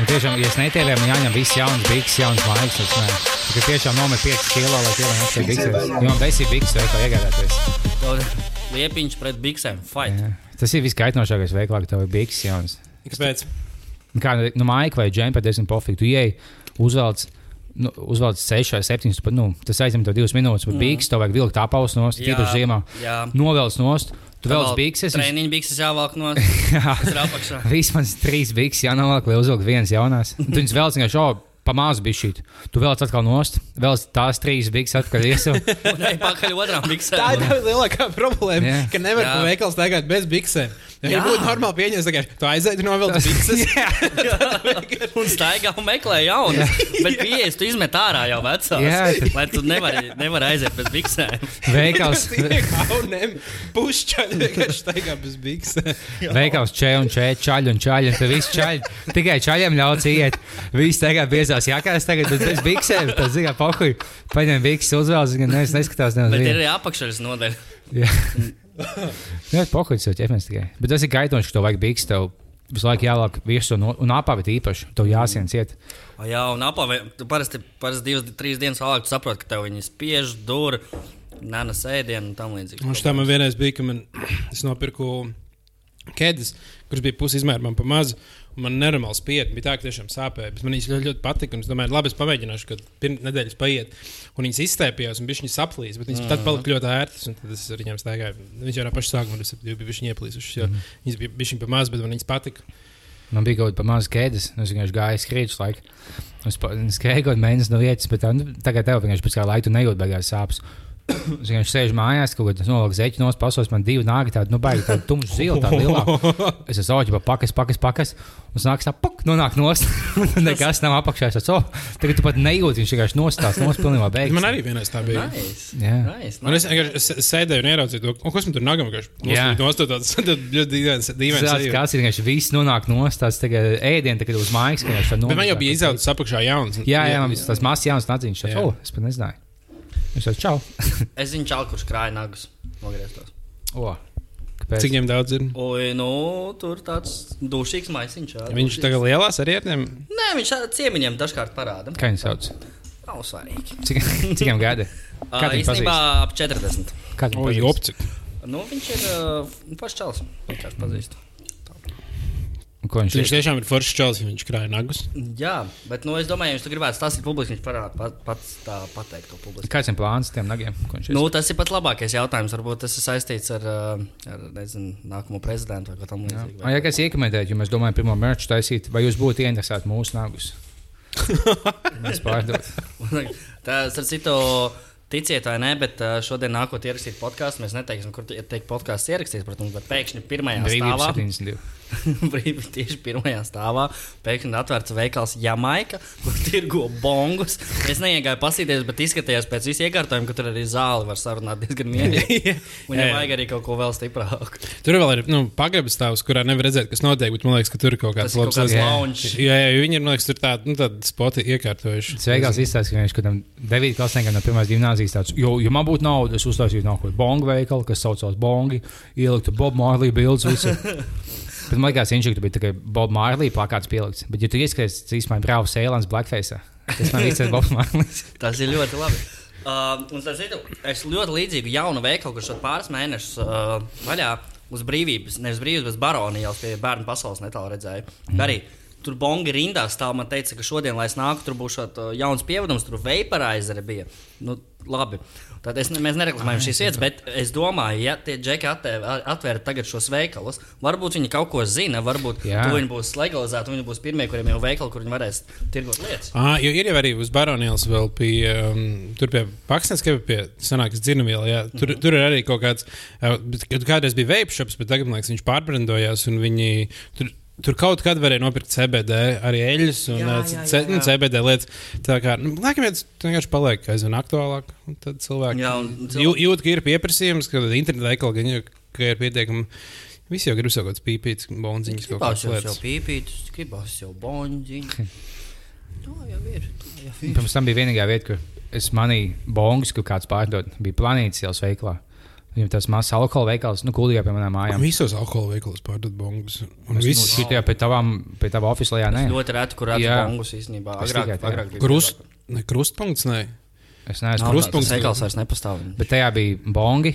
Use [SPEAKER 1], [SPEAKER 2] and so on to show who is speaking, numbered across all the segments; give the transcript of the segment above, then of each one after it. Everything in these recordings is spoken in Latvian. [SPEAKER 1] Un tiešām, ja es netēlēju, man jāņem viss jauns bikses, jauns maiks. Tas nē, tikai tiešām nomet 5 kilo, lai tiešām atšķiet bikses. Jo man besī bikses veikā iegādāties.
[SPEAKER 2] Liepiņš pret biksēm. Fight.
[SPEAKER 1] Jā. Tas ir viskaitinošākais veiklā, ka tev ir bikses jauns.
[SPEAKER 3] Kāpēc?
[SPEAKER 1] Kā nu, nu maika vai džempa, diezgan pofīgi. Tu ieej, uzvelc. Nu, uzvelc 6 vai 7, tu, pat, nu, tas aizņem tev 2 minūtes. Mm. Bikses tev vajag vilkt apelsnu nost,
[SPEAKER 2] Jā,
[SPEAKER 1] tīpaši ziemā.
[SPEAKER 2] jā.
[SPEAKER 1] Novelc nost, tu vēl bikses. un-
[SPEAKER 2] Treniņš bikses jāvelk no apakšā.
[SPEAKER 1] Vismaz trīs bikses jānonāk, lai uzvilktu vienas jaunas. Tur viņš vēl zina, ka pamāzi bija šī. Tu vēl atkal nost, vēl tās trīs bikses atpakaļ iesaistīts.
[SPEAKER 2] Un ej pakaļ otram biksēm.
[SPEAKER 3] Tā ir tā lielākā problēma, yeah.
[SPEAKER 1] Jā.
[SPEAKER 3] ka nevar
[SPEAKER 2] Jā.
[SPEAKER 3] būt veikals tagad bez biksēm.
[SPEAKER 2] Jā.
[SPEAKER 3] Ja yeah. būtu normāli pieņemts, tagad tu aizēji novilkt bikses.
[SPEAKER 2] Un staigā un meklē jaunu. Bet pieejas, tu izmet ārā jau vecās. Jā.
[SPEAKER 1] Jā.
[SPEAKER 2] Lai tu nevari, nevari aiziet bez biksēm.
[SPEAKER 1] Veikals,
[SPEAKER 3] Kauniem pušķaļi vienkārši staigā bez biksēm.
[SPEAKER 1] veikals čēli un čēli, čaļi un čaļi. un Tur viss čaļi. Tikai čaļiem ļauts iet. Visi tagad biezās jākās, tagad bet bez biksēm. Tas zina, pohuj. Paņem bikses uzvēlas, gan nevis neskatās ne uz
[SPEAKER 2] Bet ir
[SPEAKER 1] vienu.
[SPEAKER 2] arī apakšas nodeļa.
[SPEAKER 1] Jā, Jā pohuj, tas ir ķepens tikai. Bet tas ir gaitoņš, ka tev vajag bikses. Tev visu laiku jālāk visu un, un apavit īpaši. Tev jāsien ciet.
[SPEAKER 2] O, Jā, un apavē, tu parasti, parasti divas, trīs dienas vēlāk tu saproti, ka tev viņi spiež, dur, nana sēdienu un tam līdzīgi.
[SPEAKER 3] Un šitā man vienreiz bija, ka man, es nopirku ķēdes, kuras bija pusi izmēra, man par mazu. un Man nenormāli spieda, bija tā, ka tiešām sāpēja. Bet man viņas ļoti, ļoti patika. un Es domāju, labi, es pamēģināšu, kad pirms nedēļas paiet. Un viņas izstēpījās, un viņas aplīs. Bet viņas mm. tad palika ļoti ērtas. un Tad es ar viņiem staigāju. Viņas jau no paša sākuma es biju bijuši ieplīsušas. jo
[SPEAKER 1] Mhm.
[SPEAKER 3] Viņas bija bijušas par maz, bet man viņas patika.
[SPEAKER 1] Man bija kaut kāda maza kēdes, un nu, es vienkārši gāju skrīdus laiku. Es pa- es skrēju kaut kādu mēnesi no vietas, bet tā, nu, tagad tev vienkārši pēc kā laika nejūt beigās sāpes. Es vienkārši sēžu mājās, kaut kādā nolasīju zeķu no pasaules, man divi nāga tāda, nu, baigi, tāda tumša zila, tāda lielā. Es esmu auģi pa pakas, pakas, pakas, un nāk tā, pak, nonāk nost. Un Nekas nav apakšā, es esmu, oh, tagad tu pat nejūti, viņš vienkārši nostās, nost pilnībā beigas.
[SPEAKER 3] Man arī vienreiz tā bija.
[SPEAKER 2] Nice.
[SPEAKER 1] Jā.
[SPEAKER 2] Nice,
[SPEAKER 3] Un
[SPEAKER 2] nice.
[SPEAKER 3] es vienkārši s- sēdēju un ieraudzīju to, "O, kas man tur
[SPEAKER 1] Jā.
[SPEAKER 3] nagam vienkārši nostādās. Tad ļoti dīvains, dīvains.
[SPEAKER 1] Tas
[SPEAKER 3] sajūta.
[SPEAKER 1] kāds ir vienkārši viss nonāk nostās, tagad ēdienu, tagad uz mājas, ka viņš tā
[SPEAKER 3] Bet man jau
[SPEAKER 1] nomazgā.
[SPEAKER 3] bija izaudzis apakšā jauns.
[SPEAKER 1] Jā, jā, man bija tas mazs jauns nāciņš.
[SPEAKER 3] Jā.
[SPEAKER 1] Oh, es pat nezināju. Viņš teica, čau.
[SPEAKER 2] Es zinu, čau, kurš krāja nagus. Nogrieztos.
[SPEAKER 1] O, kāpēc?
[SPEAKER 3] Cik viņam daudz ir?
[SPEAKER 2] Oi, nu, tur tāds dušīgs maisiņš. jā,
[SPEAKER 3] Viņš
[SPEAKER 2] dušīgs.
[SPEAKER 3] tagad lielās ar ietnēm.
[SPEAKER 2] Nē, viņš ar ciemiņiem dažkārt parāda.
[SPEAKER 1] Kā viņu sauc?
[SPEAKER 2] Nav svarīgi.
[SPEAKER 1] Cik, cik viņam gadi?
[SPEAKER 2] Kā
[SPEAKER 1] viņu
[SPEAKER 2] īstenībā ap 40.
[SPEAKER 1] Kā viņu
[SPEAKER 3] O,
[SPEAKER 1] pazīst?
[SPEAKER 3] jopcik.
[SPEAKER 2] Nu, viņš ir uh, pašs čels. Vienkārši pazīst.
[SPEAKER 1] Ko viņš
[SPEAKER 3] Viņš
[SPEAKER 1] ir?
[SPEAKER 3] tiešām ir foršs čels, ja viņš krāja nagus.
[SPEAKER 2] Jā, bet nu, es domāju, viņš to gribētu. Tas ir publiski. Viņš parāda pat, pats tā pateikt to publiski.
[SPEAKER 1] Kāds ir plāns tiem nagiem? Ko viņš ir?
[SPEAKER 2] Nu, tas ir pats labākais jautājums. Varbūt tas ir saistīts ar, ā, ar nezinu, nākamo prezidentu vai ko tamlīdzīgu.
[SPEAKER 1] Ah, ja kāds iekomentētu, jo mēs domājam, pirmo mērķu taisīt, vai jūs būtu ieinteresēti mūsu nagus? mēs pārdodam.
[SPEAKER 2] Tas ar citu. Ticiet vai nē, bet ā, šodien nākot ierakstīt podkāstu, mēs neteiksim, kur tie- teikt podkāstu ierakstīt, protams, bet pēkšņi pirmajā
[SPEAKER 1] Brīvība
[SPEAKER 2] stāvā,
[SPEAKER 1] 72.
[SPEAKER 2] brīvība tieši pirmajā stāvā, pēkšņi atvērts veikals Jamaika, kur tirgo bongus. Es neiegāju pasīties, bet izskatījās pēc visu iekārtojumu, ka tur arī zāli var sarunāt diezgan mierīgi. Un
[SPEAKER 3] Jā.
[SPEAKER 2] viņam vajag arī kaut ko vēl stiprāku.
[SPEAKER 3] Tur vēl ir nu, pagrabs stāvs, kurā nevar redzēt, kas notiek, bet man liekas, ka tur ir kaut
[SPEAKER 2] Tas
[SPEAKER 3] kāds
[SPEAKER 2] ir kaut
[SPEAKER 3] labs
[SPEAKER 2] kāds
[SPEAKER 3] lietas.
[SPEAKER 2] lounge.
[SPEAKER 3] Jā, jā, jo viņi ir, man liekas, tur tādi nu, tādi spoti iekārtojuši.
[SPEAKER 1] Sveikās izstāstījis, ka viņš kaut kādam 9. klasniekam no pirmās gimnāzijas tāds, jo, ja man būtu nauda, es uztaisītu nākotnē bongu veikalu, kas saucās Bongi, ieliktu Bob Marley bildes visu. Bet man liekas, viņš bija tikai Bob Marley plakāts pielikts. Bet, ja tu ieskaties, tas īstenībā ir brālis Eilans Blackface. Tas man īstenībā ir Bob Marley.
[SPEAKER 2] Tas ir ļoti labi. Uh, un tas ir. Es ļoti līdzīgu jaunu veikalu, kurš šeit pāris mēnešus uh, vaļā uz brīvības, nevis brīvības, bet baroni jau pie bērnu pasaules netālu redzēju. Mm. Arī tur bongi rindā stāv. Man teica, ka šodien, lai es nāku, tur būs šāds uh, jauns pievadums, tur vaporizeri bija. Nu, labi. Tad es, ne- mēs nereklamējam šīs vietas, bet es domāju, ja tie džeki attē- atvērtu tagad šos veikalus, varbūt viņi kaut ko zina, varbūt
[SPEAKER 1] Jā.
[SPEAKER 2] to viņi būs legalizēti, viņi būs pirmie, kuriem jau veikali, kur viņi varēs tirgot lietas.
[SPEAKER 3] Ah, jo ir jau arī uz Baronielas, vēl pie, um, tur pie Pakistānas, kā pie senākas dzirdamielas. Tur, mm -hmm. tur ir arī kaut kāds, uh, bet kad kādreiz bija vape shops, bet tagad, man liekas, viņš pārbrendojās un viņi. Tur, Tur kaut kad varēja nopirkt CBD, arī eļļas un jā, jā, jā, jā. Nu, CBD lietas. Tā kā, nu, laikam, ja tas vienkārši paliek aizvien aktuālāk. un Tad cilvēki
[SPEAKER 2] Jā, un
[SPEAKER 3] jū, jūt, ka ir pieprasījums, ka internetā veikala gan jau ka ir pietiekami. Visi jau grib kaut kādas pīpītas, bonziņas, kaut
[SPEAKER 2] Gribās
[SPEAKER 3] kādas
[SPEAKER 2] jau
[SPEAKER 3] lietas.
[SPEAKER 2] jau pīpītas, gribās jau bonziņu. Tā jau ir. tā jau ir.
[SPEAKER 1] Pirms tam bija vienīgā vieta, kur es manīju bongus, kur kāds pārdod. Bija planētas ielas veiklā. Viņam tas mazs alkohola veikals, nu, kuldīgā pie manām mājām.
[SPEAKER 3] Visos alkohola veikalos pārdod bongas. Un
[SPEAKER 1] Nu,
[SPEAKER 3] viss
[SPEAKER 1] šitajā pie tavām, pie tava oficiālajā, nē.
[SPEAKER 2] Ļoti reti, kur
[SPEAKER 1] Jā.
[SPEAKER 2] redzam bungus īstenībā.
[SPEAKER 1] Es
[SPEAKER 2] Agrāk,
[SPEAKER 1] tikai tā.
[SPEAKER 2] agrāk bija
[SPEAKER 3] krust, ne krustpunkts, ne.
[SPEAKER 1] Es neesmu
[SPEAKER 3] Nav. krustpunkts.
[SPEAKER 2] Krustpunkts veikals vairs nepastāv.
[SPEAKER 1] Bet tajā bija bongi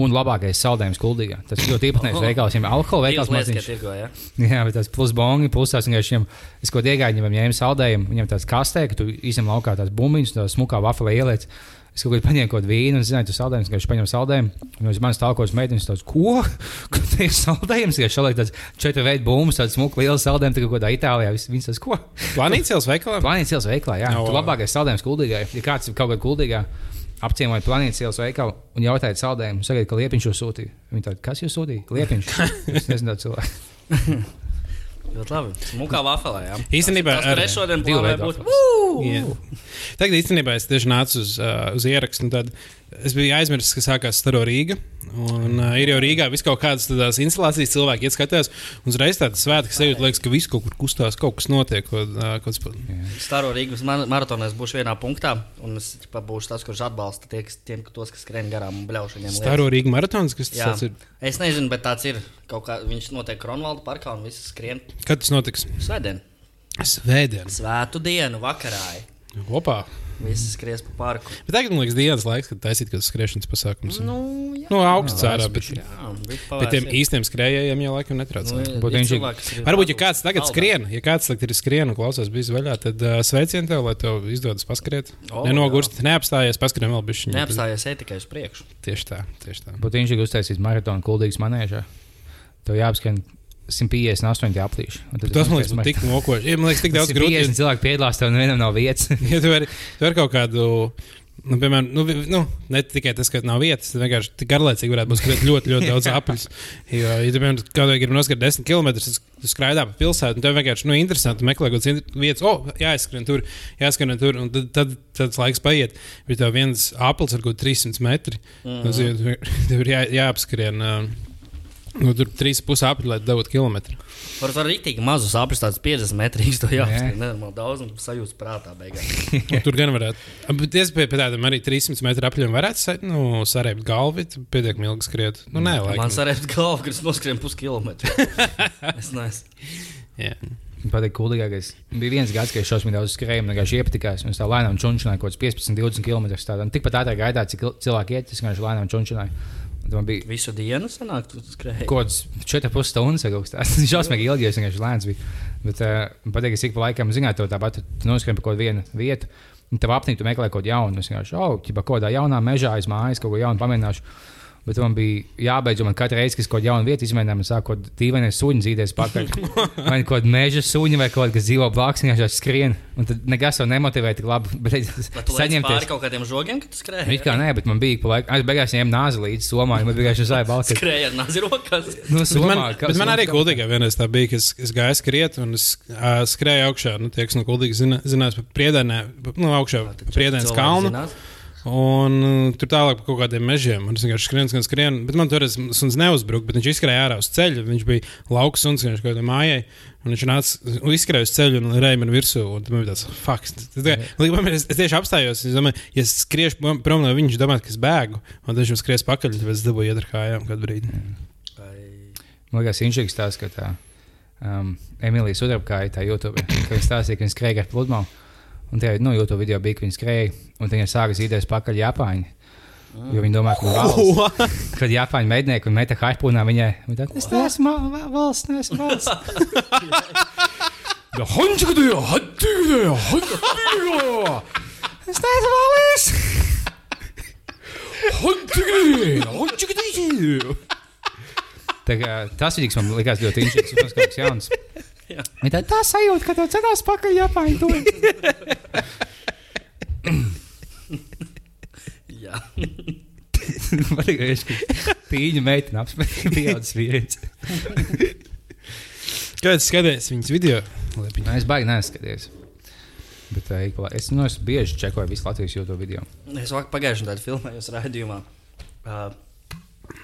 [SPEAKER 1] un labākais saldējums kuldīgā. Tas ir ļoti īpatnējs veikals. Viņam alkohola
[SPEAKER 2] Veikals
[SPEAKER 1] veikals
[SPEAKER 2] mēs
[SPEAKER 1] maziņš.
[SPEAKER 2] tikai tirgo, jā.
[SPEAKER 1] Jā, bet tas plus bongi, plus tās vienkārši viņam, es kaut kādā iegāju, viņam saldējumu, viņam tās kastē, ka tu izņem laukā tās bumbiņas, tās smukā vafelē ieliec. Es kaut kādā paņēmu kaut kādu vīnu, un zinu, tu saldējums, ka viņš paņem saldējumu. Un uz manis tālākos meitenes tāds, ko? Kur tie ir saldējums? Ka šalai tāds četru veidu bumbas, tāds smuka liela saldējuma, tā kā kaut kādā Itālijā. Viņš- Viņš tāds, ko?
[SPEAKER 3] Planīcēls veikalā?
[SPEAKER 1] Planētas ielas veiklā, jā.
[SPEAKER 3] Jā,
[SPEAKER 1] Tu
[SPEAKER 3] vau.
[SPEAKER 1] labākais saldējums kuldīgai. Ja kāds ir kaut kādā kuldīgā apciemoja planētas ielas veikalu un jautāja saldējumu, sagaid, ka liepiņš jūs sūtīja. Viņi tādi, kas jūs sūtīja? Liepiņš. Es nezinu, tāds cilvēks.
[SPEAKER 2] Ļoti labi. Smukā vafelē, jā.
[SPEAKER 3] Īstenībā
[SPEAKER 2] Tas,
[SPEAKER 3] ar-
[SPEAKER 2] kur es šodien
[SPEAKER 1] Divu
[SPEAKER 2] plānoju
[SPEAKER 1] veidu
[SPEAKER 2] būt.
[SPEAKER 3] Jā. Tagad īstenībā es tieši nācu uz, uh, uz ierakstu. un Tad es biju aizmirsis, ka sākās Staro Rīga. Un, uh, ir jau Rīgā vis kaut kādas tādas instalācijas, cilvēki ieskatās. Un uzreiz tādas svētki sajūta, liekas, ka viss kaut kur kustās, kaut kas notiek. Kaut, uh, kaut kas... pa-
[SPEAKER 2] Staro Rīgas man- maratonā es būšu vienā punktā, un es ķipa, būšu tas, kurš atbalsta tie, kas, tiem, tos, kas skrien garām un bļauš viņiem. lietas.
[SPEAKER 3] Staro Rīga maratons, kas
[SPEAKER 2] Jā,
[SPEAKER 3] tas ir?
[SPEAKER 2] es nezinu, bet tāds ir. Kaut kā viņš notiek Kronvalda parkā un viss skrien
[SPEAKER 3] Kad tas notiks?
[SPEAKER 2] svētdien.
[SPEAKER 3] Svētdien.
[SPEAKER 2] Svētu dienu vakarā.
[SPEAKER 3] Opā.
[SPEAKER 2] Visi skries pa parku.
[SPEAKER 3] Bet tagad man liekas, dienas laiks, kad taisīt kādas skriešanas pasākumus. Nu,
[SPEAKER 2] Nu, jā,
[SPEAKER 3] nu augsts ārā, bet,
[SPEAKER 2] jā bija
[SPEAKER 3] bet Nu, tiem īstiem skrējējiem jau laikam
[SPEAKER 2] Nu,
[SPEAKER 3] netraucē.
[SPEAKER 1] Būtu viņš-
[SPEAKER 3] Varbūt, ja kāds tagad skrien, ja kāds tagad ir skrien un klausās bija vaļā, tad uh, sveicien tev, lai tev izdodas paskriet.
[SPEAKER 2] O,
[SPEAKER 3] Oh, Nenogurst, neapstājies, paskrien vēl bišķiņu.
[SPEAKER 2] Neapstājies ej tikai uz priekšu.
[SPEAKER 3] Tieši tā, tieši tā.
[SPEAKER 1] Būtu viņš uztaisījis maratonu kuldīgas manēžā. Tev jāapskan 158 aplīši. Un tad
[SPEAKER 3] Tas man liekas,
[SPEAKER 1] uztaisīsi
[SPEAKER 3] būtu tik nokoši. Ja, man liekas, tik
[SPEAKER 1] mar-
[SPEAKER 3] daudz grūti.
[SPEAKER 1] 150 cilvēku piedalās, tev nevienam nav vietas.
[SPEAKER 3] Ja tu vari, tu vari kaut kādu, nu, piemēram, nu, vi- nu, ne tikai tas, ka nav vietas, tad vienkārši tik garlaicīgi varētu būt skriet ļoti, ļoti daudz apļus. Jo, ja, tu, piemēram, kaut kādā gribi noskatīt 10 km, tad tu skraidā pa pilsētu, un tev vienkārši, nu, interesanti meklē kaut kādas in- vietas, o, oh, jāizskrien tur, jāizskrien tur, un tad, tad, tad tas laiks paiet. Bet tev viens aplis ir kaut kāds 300 metri, mm. tad tev ir jā, jāapskrien. ā, Nu, tur 3,5 apli, lai dabūtu kilometru.
[SPEAKER 2] Varbūt ar rītīgi mazu saprast, tāds 50 metrus to jāapstāj.
[SPEAKER 1] Nē.
[SPEAKER 2] Nenormāli daudz un sajūta prātā beigās.
[SPEAKER 3] Un Tur gan varētu. Bet es pie pie tādiem arī 300 metru apļiem varētu sa- nu, sarēbt galvu, tad pietiekami ilgi skriet. Nu, nē,
[SPEAKER 2] Man
[SPEAKER 3] laikam.
[SPEAKER 2] sarēķis galvu, kas noskrien puskilometru. es nezinu.
[SPEAKER 3] Jā.
[SPEAKER 1] Man patīk, kuldīgākais. Bija viens gads, kad es šausmīgi daudz skrēju, un vienkārši iepatikās. Un es tā lēnām čunčināju kaut kāds 15, 20 km. Tādā. Un Tikpat ātrāk gaidā, cik il- cilvēki iet, es vienkārši lēnām čunčināju. Un tad man bija
[SPEAKER 2] Visu dienu sanāk, tu skrēji.
[SPEAKER 1] kaut kāds 4,5 stundas vai kaut kas tāds. Šausmīgi ilgi, es vienkārši lēns biju. Bet uh, man patīk, ka ik pa laikam, zināt, to tāpat noskrien pa kaut kādu vienu vietu. Un tev apnīk, tu meklē kaut ko jaunu. Es vienkārši, oh, ķipa, kaut kādā jaunā mežā aiz mājas kaut ko jaunu pamēģināšu. Bet man bija jābeidz, un man katru reizi, kad es kaut kādu jaunu vietu izmēģināju, man sāk kaut kāda dīvaina suņa zīdēs pakaļ. Vai nu kaut kāda meža suņa, vai kaut kas, kas dzīvo blakus, vienkārši tāds skrien. Un tad nekas to nemotivē tik labi. Bet
[SPEAKER 2] Vai tu saņem pāri kaut kādiem žogiem, kad tu skrēji?
[SPEAKER 1] Nu, It kā nē, bet man bija pa laikam. Es beigās ņēmu nāzi līdzi somā, un man bija vienkārši zāja balsis.
[SPEAKER 2] Skrēji ar nazi rokās.
[SPEAKER 1] Nu,
[SPEAKER 3] Bet
[SPEAKER 1] somā,
[SPEAKER 3] man,
[SPEAKER 1] kā-
[SPEAKER 3] bet man
[SPEAKER 1] somā-
[SPEAKER 3] arī gudīgi vienreiz tā bija, ka es, es gāju skriet un es uh, skrēju augšā. Nu, tie, kas no gudīgi zina, zinās, pa priedēnē, pa- nu, augšā pa priedēnes
[SPEAKER 2] Cilvēki
[SPEAKER 3] kalnu.
[SPEAKER 2] zinās.
[SPEAKER 3] Un uh, tur tālāk pa kaut kādiem mežiem. Un es vienkārši skrienu, skrienu, skrienu. Bet man tur suns neuzbruka, bet viņš izskrēja ārā uz ceļa. Viņš bija lauks suns, viņš kaut kādā mājā. Un viņš nāca un izskrēja uz ceļa un rēja man virsū. Un tad man bija tāds faks. Es, es tieši apstājos. Es domāju, ja es skriešu prom- prom no viņa, viņš domā, ka es bēgu. Un tad viņš man skries pakaļ, tad es dabūju iet ar kājām kādu brīdi.
[SPEAKER 2] Vai-
[SPEAKER 1] Man liekas, viņš ir tas, ka tā um, Emīlija Sudrabkāja tā YouTube, ka viņa stāstīja, ka viņa skrēja ar pludmali. Un tajā nu, YouTube video bija, ka viņa skrēja, un tad viņa sāka zīdēs pakaļ Japāņi. Jo viņi domā, ka viņi valsts. Kad Japāņu meitnieki un meita haipūnā viņai, viņa tā, es neesmu va- valsts, neesmu valsts. Da hončika tu jau, hončika tu jau, hončika tu jau. Es neesmu valsts. Hončika tu jau, hončika tu jau. Tā kā, tas vidīgs man likās ļoti interesants. Tas kaut kas jauns.
[SPEAKER 2] Jā.
[SPEAKER 1] Viņa tā, tā sajūta, ka tev cenās pakaļ Japāņu to.
[SPEAKER 2] Jā.
[SPEAKER 1] Man ir griežs, ka tīņa meitene apspēja pieaudzis vīrietis.
[SPEAKER 3] Kad es skatījos viņas video,
[SPEAKER 1] Nē, Nu, Es baigi neskaties. Bet tā ir. Es, nu, es bieži čekoju visu Latvijas YouTube video.
[SPEAKER 2] Es vakar pagājušajā gadā filmēju raidījumā. Uh,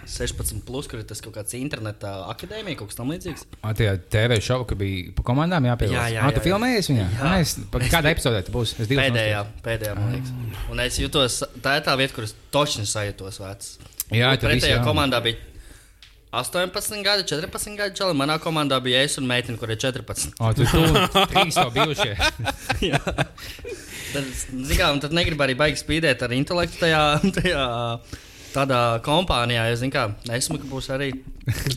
[SPEAKER 2] 16, plus, kur ir tas kaut kāds interneta akadēmija, kaut kas tamlīdzīgs.
[SPEAKER 1] A, tajā TV šovā, ka bija pa komandām jāpiedalās.
[SPEAKER 2] Jā, jā,
[SPEAKER 1] A, tu
[SPEAKER 2] jā, jā.
[SPEAKER 1] filmējies viņā?
[SPEAKER 2] Jā.
[SPEAKER 1] Jā, es, pa, kādā epizodē tu būsi? Es divas
[SPEAKER 2] Pēdējā, pēdējā, man liekas. Un es jutos, tā ir tā vieta, kur es točni sajūtos vecs.
[SPEAKER 1] Jā,
[SPEAKER 2] Tur
[SPEAKER 1] tad viss
[SPEAKER 2] pretējā
[SPEAKER 1] jā.
[SPEAKER 2] komandā bija 18 gadi, 14 gadi. Čeli. Manā komandā bija es un meitene, kur ir 14.
[SPEAKER 1] O, tu tur trīs to bijušie.
[SPEAKER 2] Jā. tad, zikā, un tad negribu arī baigi spīdēt ar intelektu tajā, tajā tādā kompānijā. Es domāju, ka esmu, ka būs arī.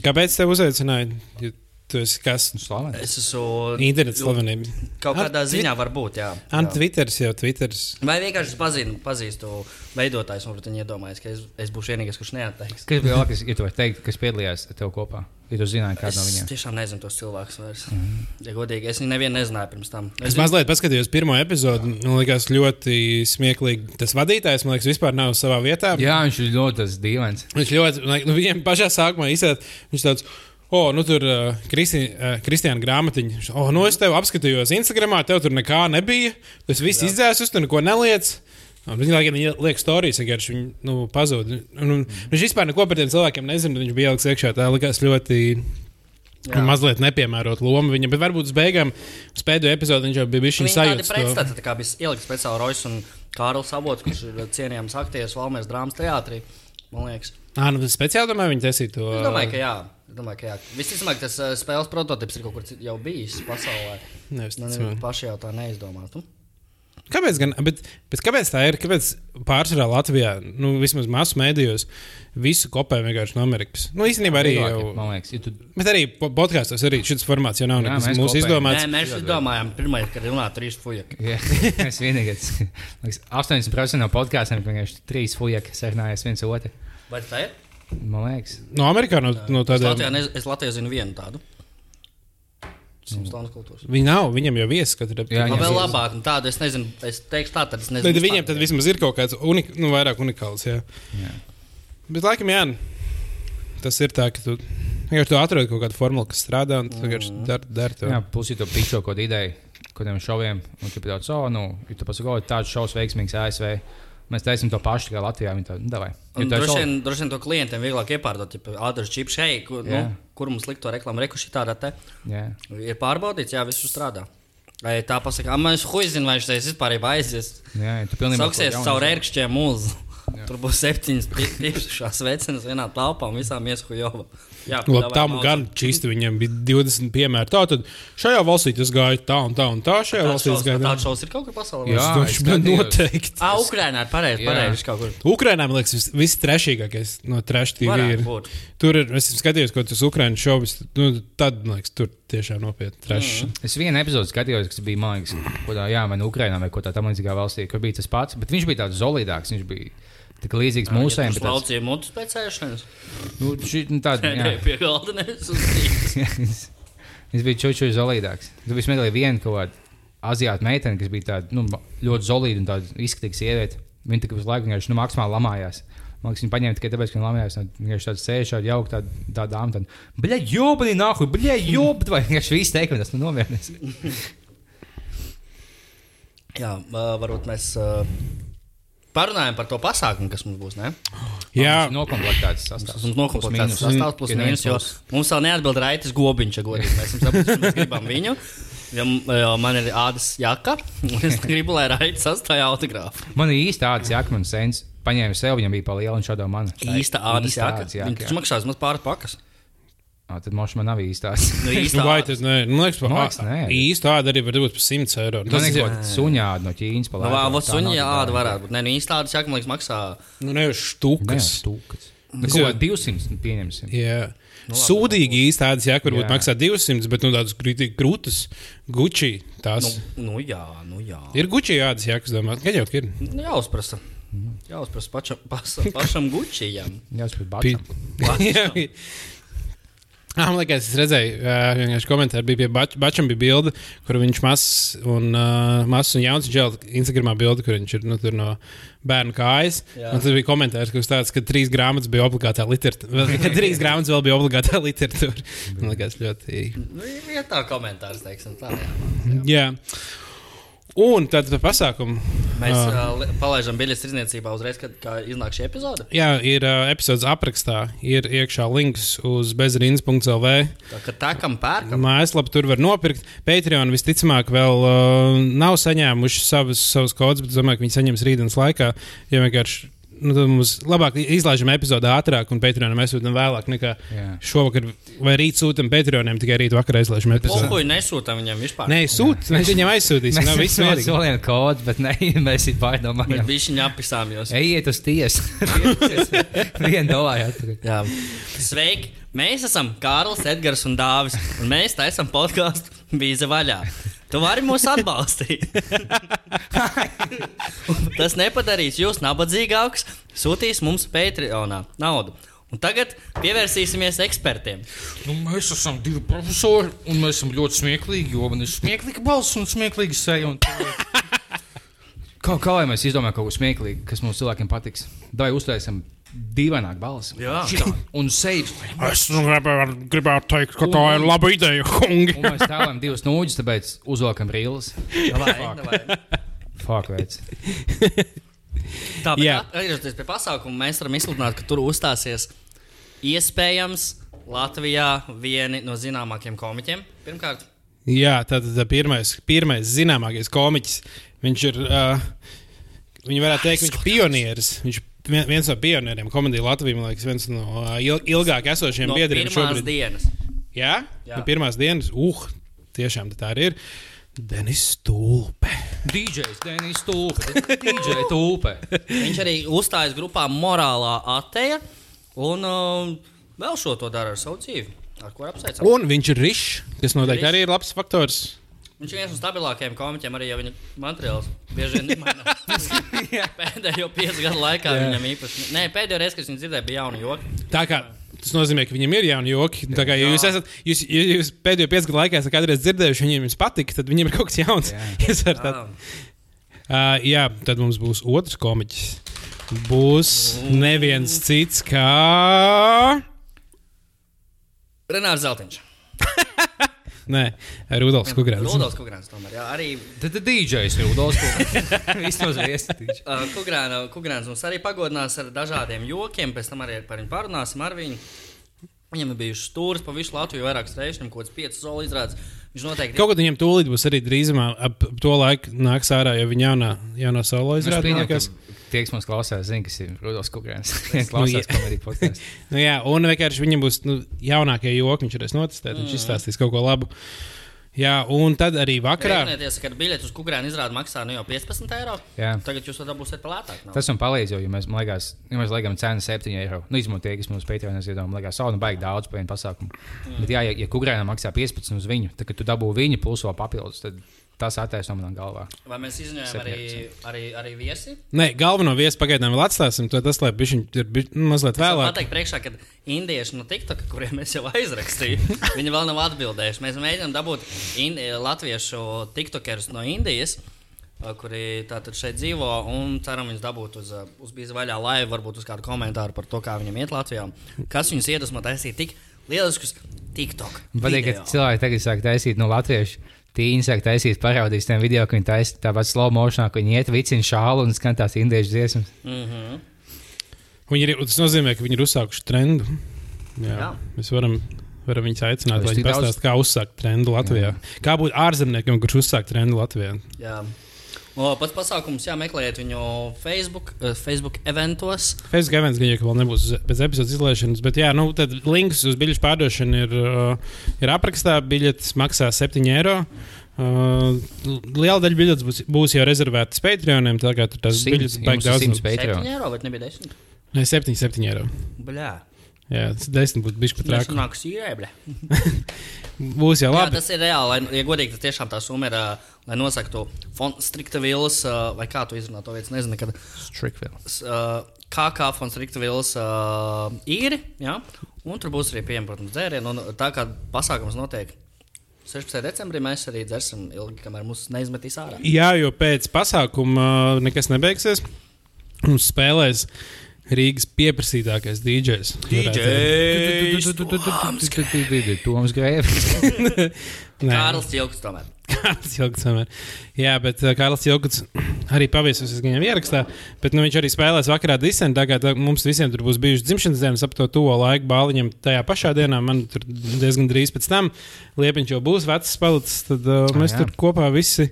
[SPEAKER 3] Kāpēc te uzaicināji? Jo Tu esi kas?
[SPEAKER 1] Nu, Slaveni.
[SPEAKER 2] Es esmu
[SPEAKER 3] Internets slavenība.
[SPEAKER 2] Kaut
[SPEAKER 3] Ar
[SPEAKER 2] kādā
[SPEAKER 3] Twi-
[SPEAKER 2] ziņā var būt, jā.
[SPEAKER 3] Ant
[SPEAKER 2] jā.
[SPEAKER 3] Twitters jau Twitters.
[SPEAKER 2] Vai vienkārši es pazinu, pazīstu veidotājus, un varbūt viņi iedomājas, ka es, es būšu vienīgais, kurš neatteiks.
[SPEAKER 1] Kas bija labākais, ja tu vari teikt, kas piedalījās ar tev kopā? Ja tu zināji, kāda
[SPEAKER 2] Es
[SPEAKER 1] no viņiem.
[SPEAKER 2] tiešām nezinu tos cilvēkus vairs. Mm. Ja godīgi, es viņu nevienu nezināju pirms tam.
[SPEAKER 3] Mhm. Es
[SPEAKER 2] Es
[SPEAKER 3] mazliet paskatījos pirmo epizodi. Man liekas, ļoti smieklīgi. Tas vadītājs, man liekas, vispār nav savā vietā.
[SPEAKER 1] Jā, viņš ir ļoti tas dīvains.
[SPEAKER 3] Viņš ļoti, man liekas, nu, viņam pašā sākumā izsaka, viņš tāds. O, nu tur uh, Kristi, uh, Kristiāna grāmatiņa. Viņš, O, nu es tev apskatījos Instagramā, tev tur nekā nebija. Tas viss izdzēsus, tur neko neliec. Un Viņa laikam viņa liek stāstījis, vienkārši viņa nu, pazuda. Un, un, viņš vispār neko par tiem cilvēkiem nezina. Viņš bija ielicis iekšā. Tā likās ļoti nu,
[SPEAKER 2] Jā.
[SPEAKER 3] mazliet nepiemērota loma viņam. Bet varbūt uz beigām, uz pēdējo epizodi viņš jau bija bijis
[SPEAKER 2] Nu, Viņa
[SPEAKER 3] viņa
[SPEAKER 2] tāda
[SPEAKER 3] sajūta.
[SPEAKER 2] pretstata, tā kā bija ielikt speciāli Rojas un Kārlis Savots, kurš ir cienījams aktieris Valmēs drāmas teātrī. Man liekas,
[SPEAKER 3] Ah, nu, speciāli domāju, viņi taisīja to.
[SPEAKER 2] es domāju, ka jā. Es Domāju, ka jā. Visticamāk, tas uh, spēles prototyps ir kaut kur cit- jau bijis pasaulē.
[SPEAKER 3] Nevis,
[SPEAKER 2] Man
[SPEAKER 3] ticamāk.
[SPEAKER 2] ir paši jau tā neizdomāta.
[SPEAKER 3] Kāpēc, gan, bet, bet kāpēc tā ir? Kāpēc pārsvarā Latvijā, nu, vismaz masu mēdījos, visu kopē vienkārši no Amerikas? Nu, īstenībā arī jau.
[SPEAKER 1] Man liekas, ja tu
[SPEAKER 3] Bet arī po- podkāstos arī šis formāts jau nav
[SPEAKER 1] Jā,
[SPEAKER 3] nekas
[SPEAKER 1] mēs
[SPEAKER 3] mūsu
[SPEAKER 1] kopējam.
[SPEAKER 2] Nē,
[SPEAKER 3] izdomāts.
[SPEAKER 2] mēs domājam, pirmā, kad runā trīs fujakas.
[SPEAKER 1] Jā, es vienīgais. Man liekas, 80% no podkāstiem vienkārši trīs fujaki sarunājās viens otru.
[SPEAKER 2] Vai tā ir?
[SPEAKER 1] Man liekas,
[SPEAKER 3] No Amerikā, no,
[SPEAKER 1] Nu,
[SPEAKER 3] no
[SPEAKER 2] Es Latvijā,
[SPEAKER 3] tādiem.
[SPEAKER 2] nez, es Latvijā zinu vienu tādu. Simstonas kultūras.
[SPEAKER 3] Viņi nav, viņam jau viesis, kad ir
[SPEAKER 1] Jā,
[SPEAKER 2] Man
[SPEAKER 1] jā.
[SPEAKER 2] vēl labāk, un tādu es nezinu, es teikšu tā, tad es nezinu.
[SPEAKER 3] Bet viņiem tad vismaz ir kaut kāds unik, nu, vairāk unikāls. Jā.
[SPEAKER 1] Jā.
[SPEAKER 3] Bet, laikam, jā, tas ir tā, ka tu vienkārši tu atrod kaut kādu formulu, kas strādā, un tu vienkārši dari dar to.
[SPEAKER 1] jā, plus ir to pičo kaut kāda ideja, kādiem šoviem. Un tu pats, oh, nu, ja tu pasaki, oh, tāds šovs veiksmīgs ASV. Mēs taisim to pašu, kā Latvijā. Viņi tā, nu, davai. Jo tā ir
[SPEAKER 2] Droši
[SPEAKER 1] šovi.
[SPEAKER 2] vien, droši vien to klientiem vieglāk iepārdot, ja ātrāk čips šeit, kur, nu,
[SPEAKER 1] Jā.
[SPEAKER 2] kur mums likt to reklāmu, rekuši tādā te.
[SPEAKER 1] Jā.
[SPEAKER 2] Ir pārbaudīts, jā, viss tur strādā. Vai tā pasaka, man es huizinu, vai šis vispār ir aizies.
[SPEAKER 1] Jā, jā, tu pilnībā
[SPEAKER 2] Sauksies
[SPEAKER 1] kaut ko
[SPEAKER 2] caur
[SPEAKER 1] jaunu
[SPEAKER 2] ērkšķiem mūzu. Tur būs septiņas pīpšās vecenas vienā telpā un visām ieskuļova. Jā,
[SPEAKER 3] Labi,
[SPEAKER 2] davai,
[SPEAKER 3] tam
[SPEAKER 2] maudz.
[SPEAKER 3] gan čīsti viņiem bija 20 piemēri. Tā tad šajā valstī tas gāja tā un tā un tā. Šajā
[SPEAKER 2] Tāds
[SPEAKER 3] valstī
[SPEAKER 2] šovs-
[SPEAKER 3] tas gāja tā.
[SPEAKER 2] Tāds šovs ir kaut kur pasaulē.
[SPEAKER 1] Jā,
[SPEAKER 3] Es
[SPEAKER 1] es
[SPEAKER 3] domāju, ka
[SPEAKER 1] skatījos.
[SPEAKER 3] noteikti.
[SPEAKER 2] Ah, Ukrainā ir pareizi.
[SPEAKER 1] Jā.
[SPEAKER 2] Pareiz, kaut kur.
[SPEAKER 3] Ukrainā, man liekas, vis- viss trešīgākais no trash TV
[SPEAKER 2] Varētu
[SPEAKER 3] ir.
[SPEAKER 2] būt.
[SPEAKER 3] Tur ir, es skatījos, ko tas Ukraiņu šovs, nu, tad, man liekas, tur tiešām nopietni trash. Mm.
[SPEAKER 1] Es vienu epizodi skatījos, kas bija mākslinieks, kurā jā, vai nu Ukraiņā, vai kaut kādā tamlīdzīgā valstī, kur bija tas pats. Bet viņš bija tāds zolīdāks, viņš bija tik līdzīgs mūsējiem.
[SPEAKER 2] Mūsējiem
[SPEAKER 1] bet tāds-
[SPEAKER 2] slaucīja mutes pēc ēšanas.
[SPEAKER 1] Nu, šī- nu, tāds, jā.
[SPEAKER 2] Pie galda nesustīja.
[SPEAKER 1] Viņš bija čūčuļs zolīdāks. Tur bija smieklīgi viena kaut kāda aziāta meitene, kas bija tāda nu, ma- ļoti zolīta un tāda izskatīga sieviete. Viņa tikai visu laiku vienkārši nu, maksimāli lamājās. Man liekas, viņa paņēma tikai tāpēc, ka viņa lamājās. un Viņa vienkārši tāda sēž, tāda jauka, tāda tā dāma. Tāda, bļa, jopani, nahu, bļa, jopani. Vai vienkārši viss teikums, tas nu, nomierinās.
[SPEAKER 2] Jā, ā, varbūt mēs ā, parunājam par to pasākumu, kas mums būs. Ne?
[SPEAKER 3] Jā,
[SPEAKER 1] nokomplektēts sastāvs.
[SPEAKER 2] Tas mums nokomplektēts
[SPEAKER 1] Plus mīnus.
[SPEAKER 2] sastāvs plus
[SPEAKER 1] Ja
[SPEAKER 2] mīnus,
[SPEAKER 1] neviens
[SPEAKER 2] jo
[SPEAKER 1] plus.
[SPEAKER 2] mums vēl neatbild Raitas Gobiņš, ja godīgi. Mēs jums saprotam, mēs gribam viņu. Ja, m- jo man ir ādas jaka, un es gribu, lai Raitas atstāja autogrāfu.
[SPEAKER 1] Man ir īsti tāds jakmens sens. Paņēma sev, viņam bija pa lielu un šādu manu.
[SPEAKER 2] Īsta ādas jaka.
[SPEAKER 1] jā.
[SPEAKER 2] Viņa taču maksās maz pāris pakas.
[SPEAKER 1] Ā, Tad mošs man nav īstās.
[SPEAKER 2] Nu,
[SPEAKER 3] nu,
[SPEAKER 2] īsta
[SPEAKER 3] vai
[SPEAKER 2] ādas.
[SPEAKER 3] tas nē, man liekas,
[SPEAKER 1] Man liekas, nē.
[SPEAKER 3] īsti tāda arī var būt par 100 eiro.
[SPEAKER 1] Tas
[SPEAKER 3] Tas
[SPEAKER 1] ir
[SPEAKER 3] ir
[SPEAKER 1] kaut kāds suņādi no Ķīnas. pa
[SPEAKER 2] Nu,
[SPEAKER 1] lētu,
[SPEAKER 2] vā,
[SPEAKER 1] tā
[SPEAKER 2] vot suņa
[SPEAKER 1] nav
[SPEAKER 2] āda
[SPEAKER 1] tā.
[SPEAKER 2] varētu būt. Nē, nu, īsta ādas jaka, man liekas, maksā.
[SPEAKER 3] nu, ne jau štukas.
[SPEAKER 1] stūks. Nu, kaut kā 200 nu, pieņemsim.
[SPEAKER 3] Jā. Sūdīgi īsti tādas, jā, kur
[SPEAKER 1] Nu, Jā.
[SPEAKER 3] varbūt maksā 200, bet nu tādas kriti- krūtas, guči. Tās.
[SPEAKER 2] Nu, nu jā, nu jā.
[SPEAKER 3] Ir guči jādas, jā, kas domā, ka jau ir.
[SPEAKER 2] Nu, Jāuzprasa. Jāuzprasa pačam, pasa, pašam Guccijam.
[SPEAKER 1] Jā, tas bija
[SPEAKER 3] Pi-
[SPEAKER 1] bačs.
[SPEAKER 3] Jā, vi- Ā, Man liekas, es redzēju, ā, vienkārši komentāri bija pie Bač- Bačam, bija bilde, kur viņš mazs un, uh, mazs un jauns džels, Instagramā bilde, kur viņš ir nu, tur no bērnu kājas.
[SPEAKER 2] Jā.
[SPEAKER 3] Un tas bija komentārs, kas tāds, ka trīs grāmatas bija obligātā literatūra. Ka trīs grāmatas vēl bija obligātā literatūra. Man liekas, ļoti.
[SPEAKER 2] Nu, ir vietā komentārs, teiksim tā. Jā.
[SPEAKER 3] Jā. Un tad par pasākumu.
[SPEAKER 2] Mēs
[SPEAKER 3] Ā,
[SPEAKER 2] uh, li- palaidām biļetes izniecībā uzreiz, kad kā iznāk šī epizode.
[SPEAKER 3] Jā, ir uh, epizodes aprakstā, ir iekšā links uz bezrīnas.lv.
[SPEAKER 2] Tā kā tā kam pērkam,
[SPEAKER 3] Mājaslapā tur var nopirkt. Patreon visticamāk vēl uh, nav saņēmuši savus, savus kodus, bet es domāju, ka viņi saņems rītdienas laikā. Ja vienkārši nu, tad mums labāk izlaižam epizodi ātrāk, un Patreonam mēs sūtām vēlāk nekā
[SPEAKER 1] Jā.
[SPEAKER 3] šovakar, vai rīt sūtām Patreonam, tikai rīt vakarā izlaižam epizodi.
[SPEAKER 2] Pupuļi nesūta viņam vispār.
[SPEAKER 3] Nē, sūtiet, mēs viņam aizsūtīsim. Nav viss
[SPEAKER 1] Mēs
[SPEAKER 3] mierīgi.
[SPEAKER 1] solījām kodu, bet ne, mēs viņu
[SPEAKER 2] Bet
[SPEAKER 1] pārdomājām.
[SPEAKER 2] viņš viņu apvisām jūs.
[SPEAKER 1] Ejiet uz tiesu. Vienu dolāru atpakaļ.
[SPEAKER 2] Jā. Sveiki! Mēs esam Kārlis, Edgars un Dārvis. Un mēs taisām podkāstu Vīza vaļā. Tu vari mūs atbalstīt. Un Tas nepadarīs jūs nabadzīgākus, sūtīs mums Patreonā naudu. Un tagad pievērsīsimies ekspertiem.
[SPEAKER 4] Nu, mēs esam divi profesori, un mēs esam ļoti smieklīgi, jo man ir smieklīga balss un smieklīga seja. Un...
[SPEAKER 1] Kā, kā lai mēs izdomājam kaut ko smieklīgu, kas mums cilvēkiem patiks? Dai uztaisam dīvaināk balsi.
[SPEAKER 2] Jā.
[SPEAKER 1] Šitā. Un sejas.
[SPEAKER 3] Es nu, gribētu, gribētu teikt, ka tā ir laba ideja, kungi.
[SPEAKER 1] Un mēs stāvam divas nūģis, tāpēc uzvelkam rīles.
[SPEAKER 2] Davai, davai.
[SPEAKER 1] Fuck, veids.
[SPEAKER 2] Tā ir
[SPEAKER 3] Jā.
[SPEAKER 2] atgriezties pie pasākuma. Mēs varam izsludināt, ka tur uzstāsies iespējams Latvijā vieni no zināmākajiem komiķiem. Pirmkārt,
[SPEAKER 3] Jā, tātad tā pirmais, pirmais zināmākais komiķis. Viņš ir, uh, viņa varētu teikt, viņš ir pionieris. Viņš ir viens no pionieriem komēdijā Latvijā. Man liekas, viens no uh, il- ilgāk esošiem
[SPEAKER 2] no
[SPEAKER 3] biedriem
[SPEAKER 2] pirmās
[SPEAKER 3] šobrīd.
[SPEAKER 2] šobrīd. dienas.
[SPEAKER 3] Jā,
[SPEAKER 2] Jā.
[SPEAKER 3] jā. No pirmās dienas, uh, tiešām tā arī ir. Denis Stulpe.
[SPEAKER 1] DJs, Denis Tūpe. DJ Tūpe.
[SPEAKER 2] Viņš arī uzstājas grupā Morālā Ateja un um, vēl šo to dara ar savu dzīvi. Ar ko ir apsveicams?
[SPEAKER 3] Un viņš ir Rišs, kas noteikti
[SPEAKER 2] Rišs.
[SPEAKER 3] arī ir labs faktors.
[SPEAKER 2] Viņš ir viens no stabilākajiem komiķiem, arī ja viņa materiāls bieži vien nemainās. Pēdējo piecu gadu laikā yeah. viņam īpaši. Nē, pēdējo reizi, kad es viņu dzirdēju, bija jauna joki.
[SPEAKER 3] Tā kā tas nozīmē, ka viņam ir jauni joki. Tā kā ja jūs, esat, jūs, ja jūs pēdējo piecu gadu laikā esat kādreiz dzirdējuši, viņiem jums patika, tad viņiem ir kaut kas jauns. Jūs varat tā-
[SPEAKER 2] Jā.
[SPEAKER 3] Uh, jā, tad mums būs otrs komiķis. Būs neviens cits kā.
[SPEAKER 2] Renārs Zeltiņš.
[SPEAKER 3] Nē, Rudolfs Kungrāns.
[SPEAKER 2] Rudolfs Kungrāns tomēr. Jā, arī
[SPEAKER 1] Tad ir DJs Rudolfs. Kūpe. Vismaz viestīčs.
[SPEAKER 2] Uh, Kukrāna- Kukrāns mums arī pagodinās ar dažādiem jokiem, pēc tam arī par viņu parunāsim. Ar viņu. Viņam ir bijušas stūres pa visu Latviju vairākas reizes, viņam kaut kāds piecas soli izrādās. Viņš noteikti
[SPEAKER 3] Kaut kā viņam tūlīt būs arī drīzumā, ap ap to laiku nāks ārā, jo viņa jaunā, jaunā solo izrādās.
[SPEAKER 1] Tie, kas mums klausās, zina, kas ir Rudolfs Kungrēns. Viņš
[SPEAKER 3] jā.
[SPEAKER 1] klausās komēdijas podkāstu.
[SPEAKER 3] Nu, jā, un vienkārši viņam būs nu, jaunākie joki, viņš varēs notestēt, viņš izstāstīs kaut ko labu. Jā, un tad arī vakarā.
[SPEAKER 2] Rēķinieties, ka biļete uz Kukrānu izrādi maksā nu jau 15 eiro.
[SPEAKER 1] Jā.
[SPEAKER 2] Tagad jūs to dabūsiet nu. par lētāku. naudu.
[SPEAKER 1] Tas man palīdz, jo, ja mēs, man liekas, ja mēs liekam cenu 7 eiro. Nu, izmantot tie, kas mums Patreonā ziedā, man liekas, sauna baigi daudz par vienu pasākumu. Mm. Bet, jā, ja, ja Kungrēnam maksā 15 uz viņu, tad, kad tu dabū viņu plus vēl papildus, tad tas attaisno manā galvā.
[SPEAKER 2] Vai mēs izņēmām arī, arī, arī viesi?
[SPEAKER 3] Nē, galveno viesu pagaidām vēl atstāsim. To tas, lai viņš ir bišķiņ- nu, mazliet vēlāk.
[SPEAKER 2] Pateikt, priekšā, kad indieši no TikTok, kuriem mēs jau aizrakstījām, viņi vēl nav atbildējuši. Mēs mēģinām dabūt in, latviešu tiktokerus no Indijas, uh, kuri tātad šeit dzīvo, un ceram, viņus dabūt uz, uh, uz bīza vaļā, lai varbūt uz kādu komentāru par to, kā viņam iet Latvijā. Kas viņus iedvesmo taisīt tik lieliskus TikTok?
[SPEAKER 1] Man Patīk, ka
[SPEAKER 2] video?
[SPEAKER 1] cilvēki tagad sāk taisīt no latviešu. Tīņi sāk taisīt parādīs tiem video, ka viņi taisa tāpat slow motionā, ka viņi iet vicina šālu un skan tās indiešu dziesmas.
[SPEAKER 2] Mhm.
[SPEAKER 3] Viņi ir, tas nozīmē, ka viņi ir uzsākuši trendu. Jā.
[SPEAKER 2] Jā.
[SPEAKER 3] Jā. Mēs varam, varam viņus aicināt,
[SPEAKER 1] Es
[SPEAKER 3] lai
[SPEAKER 1] tik
[SPEAKER 3] viņi
[SPEAKER 1] daudz-
[SPEAKER 3] pastāstītu, kā uzsākt trendu Latvijā. Jā. Kā būt ārzemniekam, kurš uzsāk trendu Latvijā?
[SPEAKER 2] Jā. O, pats pasākums, jā, meklējiet viņu Facebook, eh, Facebook eventos.
[SPEAKER 3] Facebook events gan jau ka vēl nebūs uz- bez epizodes izlaišanas, bet jā, nu, tad links uz biļešu pārdošanu ir, uh, ir aprakstā. Biļetes maksā 7 eiro. Uh, liela daļa biļetes būs, būs jau rezervētas Patreoniem. Tā kā tur tas biļetes baigs daudz.
[SPEAKER 1] simts
[SPEAKER 3] no-
[SPEAKER 2] Patreon. 7
[SPEAKER 1] Patreon.
[SPEAKER 2] eiro vai nebija 10?
[SPEAKER 3] Nē, 7, 7 eiro.
[SPEAKER 2] Bļā.
[SPEAKER 3] Jā, tas 10 būtu bijis pat
[SPEAKER 2] Tas
[SPEAKER 3] trāk.
[SPEAKER 2] nāk sīrēbļa.
[SPEAKER 3] Būs jau
[SPEAKER 2] Jā,
[SPEAKER 3] labi.
[SPEAKER 2] tas ir reāli. Lai, ja godīgi, tas tiešām tā summa ir, eh, lai nosaktu Fonstriktavilas, eh, vai kā tu izrunā to vietu, nezinu, kad
[SPEAKER 1] Strikville.
[SPEAKER 2] s- eh, KK Fonstriktavilas eh, īri, jā, un tur būs arī pieejami, protams, dzērieni, un tā kā pasākums notiek 16. decembrī, mēs arī dzersim ilgi, kamēr mūs neizmetīs ārā.
[SPEAKER 3] Jā, jo pēc pasākuma uh, nekas nebeigsies. Mums spēlēs Rīgas pieprasītākais DJs.
[SPEAKER 1] Toms Grēvis.
[SPEAKER 2] Kārlis Čilks tomēr.
[SPEAKER 3] Kārlis Jokuts. vienmēr. Jā, bet uh, Kārlis Jokuts arī paviesosies viņam ierakstā. Bet nu, viņš arī spēlēs vakarā disentu. Tā kā tā, mums visiem tur būs bijušas dzimšanas dienas ap to tuvo laiku bāliņam tajā pašā dienā. Man tur diezgan drīz pēc tam liepiņš jau būs vecs palicis. Tad uh, mēs
[SPEAKER 1] Ah, jā.
[SPEAKER 3] tur kopā visi.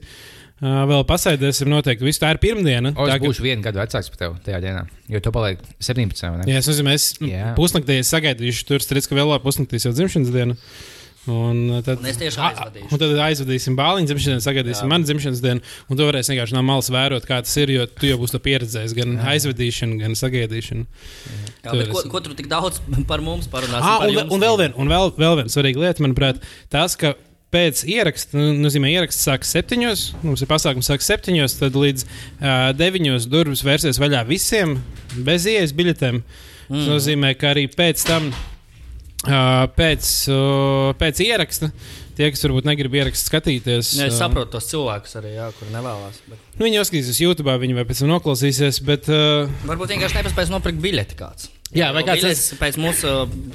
[SPEAKER 3] Uh, vēl pasēdēsim, noteikti. Viss tā ir pirmdiena.
[SPEAKER 1] O,
[SPEAKER 3] tā,
[SPEAKER 1] es
[SPEAKER 3] ka-
[SPEAKER 1] būšu vienu gadu vecāks par tevi tajā dienā, jo tu paliek 17. vai ne?
[SPEAKER 3] Jā, es nezinu, es nu,
[SPEAKER 1] Jā.
[SPEAKER 3] pusnaktī es sagaidīšu, tur strādājot, ka vēl pusnaktī jau dzimšanas diena. Un uh, tad,
[SPEAKER 2] Un es tieši
[SPEAKER 3] A-
[SPEAKER 2] aizvadīšu.
[SPEAKER 3] Un tad aizvadīsim bāliņu dzimšanas dienu, sagaidīsim manu dzimšanas dienu. Un tu varēsi vienkārši no malas vērot, kā tas ir, jo tu jau būsi to pieredzējis. Gan jā. aizvadīšanu, gan sagaidīšanu.
[SPEAKER 2] Jā, bet
[SPEAKER 3] Tur
[SPEAKER 2] ko,
[SPEAKER 3] esam.
[SPEAKER 2] ko tur tik daudz par mums parunās?
[SPEAKER 3] Ah,
[SPEAKER 2] par
[SPEAKER 3] un,
[SPEAKER 2] jums?
[SPEAKER 3] un vēl viena un vēl, vēl vien svarīga lieta, manuprāt, tas, ka pēc ieraksta, nu, nozīmē, ieraksts sākas septiņos, mums ir pasākums sākas septiņos, tad līdz uh, deviņos durvis vērsies vaļā visiem bez ielas biļetēm. Tas mm. nozīmē, ka arī pēc tam. Uh, pēc, uh, pēc ieraksta tie, kas varbūt negrib ierakstīt, skatīties.
[SPEAKER 2] Jā, es
[SPEAKER 3] uh,
[SPEAKER 2] saprotu tos cilvēkus arī, jā, kur nevēlas. Bet...
[SPEAKER 3] Nu, viņi uzskatīsies YouTube, viņi vai pēc tam noklausīsies. Bet, uh,
[SPEAKER 2] Varbūt vienkārši nepaspējas nopirkt biļeti kāds.
[SPEAKER 3] Jā, vai
[SPEAKER 2] Jo
[SPEAKER 3] kāds
[SPEAKER 2] biļetes Pēc mūsu,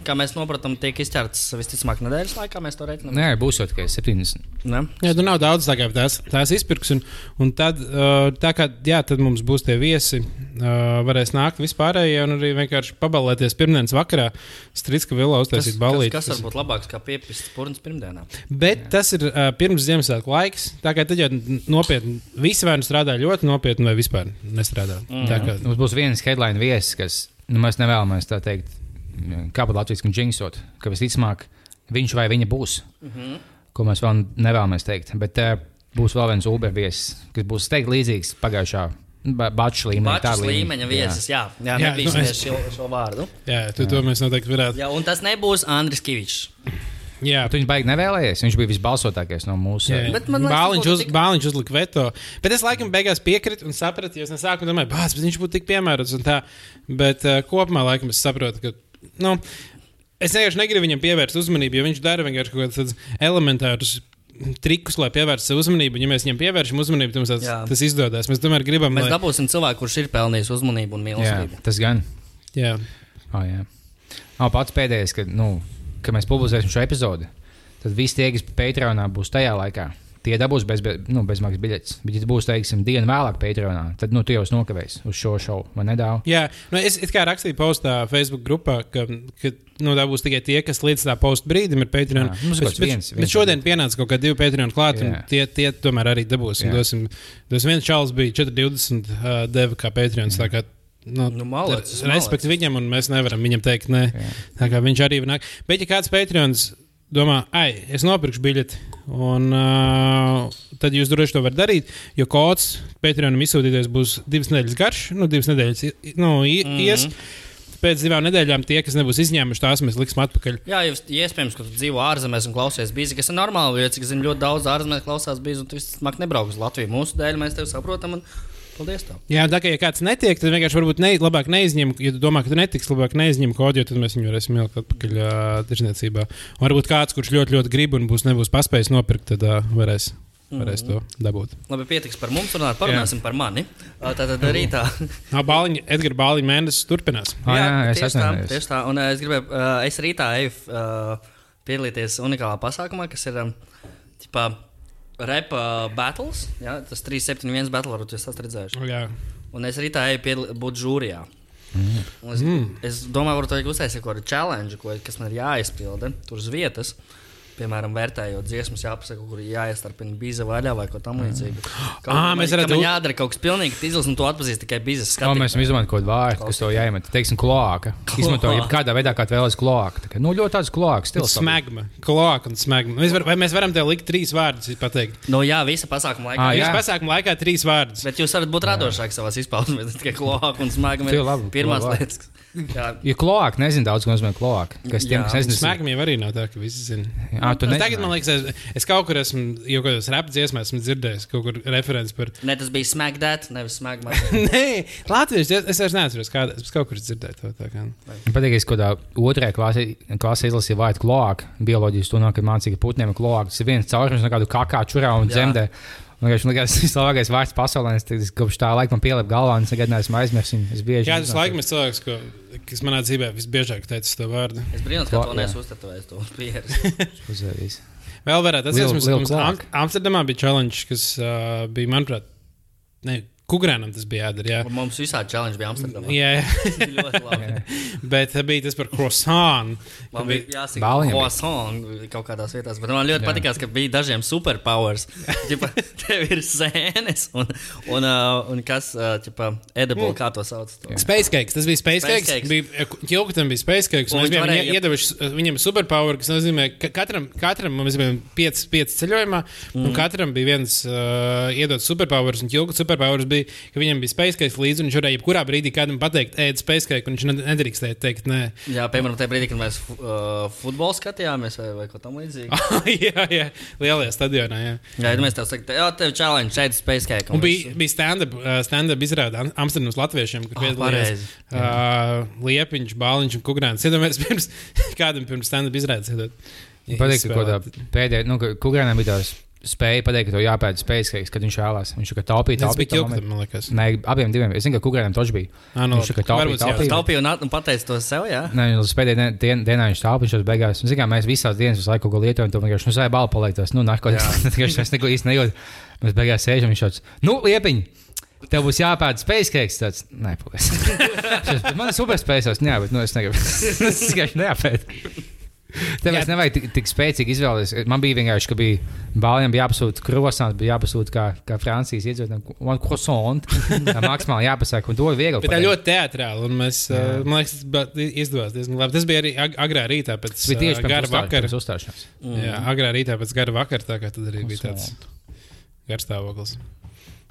[SPEAKER 2] kā mēs sapratām, tiek izķerts visticamāk nedēļas laikā, mēs to reiķinām.
[SPEAKER 1] Nē, būs jau tikai 70.
[SPEAKER 2] Ne?
[SPEAKER 3] Jā, tur nav daudz tā kā tās, tās izpirks, un, un tad, uh, tā kā, jā, tad mums būs tie viesi, uh, varēs nākt vispārējie un arī vienkārši pabalēties pirmdienas vakarā. Strīdska vilā uztaisīt
[SPEAKER 2] Kas,
[SPEAKER 3] balīti.
[SPEAKER 2] kas var būt labāks, kā piepist purns pirmdienā?
[SPEAKER 3] Bet jā. tas ir uh, pirms Ziemassvētku laiks, tā kā tad jau nopietni, visi vai nu strādā ļoti nopietni, vai vispār nestrādā. Mm. Tā kā,
[SPEAKER 1] Mums būs viens headline viesis, kas nu, mēs nevēlamies tā teikt, kā pat latviešu džinksot, ka visticamāk viņš vai viņa būs. Mm
[SPEAKER 2] Mhm.
[SPEAKER 1] -hmm. Ko mēs vēl nevēlamies teikt. Bet uh, būs vēl viens Uber viesis, kas būs teikt, līdzīgs pagājušā baču līmenī. tā
[SPEAKER 2] Bačas līmeņa viesis, jā, jā, jā
[SPEAKER 3] Jā,
[SPEAKER 2] nebija
[SPEAKER 3] nu,
[SPEAKER 2] nu,
[SPEAKER 3] es-
[SPEAKER 2] šo, šo vārdu.
[SPEAKER 3] jā, tu, to mēs noteikti varētu.
[SPEAKER 2] Jā, un tas nebūs Andris Kavičs.
[SPEAKER 3] Jā.
[SPEAKER 1] Tu viņu baigi nevēlējies. Viņš bija visbalsotākais no mūsu.
[SPEAKER 3] Jā, jā.
[SPEAKER 2] Bet man liekas,
[SPEAKER 3] Bāliņš,
[SPEAKER 2] kaut
[SPEAKER 3] uz,
[SPEAKER 2] kā tik-
[SPEAKER 3] bāliņš uzlika veto. Bet es laikam beigās piekrītu un sapratu, jo es nesāku domāt, bāz, bet viņš būtu tik piemērots un tā. Bet uh, kopumā laikam es saprotu, ka. Nu, es vienkārši negribu viņam pievērst uzmanību, jo viņš dara vienkārši kaut kādus tādus elementārus. Trikus, lai pievērstu sev uzmanību. Ja mēs viņam pievēršam uzmanību, tad mums tas,
[SPEAKER 2] Jā.
[SPEAKER 3] tas izdodas. Mēs tomēr gribam,
[SPEAKER 2] Mēs
[SPEAKER 3] lai
[SPEAKER 2] dabūsim cilvēku, kurš ir pelnījis uzmanību un
[SPEAKER 1] jā,
[SPEAKER 2] mīlestību.
[SPEAKER 1] tas gan.
[SPEAKER 3] jā,
[SPEAKER 1] Oh, jā. Nav pats pēdējais, kad, nu, kad mēs publicēsim šo epizodi. Tad visi tie, kas Patreonā būs tajā laikā, tie dabūs bez, be- nu, bezmaksas biļetes. Bet, ja tas būs, teiksim, diena vēlāk Patreonā, tad nu, tu jau esi nokavējis uz šo šovu. Man nedāvā.
[SPEAKER 3] jā. Nu, es it kā rakstīju postā Facebook grupā, ka, ka nu, tā būs tikai tie, kas līdz tā posta brīdim ir Patreon.
[SPEAKER 1] Jā, mums ir
[SPEAKER 3] bet,
[SPEAKER 1] kāds
[SPEAKER 3] bet,
[SPEAKER 1] viens-
[SPEAKER 3] bet
[SPEAKER 1] viens
[SPEAKER 3] šodien pienāca kaut kādi divi Patreon klāt, un
[SPEAKER 1] Jā.
[SPEAKER 3] tie, tie tomēr arī dabūsim.
[SPEAKER 1] Jā.
[SPEAKER 3] Dosim, dosim viens čalis bija 420 uh, deva kā Patreon. Nu,
[SPEAKER 2] Nu, malacis,
[SPEAKER 3] ir Respekts viņam, un mēs nevaram viņam teikt, nē, tā kā viņš arī nāk. Bet, ja kāds Patreons domā, ah, es nopirkšu biļeti, un uh, tad jūs droši to varat darīt, jo kods Patreonam izsūtīties būs divas nedēļas garš, nu, divas nedēļas i- nu, i- ies. Mm -hmm. Pēc divām nedēļām tie, kas nebūs izņēmuši, tās mēs liksim atpakaļ.
[SPEAKER 2] Jā, jūs ja iespējams, ka tu dzīvo ārzemēs un klausies bīzi, kas ir normāli. Jo, cik zinu, ļoti daudz ārzemēs klausās bīzi, un tu visticamāk nebrauc uz Latviju. Mūsu dēļ mēs tevi saprotam, un paldies tev.
[SPEAKER 3] Jā, tā kā ja kāds netiek, tad vienkārši varbūt ne, labāk neizņem, ja tu domā, ka tu netiks, labāk neizņem kodu, jo tad mēs viņu varēsim ielikt atpakaļ uh, tirzniecībā. Un Varbūt kāds, kurš ļoti, ļoti grib un būs nebūs paspējis nopirkt, tad uh, varēs, varēs to dabūt.
[SPEAKER 2] Labi, pietiks par mums, runāt, parunāsim jā. par mani. Ā, Tātad arī tā.
[SPEAKER 3] No Bāliņa, Edgars Bāliņa mēnesis turpinās.
[SPEAKER 1] Ah, jā, jā, es
[SPEAKER 2] tieši tā,
[SPEAKER 1] atceros.
[SPEAKER 2] tieši tā. Un ā, es gribēju, ā, es rītā eju ā, piedalīties unikālā pasākumā, kas ir ā, tipā rap ā, battles. Jā, tas 371 battle, varbūt jūs esat redzējuši.
[SPEAKER 3] Jā,
[SPEAKER 2] Un es rītā eju piedal- būt žūrijā. Un Es, mm. es domāju, varbūt vajag uztaisīt kaut kādu challenge, ko, kas man ir jāizpilda tur uz vietas. Piemēram, vērtējot dziesmas, jāpasaka, kur ir jāiestarpina bīza vaļā vai kaut tam līdzīga.
[SPEAKER 3] Ā,
[SPEAKER 2] man-
[SPEAKER 3] mēs
[SPEAKER 2] ka
[SPEAKER 3] varētu
[SPEAKER 2] Man
[SPEAKER 3] u-
[SPEAKER 2] jādara kaut kas pilnīgi izlasīts, un to atpazīst tikai bīzes
[SPEAKER 1] No,
[SPEAKER 2] skatījumā.
[SPEAKER 1] mēs izmantojam kaut kādu vārdu, kas to jāiemet. Teiksim, kloāka. Izmantojam, ja kādā veidā kā tu vēlies kloāku. Tā kā, Nu, ļoti tāds kloāks stils.
[SPEAKER 3] smagma, kloaka un smagma. Mēs var, vai mēs varam tev likt trīs vārdus? vispār Pateikt,
[SPEAKER 2] Nu, jā, visa pasākuma laikā.
[SPEAKER 1] Ā, jā.
[SPEAKER 3] jūs pasākuma laikā trīs vārdus.
[SPEAKER 2] Bet jūs varat būt radošāk savā izpausmē, ne tikai klāta un smaga.
[SPEAKER 1] Tev labi,
[SPEAKER 2] Pirmā
[SPEAKER 1] labi.
[SPEAKER 2] lieta, kas jā,
[SPEAKER 1] Ja kloāka, nezinu daudz, ko nozīmē kloāka. Kas tiem,
[SPEAKER 2] Jā,
[SPEAKER 1] kas nezina,
[SPEAKER 3] Smagmiem arī nav tā, ka visi zina.
[SPEAKER 1] Ā, tu
[SPEAKER 3] Nu,
[SPEAKER 1] nezināji.
[SPEAKER 3] Tagad man liekas, es, es kaut kur esmu, jau kaut kādos rap dziesmās esmu dzirdējis, kaut kur referents par
[SPEAKER 2] ne, tas bija smagdēt, nevis smaga.
[SPEAKER 3] Nē, Latvijas monēta. Es vairs neatceros, kāda es kaut kur dzirdēju to. tā kā.
[SPEAKER 1] Man patīk, ka kādā otrajā klasē, klasē izlasīja vārdu kloāka. Bioloģijas to nākotnē mācīja, ka putniem ir kloāka. Tas ir viens caurums, no kāda kakā čurā un
[SPEAKER 2] Jā.
[SPEAKER 1] dzemdē. Man liekas, tas ir labākais vārds pasaulē. Es tas kopš tā laika man pielika galvā, un es nekad neesmu aizmirsis. viņu. Es bieži
[SPEAKER 3] Jā, tas laikam ir cilvēks, ko, kas manā dzīvē visbiežāk teica to vārdu.
[SPEAKER 2] Es brīnos, ka
[SPEAKER 1] Klā-
[SPEAKER 2] to
[SPEAKER 1] jā.
[SPEAKER 2] nesu uztatavējis. To pieredzi.
[SPEAKER 1] uzvārds.
[SPEAKER 3] Vēl varētu atcerēties,
[SPEAKER 1] Lil- Lil
[SPEAKER 3] mums
[SPEAKER 1] Clark.
[SPEAKER 3] Am Amsterdamā bija challenge, kas uh, bija, manuprāt, ne, Kukrānam tas bija jādara. Jā.
[SPEAKER 2] Un Mums visādi challenge bija Amsterdamā.
[SPEAKER 3] Jā, jā.
[SPEAKER 2] Bija ļoti labi.
[SPEAKER 3] bet tā bija tas par croissant.
[SPEAKER 2] Man
[SPEAKER 3] Bija...
[SPEAKER 2] bija jāsaka,
[SPEAKER 1] Bāliņam bija.
[SPEAKER 2] ko sasaukt kaut kādās vietās, bet man ļoti patīk, ka bija dažiem superpowers. Čipa, tev ir sēnes un, un, uh, un kas, uh, čipa, edible, kā to sauc. To.
[SPEAKER 3] Space cakes, tas bija eh, space
[SPEAKER 2] Space
[SPEAKER 3] cakes.
[SPEAKER 2] cakes.
[SPEAKER 3] Jēlkatam bija space cakes.
[SPEAKER 2] Un
[SPEAKER 3] Mēs
[SPEAKER 2] viņš
[SPEAKER 3] bijām
[SPEAKER 2] varēja-
[SPEAKER 3] varēja... iedevuši uh, viņam superpower, kas nozīmē, ka katram, katram mums bija pieci piec ceļojumā, mm. un katram bija viens uh, iedots superpower. Un Jēlkatam superpower bija, ka viņam bija space cakes līdzi, un viņš varēja jebkurā brīdī kādam pateikt, ēd space cake, un viņš ned- nedrīkstēja teikt nē.
[SPEAKER 2] Jā, piemēram, tajā brīdī, kad mēs fu- uh, futbolu skatījāmies vai, vai ko
[SPEAKER 3] Ah.
[SPEAKER 2] tamlīdzīgu.
[SPEAKER 3] jā, jā, lielajā stadionā. Jā.
[SPEAKER 2] Jā, ja mēs tev sakām, jā, tev challenge, šeit space cake.
[SPEAKER 3] Un bija, bija stand-up, uh, stand-up izrāde Am- Amsterdamas latviešiem, kur
[SPEAKER 2] Ah,
[SPEAKER 3] piedalījās
[SPEAKER 2] pareizi.
[SPEAKER 3] uh, Liepiņš, Bāliņš un Kukrāns. Iedomājieties, pirms kādam pirms stand-up izrādes iedot.
[SPEAKER 1] Man patīk, ka kaut kādā pēdējā, nu, kurām bija tāds spēja pateikt, ka tev jāpērk spējas, ka- kad viņš ēlās. Viņš jau taupīja, taupīja.
[SPEAKER 3] Tas
[SPEAKER 1] taupīja,
[SPEAKER 3] bija ķilktam, man liekas.
[SPEAKER 1] Nē, abiem diviem. Es zinu, ka kurām tas bija.
[SPEAKER 3] Ā,
[SPEAKER 1] Nu,
[SPEAKER 3] nu
[SPEAKER 1] viņš
[SPEAKER 3] labi.
[SPEAKER 1] jau taupīja,
[SPEAKER 3] Varbūt jā.
[SPEAKER 1] taupīja.
[SPEAKER 2] Taupīju un, at- un pateicu to sev, jā.
[SPEAKER 1] Nē, viņš līdz pēdējai nu, dien- dien- dienai viņš tālpīja, viņš jau beigās. Un, Zinām, mēs visās dienas visu laiku kaut ko lietojam, to vienkārši, nu, zai balvu palaiktos. Nu, narkotikas, vienkārši mēs neko īsti nejūtam. Mēs beigās sēžam, viņš šāds, nu, liepiņ! Tev būs jāpērk spēcīgs. Tāds - nē, paldies. Šis- Man ir superspēcīgs. Jā, bet nu, es negribu. es vienkārši neapēdu. Tev
[SPEAKER 3] Jā.
[SPEAKER 1] es nevajag tik, tik spēcīgi izvēlēties. Man bija vienkārši, ka bija bālēm, bija jāpasūta krosāns, bija jāpasūta kā, kā Francijas iedzīvotājiem. Man krosāns, maksimāli jāpasaka, un to ir viegli.
[SPEAKER 3] Bet tā
[SPEAKER 1] pateikt.
[SPEAKER 3] ļoti teatrāli, un mēs, uh, man liekas, tas ba- izdevās diezgan labi. Tas bija arī ag agrā rītā pēc
[SPEAKER 1] Tas bija tieši
[SPEAKER 3] uh,
[SPEAKER 1] pirms
[SPEAKER 3] gara
[SPEAKER 1] uzstā-
[SPEAKER 3] vakara.
[SPEAKER 1] pirms uzstāšanās. Mm.
[SPEAKER 3] Jā, agrā rītā pēc gara vakara, tā kā tad arī bija tāds garstāvoklis.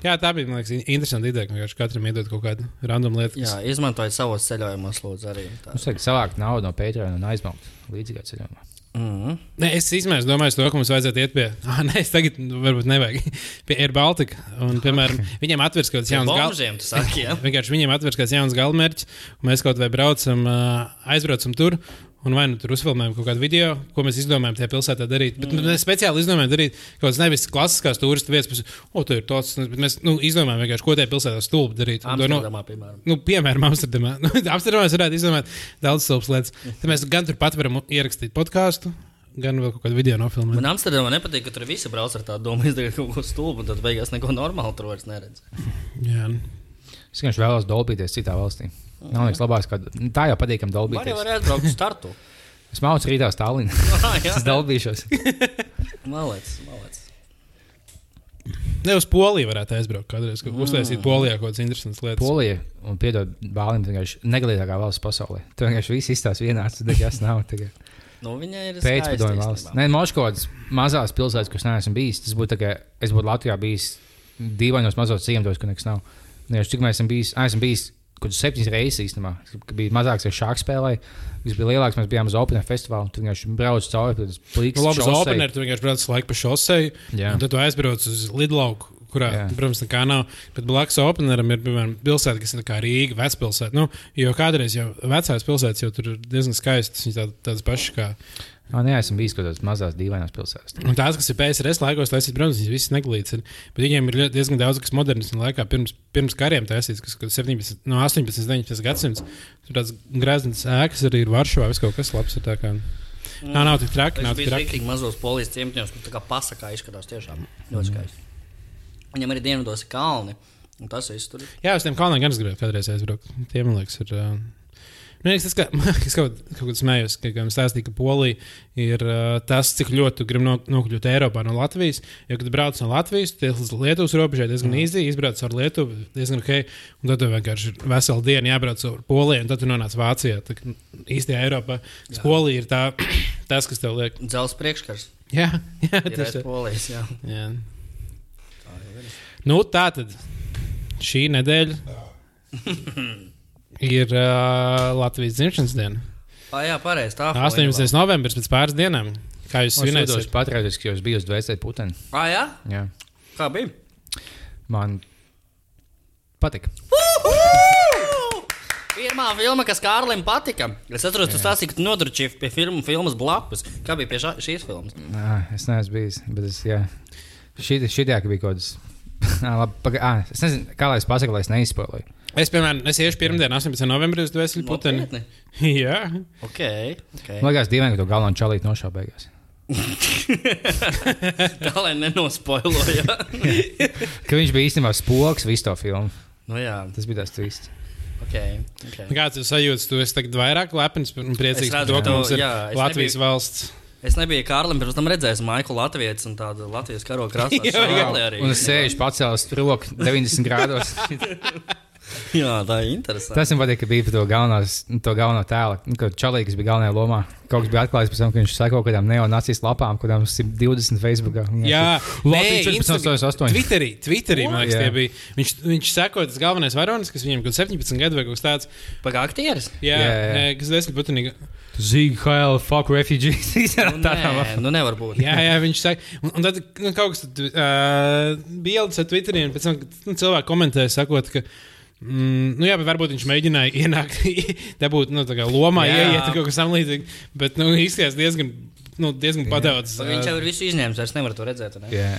[SPEAKER 3] Jā, tā bija, man liekas, in- interesanta ideja, ka vienkārši katram iedot kaut kādu random lietu. kas-
[SPEAKER 2] Jā, izmantoju savos ceļojumos, lūdzu, arī. Tā.
[SPEAKER 1] Mums vajag savākt naudu no Patreon un aizbraukt līdzīgā ceļojumā.
[SPEAKER 2] Mm.
[SPEAKER 3] Nē, es īstenībā domāju, to, ka mums vajadzētu iet pie. Ah, nē, es tagad varbūt nevajag. Pie Air Baltica. Un, piemēram, viņiem atveras kaut kāds jauns gals.
[SPEAKER 2] Bomžiem, tu saki, jā.
[SPEAKER 3] Vienkārši viņiem atveras kāds jauns galamērķis, un mēs kaut vai braucam, ā, aizbraucam tur. Un vai nu tur uzfilmējam kaut kādu video, ko mēs izdomājām tajā pilsētā darīt. Bet mm. mēs speciāli izdomājām darīt kaut kādas nevis klasiskās turistu vietas, kuras, o, tur ir tāds, bet mēs nu, izdomājām vienkārši, ko tajā pilsētā stulbi darīt. Un to, nu,
[SPEAKER 2] Amsterdamā, piemēram.
[SPEAKER 3] Nu, piemēram, Amsterdamā. Nu, Amsterdamā es varētu izdomāt daudz savas lietas. Tad mēs gan turpat varam ierakstīt podkāstu, gan vēl kaut kādu video nofilmēt.
[SPEAKER 2] Man Amsterdamā nepatīk, ka tur visi brauc ar tādu domu, izdarīt kaut ko stulbu, un tad beigās neko normālu tur vairs neredz.
[SPEAKER 3] Jā, nu.
[SPEAKER 1] Es vienkārši vēlos dolbīties citā valstī. Nav nekas labāks, kā tā jau patīkam
[SPEAKER 2] Vai arī
[SPEAKER 1] dolbīties.
[SPEAKER 2] varētu braukt uz startu?
[SPEAKER 1] Es mācos rītā Stalinu.
[SPEAKER 2] Ah, jā.
[SPEAKER 1] Es dolbīšos.
[SPEAKER 2] Malec, malec.
[SPEAKER 3] Ne uz Poliju varētu aizbraukt kādreiz, ka uztaisīt
[SPEAKER 1] Ah.
[SPEAKER 3] Polijā kaut kādas interesantas lietas. Pol
[SPEAKER 1] Polija un piedod bālim, vienkārši negalīgākā valsts pasaulē. Tur vienkārši viss izstās vienāds, tad nekas nav. tagad.
[SPEAKER 2] Nu, viņa ir
[SPEAKER 1] Pēcpadomju valsts. Nē, Moškodas mazās pilsētas, kuras neesmu bijis. Tas būtu tā, ka es būtu Latvijā bijis dīvainos mazos ciematos, kur nekas nav. Nē, cik mēs esam bijis, ah, esam bijis kaut kur septiņas reizes īstenībā. Kad bija mazāks ar šāku spēlē, viņš bija lielāks, mēs bijām uz Open festivālu, un tur vienkārši brauc cauri pēc plīks.
[SPEAKER 3] nu, labi, uz
[SPEAKER 1] šosei.
[SPEAKER 3] Openeru tu vienkārši brauc laiku pa šosei,
[SPEAKER 1] Jā.
[SPEAKER 3] un tad tu aizbrauc uz Lidlauku. Kurā,
[SPEAKER 1] Jā.
[SPEAKER 3] yeah. protams, nekā nav. Bet blakus Openeram ir piemēram pilsēta, kas ir tā kā Rīga, vecpilsēta. Nu, jo kādreiz jau vecās pilsētas jau tur ir diezgan skaistas. Viņas tā, tādas pašas kā
[SPEAKER 1] Ā, Ah, Nē, esam bijis kaut kādās mazās dīvainās pilsētās.
[SPEAKER 3] Un tās, kas ir PSRS laikos, tas ir, protams, viņas visas neglītas. ir. Bet viņiem ir ļoti- diezgan daudz, kas moderns un laikā pirms, pirms kariem taisīts, kas kas 17, no 18, 19 gadsimts. Tur tāds grēzns ēkas arī ir Varšavā, viss kaut kas labs. ir tā Kā... Nā, nav tik traki,
[SPEAKER 2] Viņš
[SPEAKER 3] nav tik
[SPEAKER 2] bija
[SPEAKER 3] traki.
[SPEAKER 2] rīktīgi mazos polijas ciemiņos, kur tā kā pasakā izskatās tiešām ļoti
[SPEAKER 3] Mm.
[SPEAKER 2] skaisti. Viņam arī dienvidos ir kalni, un tas viss tur ir.
[SPEAKER 3] Jā, uz tiem kalniem gan es gribētu kādreiz aizbraukt. Tie, man liekas, ir. Uh... Man liekas, tas, ka, es kaut kādā smējos, ka gan stāstīja, ka Polija ir uh, tas, cik ļoti tu gribi no, nokļūt Eiropā no Latvijas. Jo, kad brauc no Latvijas, tu tiec līdz Lietuvas robežai diezgan īsi, izbrauc ar Lietuvu, diezgan ok, un tad tev vienkārši ir vesela diena jābrauc ar Poliju, un tad tu nonāc Vācijā. Tā kā īstajā Eiropā Tas Polija ir tā, tas, kas tev liek.
[SPEAKER 2] Zelts priekškars
[SPEAKER 3] Jā, jā
[SPEAKER 2] ir aiz
[SPEAKER 3] tas ir.
[SPEAKER 2] polijas. Jā.
[SPEAKER 3] Jā. Nu, tā tad šī nedēļa ir uh, Latvijas dzimšanas diena.
[SPEAKER 2] Ah, jā, pareizi. Tā
[SPEAKER 3] 18. novembris pēc pāris dienām. Kā jūs
[SPEAKER 1] Es jutos
[SPEAKER 3] svinējāt?
[SPEAKER 1] patreiz, ka jau es biju uz dvēseli puteni.
[SPEAKER 2] Ah, jā?
[SPEAKER 1] Jā.
[SPEAKER 2] Kā bija?
[SPEAKER 1] Man patika.
[SPEAKER 2] Pirmā filma, kas Kārlim patika. Es atceros, tu stāstīji, ka tu nodrošināji pie filmu, filmas blakus. Kā bija pie šā, šīs filmas?
[SPEAKER 1] Nā, es neesmu bijis, bet es. Jā, šī tā bija kaut kas. Labi, paga, à, es nezinu, kā lai es pasaku, lai es neizspēlēju.
[SPEAKER 3] Es, piemēram, es iešu pirmdien, 18. novembrī uz Dvēseli puteni.
[SPEAKER 2] Nopietni?
[SPEAKER 3] Jā,
[SPEAKER 2] Okay, okay.
[SPEAKER 1] Man liekas, dīvaini, ka to galvā čalīt nošā beigās.
[SPEAKER 2] Tā lai nenospoilojā.
[SPEAKER 1] Ka viņš bija īstenībā spoks visu to filmu.
[SPEAKER 2] nu, jā,
[SPEAKER 1] Tas bija tas twists.
[SPEAKER 2] okay, okay.
[SPEAKER 3] Kāds ir sajūta? Tu esi tagad vairāk lepns un priecīgs
[SPEAKER 2] Es
[SPEAKER 3] par
[SPEAKER 2] redzu,
[SPEAKER 3] to,
[SPEAKER 2] ka
[SPEAKER 3] ka
[SPEAKER 2] tu-
[SPEAKER 3] mums ir
[SPEAKER 2] jā, es
[SPEAKER 3] Latvijas valsts.
[SPEAKER 2] Es nebiju Kārlim, pirms tam redzēju Maiku Latvijas un tādu Latvijas karogu krāsu.
[SPEAKER 3] Jā, jā.
[SPEAKER 1] Un es sēžu pacēlus roku 90 grādos.
[SPEAKER 2] Jā, tā ir interesanti.
[SPEAKER 1] Tas man patīk, ka bija par to, galvenās, to galveno tēlu, ka Čalīgs bija galvenajā lomā. Kaut kas bija atklājis pēc tam, ka viņš sako kaut kādām neonacijas lapām, kādām 120 Facebookā.
[SPEAKER 3] Jā,
[SPEAKER 1] Latvijas
[SPEAKER 3] nē,
[SPEAKER 1] 14.88.
[SPEAKER 3] Twitterī, Twitterī man liekas,
[SPEAKER 1] Jā.
[SPEAKER 3] tie bija. Viņš, viņš sekoja tas galvenais varonis, kas viņam kaut 17 gadu vai kaut kas tāds.
[SPEAKER 2] Pagaidā, aktieris.
[SPEAKER 3] Jā, jā,
[SPEAKER 1] Jā,
[SPEAKER 3] jā.
[SPEAKER 1] jā.
[SPEAKER 3] Nē, kas desmit putinīgi.
[SPEAKER 1] Zīga, Hail, fuck refugees.
[SPEAKER 2] Nu, nē, nu nevar būt.
[SPEAKER 3] Jā, jā, viņš saka, un, un tad nu, kaut kas tāds uh, bija ielicis ar Twitterī, un pēc tam nu, cilvēki komentēja, sakot, ka. Mm, nu jā, bet varbūt viņš mēģināja ienākt, dabūt nu, tā kā lomā,
[SPEAKER 2] Jā.
[SPEAKER 3] ieiet kaut kas tamlīdzīgs. Bet nu, izskatās diezgan, nu, diezgan padaudzis.
[SPEAKER 2] Viņš jau ir visu izņēmis, vairs nevar to redzēt. vai Ne?
[SPEAKER 1] Jā,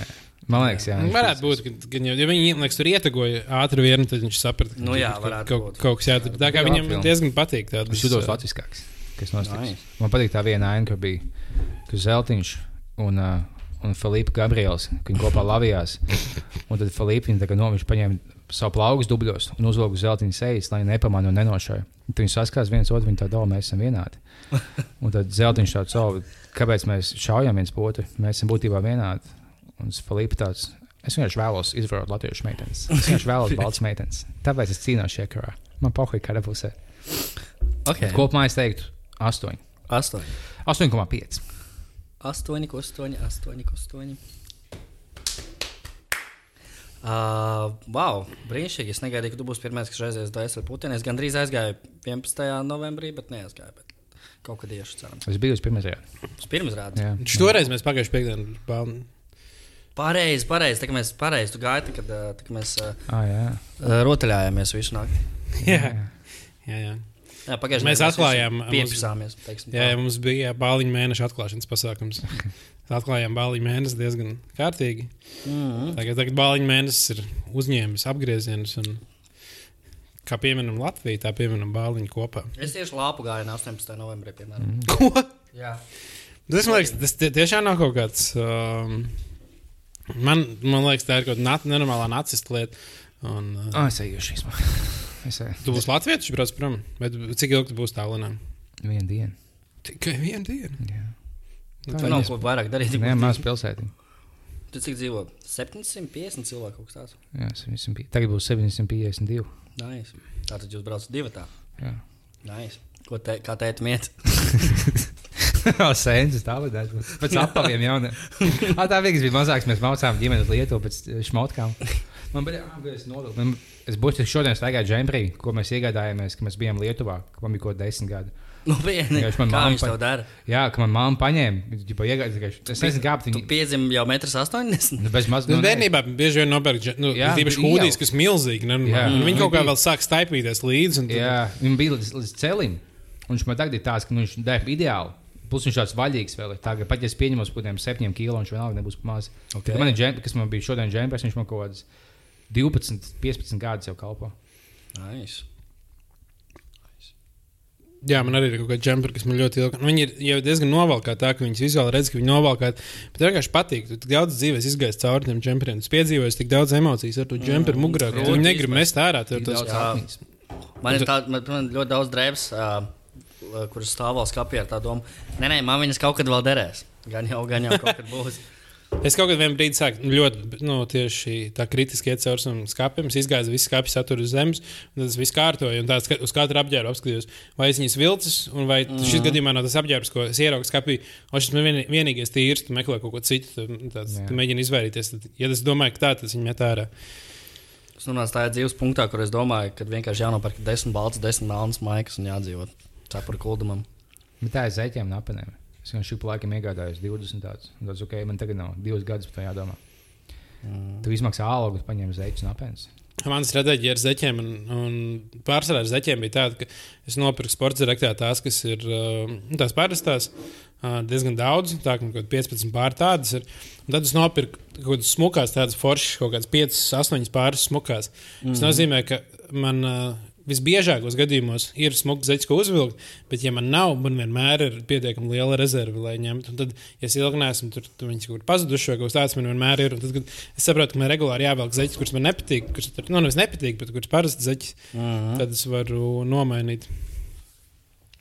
[SPEAKER 1] man liekas, jā.
[SPEAKER 3] Nu, Varētu būt, ka, ka ja viņi man liekas, tur ietegoja ātri vienu, tad viņš saprata, ka
[SPEAKER 2] Nu
[SPEAKER 3] tur
[SPEAKER 2] jā,
[SPEAKER 3] ir
[SPEAKER 2] varētu
[SPEAKER 3] kaut, kaut,
[SPEAKER 2] būt.
[SPEAKER 3] kaut kas jādara. Tā kā
[SPEAKER 1] Labā
[SPEAKER 3] viņam
[SPEAKER 1] filma.
[SPEAKER 3] diezgan patīk.
[SPEAKER 1] Viņš
[SPEAKER 3] Tādas,
[SPEAKER 1] jutos latviskāks. Kas notiek?
[SPEAKER 2] Nice.
[SPEAKER 1] Man patīk tā viena aina, kur bija kur Zeltiņš un, uh, un Filipa Gabriels. ka Viņi kopā lavījās. Un tad Filipa noviņš paņēma savu plaukas dubļos un uzvilka uz zeltainu sejas, lai nepamanītu un nenošāju. Tad viņi saskās viens otru, viņi tā domā, mēs esam vienādi. Un tad zeltains tāds savu, kāpēc mēs šaujam viens po otru, mēs esam būtībā vienādi. Un Filipa tāds. Es vienkārši vēlos izvarot latviešu meitenes. Es vienkārši vēlos balts meitenes. Tāpēc es cīnos šajā karā. Man pohoj, kāda pusē.
[SPEAKER 2] Okay.
[SPEAKER 1] Kopumā es teiktu 8.
[SPEAKER 2] 8,
[SPEAKER 1] 8,5.
[SPEAKER 2] 8, 8, 8, 8. Uh, wow, brīnišķīgi. Es negaidīju, ka tu būsi pirmais, kas aizies Dāvidas ar Putinu. Es gandrīz aizgāju 11. novembrī, bet neaizgāju. Bet kaut kad iešu, cerams.
[SPEAKER 1] Es biju uz pirmā gada.
[SPEAKER 2] Tas pirms rādījums.
[SPEAKER 1] Jā,
[SPEAKER 3] Viņš toreiz mēs pagājušajā piekdienā pāri.
[SPEAKER 2] Pareizi, pareizi. Tā kā mēs pareizi tu gāji, tad, kad ā, tā, kā mēs uh,
[SPEAKER 1] ah, jā. Ah,
[SPEAKER 2] rotaļājāmies visu naktī.
[SPEAKER 3] Jā, jā. jā.
[SPEAKER 2] Jā, pagājušajā
[SPEAKER 3] Mēs
[SPEAKER 2] nedēļā
[SPEAKER 3] atklājām,
[SPEAKER 2] visi Piepsāmies. teiksim tā.
[SPEAKER 3] Jā, jā, mums bija bāliņu mēneša atklāšanas pasākums. Atklājām bāliņu mēnesi diezgan kārtīgi. Tagad, tagad bāliņu mēnesis ir uzņēmis apgriezienus. Un... Kā pieminam Latviju, tā pieminam bāliņu kopā.
[SPEAKER 2] Es tieši lāpu gāju 18. novembrī, piemēram. Mm.
[SPEAKER 3] Ko?
[SPEAKER 2] Jā,
[SPEAKER 3] Tas man liekas, tas tie- tiešām nav kaut kāds. Um, man, man liekas, tā ir kaut kāda nenormāla nacista lieta. Un, uh,
[SPEAKER 1] Ah, es eju šīs monētas.
[SPEAKER 3] tu būsi Latvijas strūklis, brauc prom. Bet cik ilgi tu būsi tālāk?
[SPEAKER 1] Vienu dienu.
[SPEAKER 3] Tikai vienu dienu.
[SPEAKER 1] Jā.
[SPEAKER 3] Nu,
[SPEAKER 2] tur
[SPEAKER 3] tā
[SPEAKER 2] nav
[SPEAKER 3] ir.
[SPEAKER 2] ko vairāk darīt.
[SPEAKER 1] Nē, mazā pilsētā.
[SPEAKER 2] Tur cik dzīvo? 750 cilvēku kaut kas tāds.
[SPEAKER 1] Jā, 750. Tagad būs 752.
[SPEAKER 2] Nice. Tātad jūs braucat divi tā.
[SPEAKER 1] Jā,
[SPEAKER 2] Nice. Ko te, kā teikt, miet?
[SPEAKER 1] sēnes tā vadās. Pēc apaviem jau ne. Ah, tā vienkārši bija mazāks. Mēs mācām ģimenes lietu pēc eh, šmotkām. Man bija jāatgādās novilkt. Man- Es būtu šodien staigājis džembrī, ko mēs iegādājāmies, kad mēs bijām Lietuvā, kad man bija kaut kāda desmit gadi. Vienkārši
[SPEAKER 2] Nopietni. Nu, Kā
[SPEAKER 1] man mamma
[SPEAKER 2] viņš
[SPEAKER 1] pa-
[SPEAKER 2] tev dara?
[SPEAKER 1] Jā, ka man māma paņēma. ģipa, iegāja vienkārši- Es nezinu, kāpēc
[SPEAKER 2] Tu
[SPEAKER 1] viņi.
[SPEAKER 2] piedzim jau 1,80 m.
[SPEAKER 1] Nu, Bez mazas
[SPEAKER 3] Nu, bērnībā bieži vien nopērk dž- nu,
[SPEAKER 1] Jā,
[SPEAKER 3] īpaši
[SPEAKER 1] bija
[SPEAKER 3] hūdijas,
[SPEAKER 1] jau.
[SPEAKER 3] kas milzīgi. Ne, Nu,
[SPEAKER 1] Jā.
[SPEAKER 3] viņi kaut kā
[SPEAKER 1] Mhm.
[SPEAKER 3] vēl sāk staipīties līdzi. un tad-
[SPEAKER 1] Jā, viņam bija līdz, līdz celim. Un Viņš man tagad ir tāds, ka nu, viņš dēļ ideāli. Plus viņš tāds vaļīgs vēl ir. Tagad, pat ja es pieņemu kaut kādiem septiņiem kilo, viņš vienalga nebūs pa maz.
[SPEAKER 2] Ok.
[SPEAKER 1] Okay. Man ir džempers, kas man bija šodien džempers, viņš man kaut kāds 12, 15 gadus jau kalpo.
[SPEAKER 2] Nice.
[SPEAKER 3] Jā, man arī ir kaut kāda džempera, kas man ļoti ilgi. Nu, viņi ir jau diezgan novalkāti, tā ka viņas vizuāli redz, ka viņi novalkāti. Bet tev vienkārši patīk, tu tik daudz dzīves izgājis cauri tiem džemperiem. Tu piedzīvojies tik daudz emocijas ar to džemperu mugurā, ka tu viņu negribi mest ārā. Tev
[SPEAKER 1] Tik
[SPEAKER 3] tas
[SPEAKER 1] daudz
[SPEAKER 2] jā.
[SPEAKER 1] atmiņas.
[SPEAKER 2] Man ir tāda, man, man ļoti daudz drēbes, uh, kuras stāv vēl skapī ar tā domu. Nē, nē, man viņas kaut kad vēl derēs. Gan jau, gan jau kaut kad būs.
[SPEAKER 3] Es kaut kādā brīdī sāku ļoti nu, tieši tā kritiski iet caur saviem skāpiem. Es izgāju visu skāpju saturu uz zemes, un tad es visu kārtoju. Un tāds uz katru apģērbu apskatījos, vai es viņas vilcis, un vai mm. šis gadījumā no tas apģērbs, ko es ieraugu skāpī, un šis man vien- vienīgais tīrs, tu meklē kaut ko citu, tu, tāds,
[SPEAKER 1] Jā.
[SPEAKER 3] tu mēģini izvairīties. Tad, ja es domāju, ka tā, tas viņa met ārā.
[SPEAKER 2] Es nonācu tādā dzīves punktā, kur es domāju, ka vienkārši jānopērk desmit balts, desmit melnas maikas un jādzīvot. Cepura kuldumam.
[SPEAKER 1] Bet tā ir zeķiem un apenēm. Es jau šī laika iegādājos 20 tādus. Daudz, ok, man tagad nav divus gadus par to jādomā. Mm. Tu izmaksā algu, tu paņem zeķus un apenēs.
[SPEAKER 3] Mana stratēģija ar zeķiem, un, un pārsvarā ar zeķiem bija tāda, ka es nopirku sporta direktā tās, kas ir uh, nu, tās parastās, uh, diezgan daudz, tā kā man kaut kādi 15 pār tādas ir. Un tad es nopirku kaut kādas smukās, tādas foršas, kaut kādas 5, 8 pāris smukās. Tas mm -hmm. nozīmē, ka man uh, visbiežākos gadījumos ir smuka zeķis, ko uzvilkt, bet, ja man nav, man vienmēr ir pietiekami liela rezerve, lai ņemtu. Un Tad, ja es ilgi neesmu tur, tur viņas kaut kur pazudušas, vai kaut kas tāds man vienmēr ir. Un Tad, kad es saprotu, ka man regulāri jāvelk zeķis, kurš man nepatīk, kurš tur nu, nevis nepatīk, bet kurš parasti zeķis,
[SPEAKER 2] Mhm.
[SPEAKER 3] tad es varu nomainīt.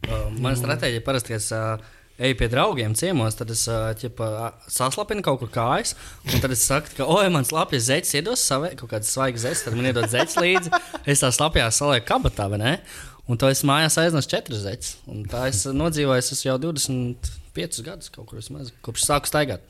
[SPEAKER 2] Uh, Mana stratēģija parasti, kad es uh, eju pie draugiem ciemos, tad es uh, ķipa, uh, saslapinu kaut kur kājas. un Tad es saku, ka, oi, man slapjas zeķis, iedos savai, kaut kādas svaigas zeķis, tad man iedod zeķis līdzi. Es tās slapjās salieku kabatā, vai ne? Un to es mājās aiznesu četras zeķis. Un tā es uh, nodzīvoju, es esmu jau 25 gadus kaut kur vismaz, kopš sāku staigāt.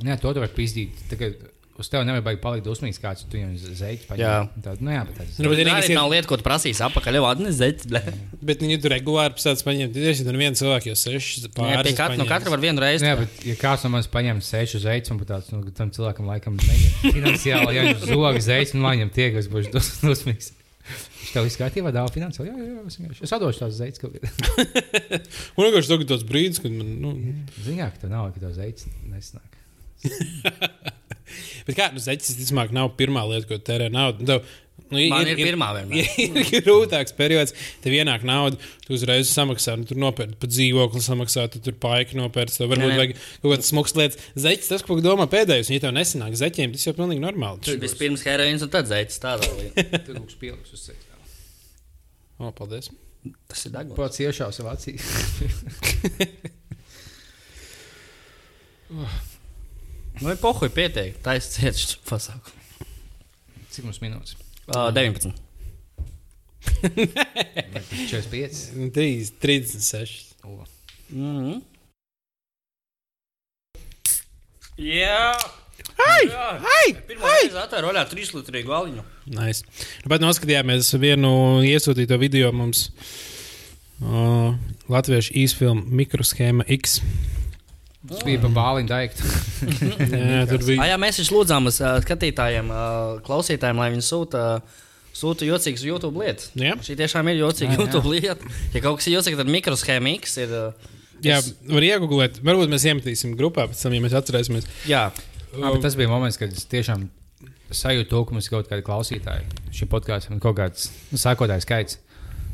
[SPEAKER 1] Nē, to tu vari pīzdīt. Tagad uz tevi nevar baigi palikt dusmīgs kāds, tu viņam zeķi paņem.
[SPEAKER 2] Jā.
[SPEAKER 1] Tā, nu jā, bet tas
[SPEAKER 3] Nu, bet
[SPEAKER 2] Tā
[SPEAKER 3] vienīgais
[SPEAKER 2] arī
[SPEAKER 3] ir- Mm.
[SPEAKER 2] nav lieta, ko tu prasīs apakaļ, jau atnes zeķis. ble.
[SPEAKER 3] Bet viņi tur regulāri pasāca paņemt. Ir jau viens cilvēks, jau sešas
[SPEAKER 2] Jā,
[SPEAKER 3] pāris.
[SPEAKER 2] pie katra, no
[SPEAKER 3] paņēmis.
[SPEAKER 2] katra var vienu reizi.
[SPEAKER 1] Jā, bet ja kāds no manis paņem sešu zeķus, un pat tāds, nu, tam cilvēkam laikam neņem finansiāli, ja viņš nu, zog zeķus, un lai viņam tiek, es būšu dus- dusmīgs. Viņš tev viss kārtībā dāvā finansiāli. Jā, jā, jā, es vienkārši- es atdošu tās zeķus kaut kādā.
[SPEAKER 3] Un vienkārši tagad tāds brīdis, kad man. Nu,
[SPEAKER 1] Ziņā, ka tev nav, ka tev zeķis nesnāk.
[SPEAKER 3] bet kā, nu, zeķis, visticamāk, nav pirmā lieta, ko tērē naudu. Tev, nu,
[SPEAKER 2] Man ir pirmā vienmēr.
[SPEAKER 3] Ir grūtāks periods, tev ienāk nauda, tu uzreiz samaksā, nu, tur nopērci pat dzīvokli, samaksā, tu tur paika nopērci. Tev varbūt
[SPEAKER 2] Nē, nē.
[SPEAKER 3] vajag kaut kādas smukas lietas. Zeķis, tas, ko domā pēdējais, un, ja tev nesanāk zeķiem, tas jau pilnīgi normāli.
[SPEAKER 2] Tur
[SPEAKER 3] Tas ir-
[SPEAKER 2] vispirms heroīns un tad zeķis. Tādā līnijā.
[SPEAKER 1] Tur būs pieliks uz seķiem.
[SPEAKER 3] O, paldies.
[SPEAKER 2] Tas ir degvielas.
[SPEAKER 1] Pats iešāvis savā acī.
[SPEAKER 2] Nu, ir pohuļ pieteikti. Tā ir cieta pasākuma.
[SPEAKER 1] Cik mums minūtes?
[SPEAKER 2] Uh, 19.
[SPEAKER 1] 45.
[SPEAKER 3] 3, 36.
[SPEAKER 1] O,
[SPEAKER 2] Mm -hmm. Jā! Hei! Hei! Pirmā reize atvēra roļā trīslitru galiņu.
[SPEAKER 3] Nice. Nu, pat noskatījāmies vienu iesūtīto video mums uh, Latviešu īsfilmu mikroshēma X.
[SPEAKER 1] Tas bija pa bāliņu daiktu.
[SPEAKER 3] Jā, tur
[SPEAKER 2] Ah,
[SPEAKER 3] bija.
[SPEAKER 2] jā, mēs taču lūdzām uz uh, skatītājiem, uh, klausītājiem, lai viņi sūta. Sūta jocīgas YouTube lietas.
[SPEAKER 3] Jā.
[SPEAKER 2] Šī tiešām ir jocīga
[SPEAKER 1] Jā, jā.
[SPEAKER 2] YouTube lieta. Ja kaut kas ir jocīgs, tad mikroshēma X ir. uh,
[SPEAKER 3] Jā, var iegūt. Varbūt mēs iemetīsim grupā, pēc tam, ja mēs atcerēsimies.
[SPEAKER 2] Jā,
[SPEAKER 1] Jā,
[SPEAKER 3] Nu,
[SPEAKER 1] bet tas bija moments, kad es tiešām sajūtu to, ka mums ir kaut kādi klausītāji šim podkāstam, kaut kāds nu, sākotājs skaits.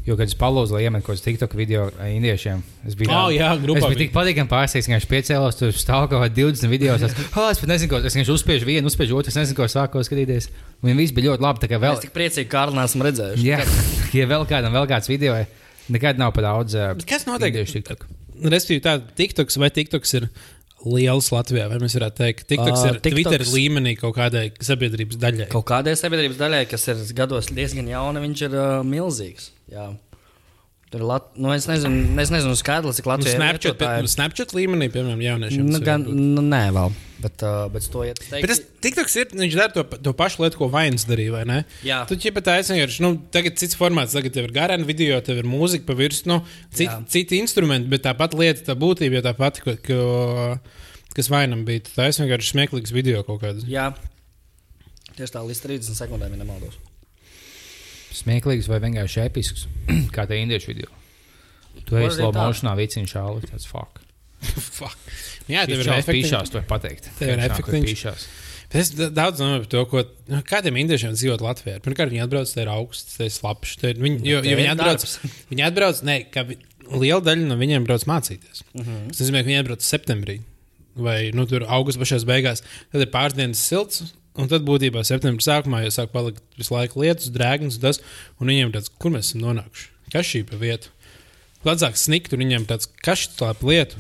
[SPEAKER 1] Jo, kad es palūdzu, lai iemetu kaut kādu TikTok video ar indiešiem, es biju
[SPEAKER 3] Ā, jā, grupā
[SPEAKER 1] Es biju
[SPEAKER 3] bija.
[SPEAKER 1] tik patīkami pārsteigts, ka viņš piecēlās, tur stāv kaut kādi 20 video. Es, oh, es pat nezinu, ko es vienkārši uzspiežu vienu, uzspiežu otru, es nezinu, ko es sāku skatīties. Un viņi visi bija ļoti labi. tā kā vēl-
[SPEAKER 2] es tik priecīgi, ka Kārlis nesam redzējuši.
[SPEAKER 1] Jā, ja vēl kādam, vēl kāds video, nekad nav pa daudz. eh,
[SPEAKER 3] Bet kas notiek?
[SPEAKER 1] indiešu TikTok?
[SPEAKER 3] Nu, Respektīvi, tā TikToks vai TikToks ir liels Latvijā, vai mēs varētu teikt, ka TikToks
[SPEAKER 2] Ā,
[SPEAKER 3] ir Twitter
[SPEAKER 2] TikToks-
[SPEAKER 3] līmenī kaut kādai sabiedrības daļai.
[SPEAKER 2] Kaut kādai sabiedrības daļai, kas ir gados diezgan jauna, viņš ir uh, milzīgs. Jā. Tur ir Lat... nu, es nezinu, es nezinu skaidrs, cik
[SPEAKER 3] Nu,
[SPEAKER 2] Latvijā
[SPEAKER 3] Snapchat, pie, nu, Snapchat līmenī, piemēram, jauniešiem.
[SPEAKER 2] Nu,
[SPEAKER 3] tas
[SPEAKER 2] gan,
[SPEAKER 3] varētu būt.
[SPEAKER 2] nu, nē, vēl. Bet, uh, bet to iet.
[SPEAKER 3] Bet tas tiktoks ir, viņš dara to, to pašu lietu, ko Vains darīja, vai ne?
[SPEAKER 2] Jā.
[SPEAKER 3] Tu jau pat aizsmeļoši, nu, tagad cits formāts, tagad tev ir garāna video, tev ir mūzika pa virsmu, nu, cit,
[SPEAKER 2] Jā.
[SPEAKER 3] citi instrumenti, bet tā pati lieta, tā būtība, jau tā pati, ko, ko, kas Vainam bija. Tā es vienkārši smieklīgs video kaut kāds.
[SPEAKER 2] Jā, tieši tā, līdz 30 sekundēm, ja nemaldos.
[SPEAKER 1] Smieklīgs vai vienkārši episks, kā te indiešu video. Tu
[SPEAKER 2] Var
[SPEAKER 1] ej
[SPEAKER 2] arī
[SPEAKER 1] slow
[SPEAKER 2] tā.
[SPEAKER 1] motionā, vīciņš šālu, tāds fuck.
[SPEAKER 3] Fuck. Nu Jā, tev
[SPEAKER 1] Viņš
[SPEAKER 3] ir
[SPEAKER 1] jau
[SPEAKER 3] efektīvi.
[SPEAKER 1] pīšās, to var pateikt.
[SPEAKER 3] Tev ir
[SPEAKER 1] Tiešām,
[SPEAKER 3] efektiņš.
[SPEAKER 1] kur pīšās.
[SPEAKER 3] Es da- daudz domāju par to, ko, nu, kādiem indiešiem dzīvot Latvijā. ir. Pirmkārt, viņi atbrauc, te ir augsts, te ir slapjš. Viņi, jo,
[SPEAKER 2] Nu, Te ir
[SPEAKER 3] jo viņi atbrauc,
[SPEAKER 2] darbs.
[SPEAKER 3] viņi atbrauc, ne, ka vi- liela daļa no viņiem brauc mācīties. Mm
[SPEAKER 2] Mhm.
[SPEAKER 3] -hmm. Tas nozīmē, ka viņi atbrauc septembrī vai nu, tur augustā pašās beigās. Tad ir pāris dienas silts. Un tad būtībā septembrī sākumā jau sāk palikt visu laiku lietus, drēgnas, un tas, un viņiem tāds, kur mēs esam nonākuši? Kas šī pa vietu? Ladzāk snikt, un viņiem tāds, kas šī tālāk lietu?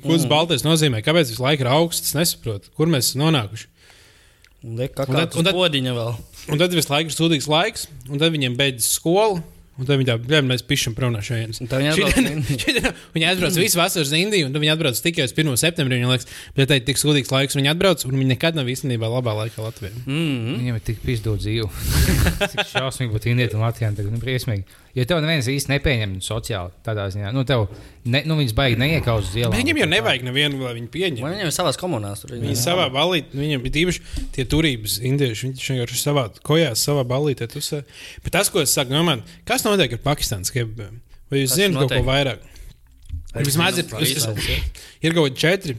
[SPEAKER 3] Ko
[SPEAKER 2] Mm.
[SPEAKER 3] tas baltais nozīmē? Kāpēc visu laiku ir augsts? Es nesaprotu, kur mēs esam nonākuši.
[SPEAKER 2] Un liek kā
[SPEAKER 3] Un tad- un
[SPEAKER 2] kāda
[SPEAKER 3] tad-
[SPEAKER 2] podiņa vēl.
[SPEAKER 3] Un tad visu laiku ir sūdīgs laiks, un tad viņiem beidzas skola. Un tad viņi tā domā, mēs pišķiņām prom no šejienes.
[SPEAKER 2] Un tad viņi atbrauc uz Indiju.
[SPEAKER 3] Viņi aizbrauc visu vasaru uz Indiju, un tad viņi atbrauc tikai uz 1. septembrī. Viņam liekas, ka tā ir tik sūdīgs laiks, un viņi atbrauc, un viņi nekad nav īstenībā labā laikā Latvijā.
[SPEAKER 2] Mm.
[SPEAKER 1] Viņam ir tik pizdot dzīve. Cik šausmīgi būtu indiet un Latvijā. Tagad, nu, briesmīgi. Jo tev neviens īsti nepieņem sociāli tādā ziņā. Nu, tev, ne, nu, viņas baigi neiekauz uz ielām.
[SPEAKER 3] Bet viņiem jau nevajag nevienu, lai viņi
[SPEAKER 2] Man
[SPEAKER 3] pieņemtu.
[SPEAKER 2] viņiem ir savās komunās. Tur,
[SPEAKER 3] Viņi savā balītē, viņiem ir īpaši tie turības indieši. Viņi taču vienkārši savā kojā, savā balītē tusē. Bet tas, ko es saku, no man, kas notiek ar Pakistānas kebabiem? Vai jūs
[SPEAKER 2] Kas
[SPEAKER 3] zināt kaut ko
[SPEAKER 2] notiek?
[SPEAKER 3] vairāk? Ir Vismaz ir,
[SPEAKER 2] par
[SPEAKER 3] es- es-
[SPEAKER 2] Izraels,
[SPEAKER 3] ir kaut kādi četri.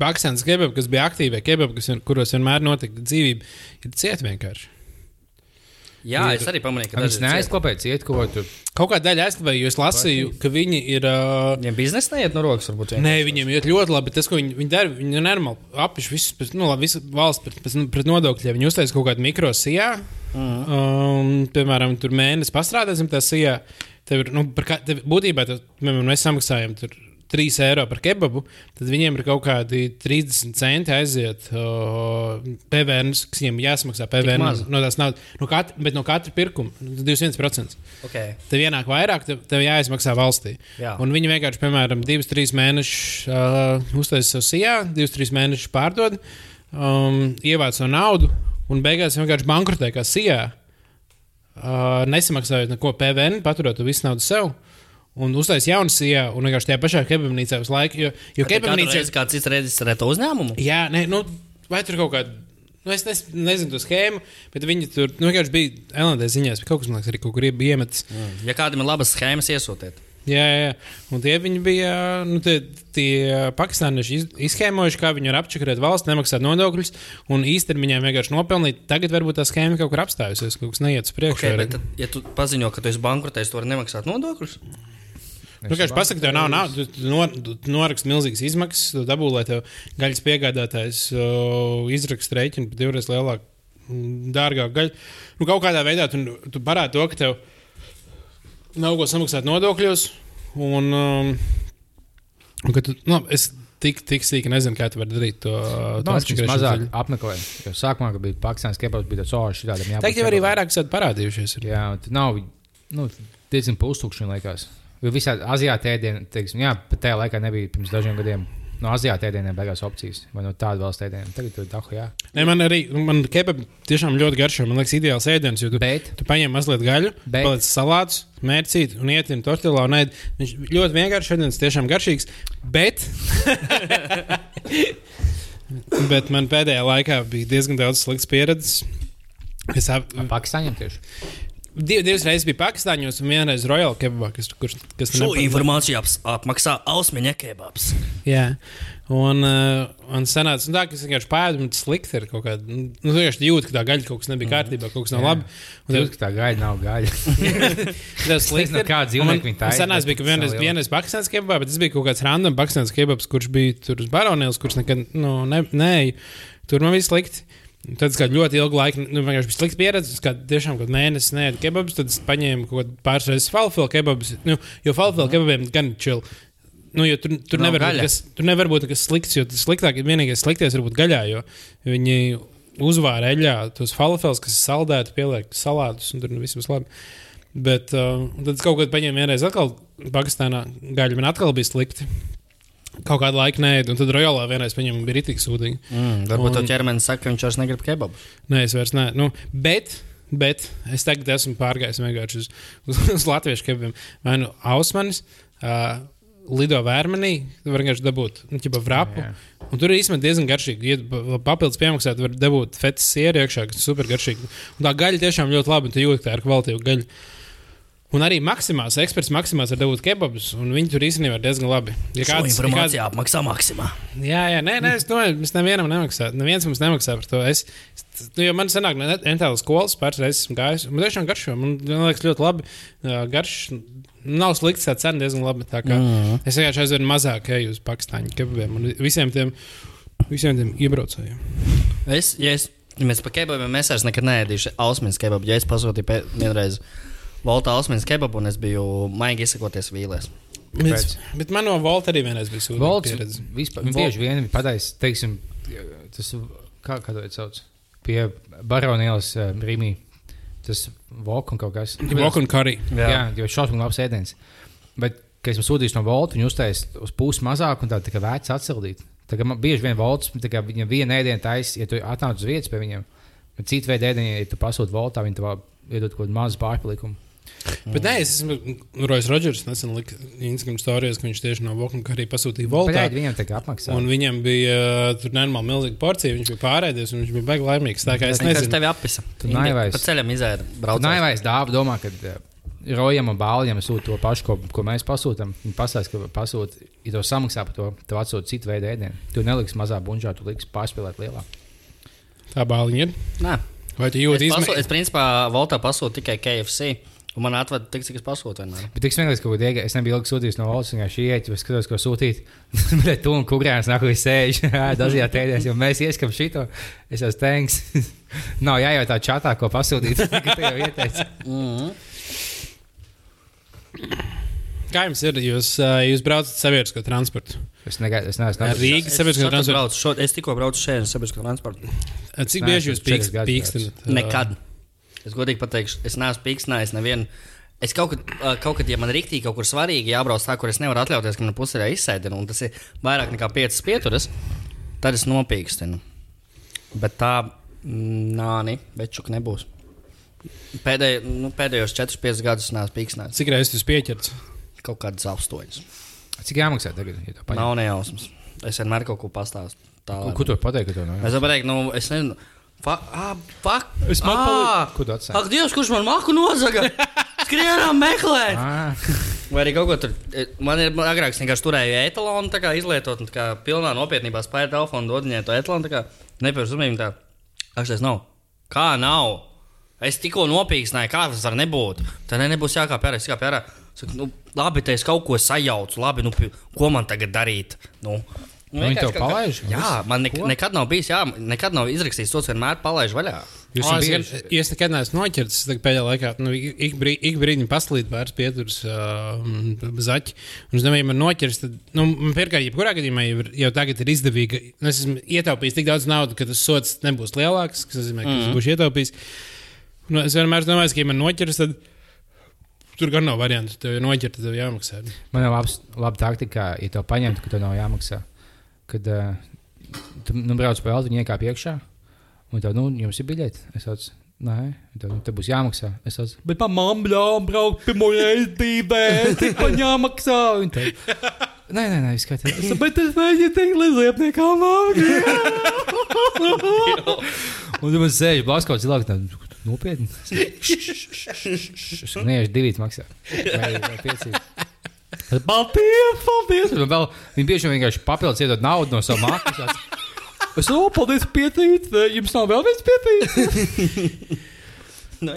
[SPEAKER 3] Pakistānas kebabi, kas bija aktīvie kebabi, kas, vien- kuros vienmēr notika dzīvība, ir cieta vienkārši.
[SPEAKER 2] Jā, es arī pamanīju, ka
[SPEAKER 1] Viņš
[SPEAKER 2] daži ciet.
[SPEAKER 1] neaizklāpēja cietu, ko tur
[SPEAKER 3] Kaut kā daļa aizstāvēju, jo es lasīju, ka viņi ir. Uh,
[SPEAKER 2] Viņam biznesa neiet no rokas, varbūt.
[SPEAKER 3] Nē, viņiem iet ļoti labi. bet Tas, ko viņi, viņi dara, viņi normāli apviš visus, pēc- nu, labi, visu valsts pret, pret, pret nodokļiem. Viņi uztaisīja kaut kādu mikrosijā, mm. um, piemēram, tur mēnesi pastrādāsim tajā sijā. Tev ir, nu, par kā- tev, būtībā, tad, piemēram, mēs samaksājam tur 3 eiro par kebabu, tad viņiem ir kaut kādi 30 centi aiziet uh, PVN, kas viņiem jāsamaksā PVN.
[SPEAKER 2] maz?
[SPEAKER 3] No tās naudas, no katra, bet no katra pirkuma 21%.
[SPEAKER 2] Okay.
[SPEAKER 3] Tev ienāk vairāk, tev, tev jāizmaksā valstī.
[SPEAKER 2] Jā.
[SPEAKER 3] Un viņi vienkārši, piemēram, divus, trīs mēnešus uh, uztaisīja savu sijā, divus, trīs mēnešus pārdod, um, ievāc no naudu un beigās vienkārši bankrotē kā sijā. Uh, nesamaksājot neko PVN, paturot to visu naudu sev. Un uztaisīt jaunu sijā, un vienkārši tajā pašā kebabnīcā visu laiku. Jo, jo kebabnīcā
[SPEAKER 2] Kebabnīcais kāds cits reģistrē to uzņēmumu?
[SPEAKER 3] Jā, nē, nu, vai tur kaut kāda. Nu, es nes, nezinu to schēmu, bet viņi tur nu, vienkārši bija Elandē ziņās, ka kaut kas man liekas, arī kaut kur bija iemetis.
[SPEAKER 2] Mm, Ja kādam ir labas schēmas, iesūtiet.
[SPEAKER 3] Jā, jā, jā. un tie viņi bija nu, tie, tie pakistānieši iz- izskhēmojuši, kā viņi var apčakarēt valsts, nemaksāt nodokļus un īstermiņā vienkārši nopelnīt. Tagad varbūt tā schēma kaut kur apstājusies, kaut kas neiet uz priekšu.
[SPEAKER 2] Okay, bet, tad, ja tu paziņo, ka tu esi bankrotējis, tu vari nemaksāt nodokļus.
[SPEAKER 3] Nu, kā jau pasakā, tev nav naudas, tu, tu, nor, tu, tu noraksti milzīgas izmaksas, tu dabū, lai tev gaļas piegādātājs uh, izraksta rēķinu par divreiz lielāku, mm, dārgāku gaļu. Nu, kaut kādā veidā tu, tu parādi to, ka tev nav ko samaksāt nodokļos. Un, um, un ka tu, nu, es tik, tik sīki nezinu, kā tu vari darīt to. to
[SPEAKER 1] Tas bija
[SPEAKER 3] atšķirēšanu
[SPEAKER 1] Nu, mazāk
[SPEAKER 3] ceļu.
[SPEAKER 1] apmeklējums. Jo sākumā, kad bija pakāpienas kebabs, bija tāds ošs, tādam jābūt.
[SPEAKER 3] Tagad jau arī
[SPEAKER 1] kebabam."
[SPEAKER 3] vairāk esat parādījušies. Ir.
[SPEAKER 1] Jā, tur nav, nu, diezgan pustūkšņi laikās. Jo visā Azijāta ēdienā, teiksim, jā, pat tajā laikā nebija pirms dažiem gadiem. No Azijāta ēdieniem beigās opcijas, vai no tāda valsts ēdieniem. Tagad tur ir dahu, jā.
[SPEAKER 3] Ne, man arī man kebab tiešām ļoti garšo. Man liekas, ideāls ēdiens. jo Tu,
[SPEAKER 1] Nu, Bet?
[SPEAKER 3] tu paņem mazliet gaļu,
[SPEAKER 1] Bet?
[SPEAKER 3] paliec salātus, mērcīt un ietin tortilā. Un ēd. Viņš ļoti vienkāršs ēdiens, tiešām garšīgs. Bet. bet man pēdējā laikā bija diezgan daudz sliktas pieredzes. Es ap,
[SPEAKER 1] Pakistāņiem tieši.
[SPEAKER 3] div, divas reizes biju Pakistāņos un vienreiz Royal Kebabā, kas, kurš, kas
[SPEAKER 2] Šo
[SPEAKER 3] nepa-
[SPEAKER 2] informāciju aps, apmaksā Ausmaņa kebabs.
[SPEAKER 3] Jā, un, uh, un sanāca un tā, ka es vienkārši pēdu, un tas slikti ir kaut kāda. Nu, es vienkārši jūtu, ka tā gaļa kaut kas nebija kārtībā, kaut kas nav labi. Un tev-
[SPEAKER 1] Jūs, ka tā gaida nav gaida.
[SPEAKER 3] Tas
[SPEAKER 1] nezinu, kā dzīvnieki viņi tā ir,
[SPEAKER 3] ir.
[SPEAKER 1] bet
[SPEAKER 3] Senās bija, ka
[SPEAKER 1] tas nav
[SPEAKER 3] vienreiz,
[SPEAKER 1] liela.
[SPEAKER 3] vienreiz pakistāns kebabā, bet tas bija kaut kāds random pakistāns kebabs, kurš bija tur uz baronēlas, kurš nekad, nu, ne, nē, tur man bija slikti. Tad es kādu ļoti ilgu laiku, nu, vienkārši bija slikta pieredze. Es kādu tiešām kādu mēnesi nēdu kebabus, tad es paņēmu kaut kādu pāris reizes falafelu kebabus. Nu, jo falafelu
[SPEAKER 1] Mhm.
[SPEAKER 3] kebabiem gan čili. Nu, jo tur, tur,
[SPEAKER 2] Nav
[SPEAKER 3] nevar būt
[SPEAKER 2] gaļa.
[SPEAKER 3] kas, tur nevar būt nekas slikts, jo tas sliktāk, vienīgais sliktais var būt gaļā, jo viņi uzvāra eļļā tos falafeles, kas ir saldēti, pieliek salātus, un tur viss būs labi. Bet uh, tad es kaut kādā paņēmu vienreiz atkal Pakistānā gaļu, man atkal bija slikti. Kaut kādu laiku nē, un tad Royalā vienreiz paņēmu bija rītīgi sūdiņu.
[SPEAKER 2] Mm,
[SPEAKER 3] Un-
[SPEAKER 2] varbūt tā ķermenis saka, ka viņš vairs negrib kebabu.
[SPEAKER 3] Nē, es vairs nē. Nu, bet, bet es tagad esmu pārgājis vienkārši uz, uz, uz latviešu kebabiem. Vai nu Ausmanis, uh, Lido Vērmenī, tu vari vienkārši dabūt nu, ķipa vrapu.
[SPEAKER 1] Jā.
[SPEAKER 3] Un tur ir īstenībā diezgan garšīgi. Ja pa- papildus piemaksā, tu vari dabūt fetas sieru iekšā, kas ir super garšīgi. Un tā gaļa tiešām ļoti labi, un tu jūti, ka tā ir kvalitīva gaļa. Un arī maksimās, eksperts maksimās var dabūt kebabus, un viņi tur īstenībā ir diezgan labi. Ja
[SPEAKER 2] Šo
[SPEAKER 3] kāds- ja kāds-
[SPEAKER 2] informāciju apmaksā maksimā.
[SPEAKER 3] Jā, jā, nē, nē es domāju, mēs nevienam nemaksājam. Neviens mums nemaksā par to. Es, es, nu, jo man senāk, ne, entāla skolas pāris reizes esmu gājis. Man tiešām garšo, man man liekas, ļoti labi. Uh, garš, nav slikts, tā cena diezgan labi. Tā kā mm. es vienkārši aizvien mazāk eju uz Pakistāņu kebabiem un visiem tiem, visiem tiem iebraucējiem.
[SPEAKER 2] Es, ja es, ja mēs par kebabiem mēs vairs nekad neēdīšu Ausmaņa kebabu. Ja es pasūtīju pē- vienreiz Volta Ausmaņa kebabu un es biju maigi izsakoties vīlēs.
[SPEAKER 3] Bet, bet man no Volta arī vienreiz bija sūdzība.
[SPEAKER 1] Volts vispār
[SPEAKER 3] Vol-
[SPEAKER 1] bieži vien bija padais, teiksim, tas, kā, kā to sauc, pie Baronielas eh, Rīmī. Tas Volks un kaut kas.
[SPEAKER 3] Volta un Kari.
[SPEAKER 1] Jā, jā jo šausmīgi labs ēdiens. Bet, kad esmu sūdzījis no Volta, viņi uztaisīja uz pusi mazāk un tā, tā kā vērts atsildīt. Tā kā man bieži vien Volts, tā kā viņam viena ēdiena taisa, ja tu atnāc uz vietas pie viņiem, bet citu veidu ēdienu, ja tu pasūti Voltā, viņi tev iedod kaut kādu mazu pārpalikumu.
[SPEAKER 3] Bet nē, es esmu Rojas Rodžers. Nesen lika Instagram stāstījis, ka viņš tieši no Volta un Kari pasūtīja Volta.
[SPEAKER 1] Pagaidiet, viņam tā kā apmaksā.
[SPEAKER 3] Un viņam bija uh, tur nenormāli milzīga porcija. Viņš bija pārēdies, un viņš bija baigi laimīgs. Tā kā es
[SPEAKER 2] Viņš
[SPEAKER 3] nezinu,
[SPEAKER 2] tevi apisa.
[SPEAKER 1] Tu naivais.
[SPEAKER 2] Pa ceļam izēda.
[SPEAKER 1] Nē,
[SPEAKER 2] Braucot.
[SPEAKER 1] vai es dāvu domā, ka eh, Rojam un Bālijam sūta to pašu, ko, ko mēs pasūtām. Viņi pasakās, ka pasūta, ja to samaksā par to, tev atsūta citu veidu ēdienu. Tu neliksi mazā bunžā, tu liksi pārspēlēt lielā.
[SPEAKER 3] tā bāliņa ir.
[SPEAKER 2] Nē,
[SPEAKER 3] Vai tu
[SPEAKER 2] Es,
[SPEAKER 3] jūti
[SPEAKER 2] pasū,
[SPEAKER 3] izmē...
[SPEAKER 2] es principā Voltā pasūtu tikai KFC. Un man atveda tik, cik es pasūtu vienmēr.
[SPEAKER 1] Bet tik smieklīgi, ka iega, es nebiju ilgi sūtījis no valsts, viņa šī ieteikta, es skatos, ko sūtīt. Bet tu un kukurēns nākamajā sēž, dažajā tēdēs, jo mēs ieskam šito. Es jau teiks, nav jājautā čatā, ko pasūtīt. Tikai tu jau ieteici.
[SPEAKER 3] Kā jums ir? Jūs, ā, jūs braucat sabiedrisko transportu.
[SPEAKER 1] Es negaidu, es neesmu
[SPEAKER 3] Ar
[SPEAKER 1] tāds.
[SPEAKER 3] Rīgas sabiedrisko
[SPEAKER 2] Es,
[SPEAKER 3] transportu.
[SPEAKER 2] braucu, šo, es tikko braucu šeit ar sabiedrisko transportu.
[SPEAKER 3] Cik
[SPEAKER 1] Nē,
[SPEAKER 3] bieži
[SPEAKER 1] es
[SPEAKER 3] jūs
[SPEAKER 1] esmu četras gadus
[SPEAKER 3] pīkstinat? uh,
[SPEAKER 2] Nekad. Es godīgi pateikšu, es neesmu pīkstinājis nevienu. Es kaut kad, ā, kaut kad, ja man rīktī kaut kur svarīgi jābrauc tā, kur es nevaru atļauties, ka man pusē ir izsēdina, un tas ir vairāk nekā piecas pieturas, tad es nopīkstinu. Bet tā, mm, nāni, večuk nebūs. Pēdēj, nu, pēdējos 4-5 gadus es neesmu pīkstinājis.
[SPEAKER 3] Cik reizes jūs pieķerts?
[SPEAKER 2] Kaut kādas astoņas.
[SPEAKER 1] Cik jāmaksā tagad? Ja tu paņem?
[SPEAKER 2] Nav nejausmas. Es vienmēr kaut ko pastāstu. Tā,
[SPEAKER 1] Ko- Ko tu vari pateikt, ka to nav?
[SPEAKER 2] Es jau pateicu, nu, es nezinu. é- Fa- Ah, ā, Fak,
[SPEAKER 3] Es man paliku-
[SPEAKER 1] Ko tu atsaki?
[SPEAKER 2] Ak, Dievs, kurš man maku nozaga? Skrienam, meklēt!
[SPEAKER 1] Ah,
[SPEAKER 2] Vai arī kaut ko tur. e, Man ir man agrāk, es vienkārši turēju etalonu, tā kā izlietot, un tā kā pilnā nopietnībā spēju telefonu dot viņai to etalonu, tā kā nepierzumīgi tā. Ak, tas nav. Kā nav? Es tikko nopīkstināju, kā tas var nebūt. Tā ne, nebūs jākāpj ārā, es kāpju ārā. Saku, nu, labi, te es kaut ko sajaucu, labi, nu, pi- ko man tagad darīt? Nu, Nu,
[SPEAKER 1] Viņi
[SPEAKER 2] vienkārši
[SPEAKER 1] tev
[SPEAKER 2] kaut kā-
[SPEAKER 1] palaiž?
[SPEAKER 2] Jā, man nek nekad nav bijis, jā, nekad nav izrakstījis tos, vienmēr palaiž vaļā.
[SPEAKER 1] Jūs
[SPEAKER 3] O,
[SPEAKER 1] esat
[SPEAKER 3] es,
[SPEAKER 1] bieži.
[SPEAKER 3] gan- es nekad neesmu noķerts. Es tagad pēdējā laikā nu, ik, ik brī- ik brīdi paslīdu vairs pieturas uh, zaķi. Un es domāju, ja man noķers, tad, nu, man pirmkārt, jebkurā gadījumā jau, ir- jau tagad ir izdevīgi. nu, Es esmu ietaupījis tik daudz naudas, ka tas sots nebūs lielāks, kas nozīmē, ka mm -hmm. es būšu ietaupījis. Nu, es vienmēr domāju, ka, ja man noķers, tad tur gan nav variantu. Tev ir noķerts, tad tev jāmaksā.
[SPEAKER 1] Man jau labs, laba taktika, ja to paņemtu, ka to nav jāmaksā. Kad uh, tu nu, brauc pa velti, viņi iekāp iekšā. Un tad, nu, jums ir biļete. Es teicu, nē, tad, nu, te būs jāmaksā. Es teicu, bet man mamma ļāva braukt pirmo reizi tīpē, tik man jāmaksā. Un tad, nē, nē, nē, skatās. Bet es nezinu, tik līdz liepniekām nav. Un tad man sēž blakus cilvēks, tā, nopietni. Es nē, es divi maksā. Vai, vai pieci. Paldies, paldies! Un Vēl, viņi bieži vien vienkārši papildus iedod naudu no savām mākslām. Es jau paldies, pietīt, jums nav vēl viens pietīt.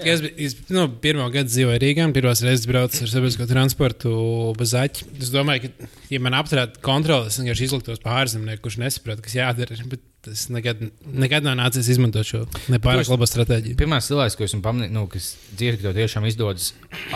[SPEAKER 3] Es, bi- es nu, pirmā gada dzīvoju Rīgā, pirmā reize braucu ar sabiedrisko transportu bez aķa. Es domāju, ka, ja man apturētu kontroli, es vienkārši izliktos pāri zemnieku, kurš nesaprot, kas jādara. Bet es nekad, nekad nav nācies izmantot šo nepārāk labo stratēģiju.
[SPEAKER 1] Pirmā cilvēks, ko esmu pamanījis, nu, kas dzird, ka tev tiešām izdodas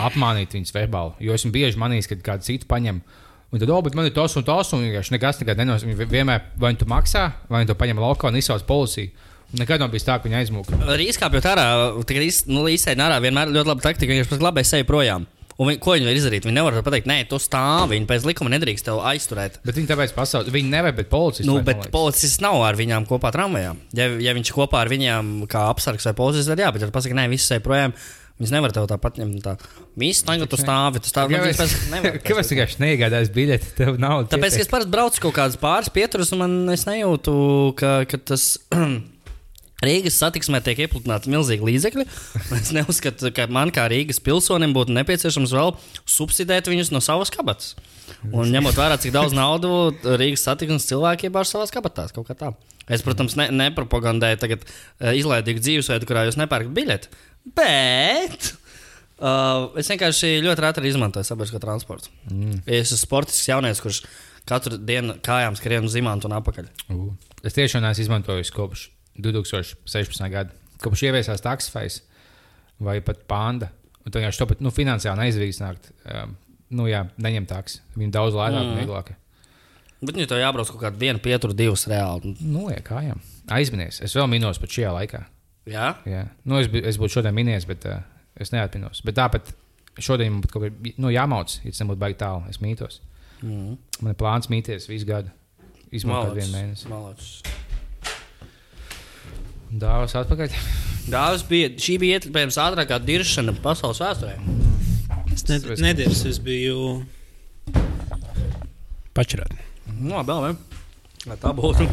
[SPEAKER 1] apmānīt viņus verbāli. Jo esmu bieži manījis, kad kāds cits paņem. Un tad, oh, bet man ir tas un tas, un vienkārši nekas nekad nenos. Viņi vi- vienmēr vai nu tu maksā, vai nu tu paņem laukā un izsauc policiju. Un nekad nav bijis tā, ka viņi aizmūka.
[SPEAKER 2] Arī izkāpjot ārā, tagad nu, īstenībā ārā vienmēr ir ļoti laba taktika. Viņš pats labi seja projām. Un viņ, ko viņi var izdarīt? Viņi nevar pateikt, nē, tu stāvi. Viņi pēc likuma nedrīkst tevi aizturēt.
[SPEAKER 1] Bet viņi tāpēc pasauc, viņi nevar, bet policija.
[SPEAKER 2] Nu, bet policists nav ar viņiem kopā tramvajā. Ja, ja viņš kopā ar viņiem kā apsargs vai policists, tad jā, bet ja tu pasaki, nē, viss seja projām. Viņas nevar tev tāpat ņemt. Tā. Viss, tagad tu stāvi. Tu stāvi. Nu, viņas pēc- nevar.
[SPEAKER 1] Kāpēc tu vienkārši neiegādājies biļeti? Tev nav.
[SPEAKER 2] Tāpēc ka es parasti braucu kaut kādas pāris pieturas, un man es nejūtu, ka, ka tas Rīgas satiksmē tiek iepludināts milzīgi līdzekļi. Es neuzskatu, ka man kā Rīgas pilsonim būtu nepieciešams vēl subsidēt viņus no savas kabatas. Un ņemot vērā, cik daudz naudu Rīgas satiksmes cilvēki iebāž savās kabatās, kaut kā tā. Es, protams, ne, nepropagandēju tagad eh, izlaidīgu dzīvesveidu, kurā jūs nepērkat biļeti. Bet Uh, es vienkārši ļoti reti arī izmantoju sabiedrisko transportu. Mm. Es esmu sportisks jaunieks, kurš katru dienu kājām skrien uz zīmēm un apakaļ.
[SPEAKER 1] U. Es tiešām neesmu izmantojis kopš 2016. gada, kopš ieviesās taksifais vai pat panda. Un tā vienkārši to pat nu, finansiāli neizdevīgs nākt. Um, nu, jā, neņem taks. Viņam daudz lētāk un vieglāk.
[SPEAKER 2] Bet viņi to jābrauc kaut kādu vienu, pieturu, divus reāli.
[SPEAKER 1] Nu, jā, kājām. Aizminies. Es vēl minos pat šajā laikā.
[SPEAKER 2] Jā,
[SPEAKER 1] Jā. Nu, es, bi- es būtu šodien minies, bet uh, es neatminos. Bet tāpat šodien man pat kaut kā nu, jāmauc, ja tas nebūtu baigi tālu. Es mītos. Mm. Man ir plāns mīties visu gadu. Izmantot vienu mēnesi.
[SPEAKER 2] Malacis.
[SPEAKER 1] Dāvās atpakaļ.
[SPEAKER 2] Dāvis bija, šī bija iespējams ātrākā diršana pasaules vēsturē.
[SPEAKER 3] Es nedēļas, es biju pačurāt.
[SPEAKER 2] Nu, labi, labi. Lai tā būtu.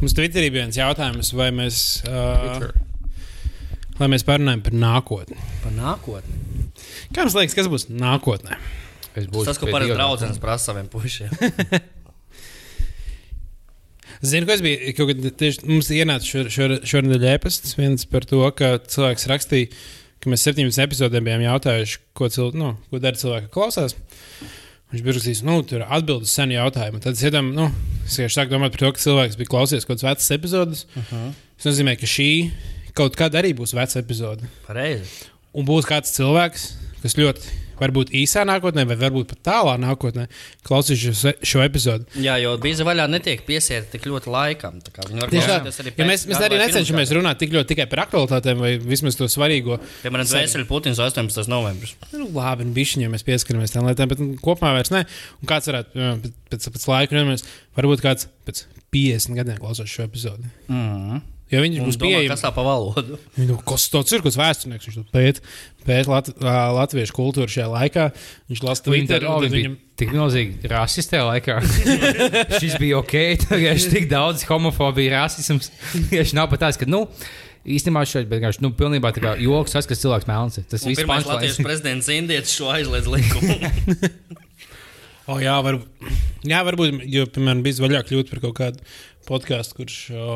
[SPEAKER 3] Mums Twitterī bija viens jautājums, vai mēs, uh, lai mēs parunājam par nākotni.
[SPEAKER 2] Par nākotni.
[SPEAKER 3] Kā jums liekas, kas būs nākotnē?
[SPEAKER 1] Es
[SPEAKER 2] Tas, ko
[SPEAKER 1] pie
[SPEAKER 2] parasti
[SPEAKER 1] Dieva.
[SPEAKER 2] draudzene prasa saviem pušiem.
[SPEAKER 3] Zinu, kas bija kaut kad tieši mums ienāca šo- šo- šonadēļ ēpasts. Viens par to, ka cilvēks rakstīja, ka mēs 17 epizodēm bijām jautājuši, ko, cil, nu, ko dara cilvēki, kad klausās. Viņš bija rakstījis, nu, tur ir atbildes senu jautājumu. Tad es iedomājos, nu, es vienkārši sāku domāt par to, ka cilvēks bija klausies kaut kādas vecas epizodes. Uh -huh. Tas nozīmē, ka šī kaut kad arī būs veca epizode.
[SPEAKER 2] Pareizi.
[SPEAKER 3] Un būs kāds cilvēks, kas ļoti, varbūt īsā nākotnē, vai varbūt pat tālā nākotnē, klausīsies šo, šo episodu.
[SPEAKER 2] Jā, jo bīza vaļā netiek piesieta tik ļoti laikam. tā kā viņi var
[SPEAKER 3] Tieši
[SPEAKER 2] klausīties
[SPEAKER 3] tā, ja
[SPEAKER 2] pēc
[SPEAKER 3] mēs, mēs
[SPEAKER 2] gada
[SPEAKER 3] arī
[SPEAKER 2] vai pirms
[SPEAKER 3] necenšamies
[SPEAKER 2] gada.
[SPEAKER 3] runāt tik ļoti tikai par aktualitātēm, vai vismaz to svarīgo.
[SPEAKER 2] Piemēram, Zvaigznes Putins 18. novembris.
[SPEAKER 3] Nu, labi, nu, bišķiņā mēs pieskaramies tam lietām, bet nu, kopumā vairs ne. Un kāds varētu piemēram, pēc, pēc, pēc laika, vienmēr, varbūt kāds pēc 50 gadiem klausās šo episodu.
[SPEAKER 2] Mm.
[SPEAKER 3] Jo Mhm. viņš
[SPEAKER 2] Un
[SPEAKER 3] būs
[SPEAKER 2] domā,
[SPEAKER 3] pieejams.
[SPEAKER 2] kas tā pa valodu?
[SPEAKER 3] Nu, kas tas ir? Kas vēsturnieks viņš to pēta? Pēta lat, ā, latviešu kultūru šajā laikā. Viņš lasa
[SPEAKER 1] oh, Viņi
[SPEAKER 3] Twitter,
[SPEAKER 1] tur
[SPEAKER 3] un
[SPEAKER 1] arī
[SPEAKER 3] tad
[SPEAKER 1] bija
[SPEAKER 3] viņam
[SPEAKER 1] tik milzīgi rasisti tajā laikā. Šis bija ok, tagad ir tik daudz homofobija, rasisms. Viņš nav pat tāds, ka, nu, īstenībā šeit, bet vienkārši, nu, pilnībā tā kā joks, tas, kas cilvēks melns. ir. Tas
[SPEAKER 2] Un
[SPEAKER 1] viss
[SPEAKER 2] Pirmais
[SPEAKER 1] punchlines.
[SPEAKER 2] Latvijas prezidents Indietis šo aizliedz likumu.
[SPEAKER 3] O, jā, var, jā, varbūt, jo, piemēram, bija vaļā kļūt par kaut kādu podkāstu, kurš o,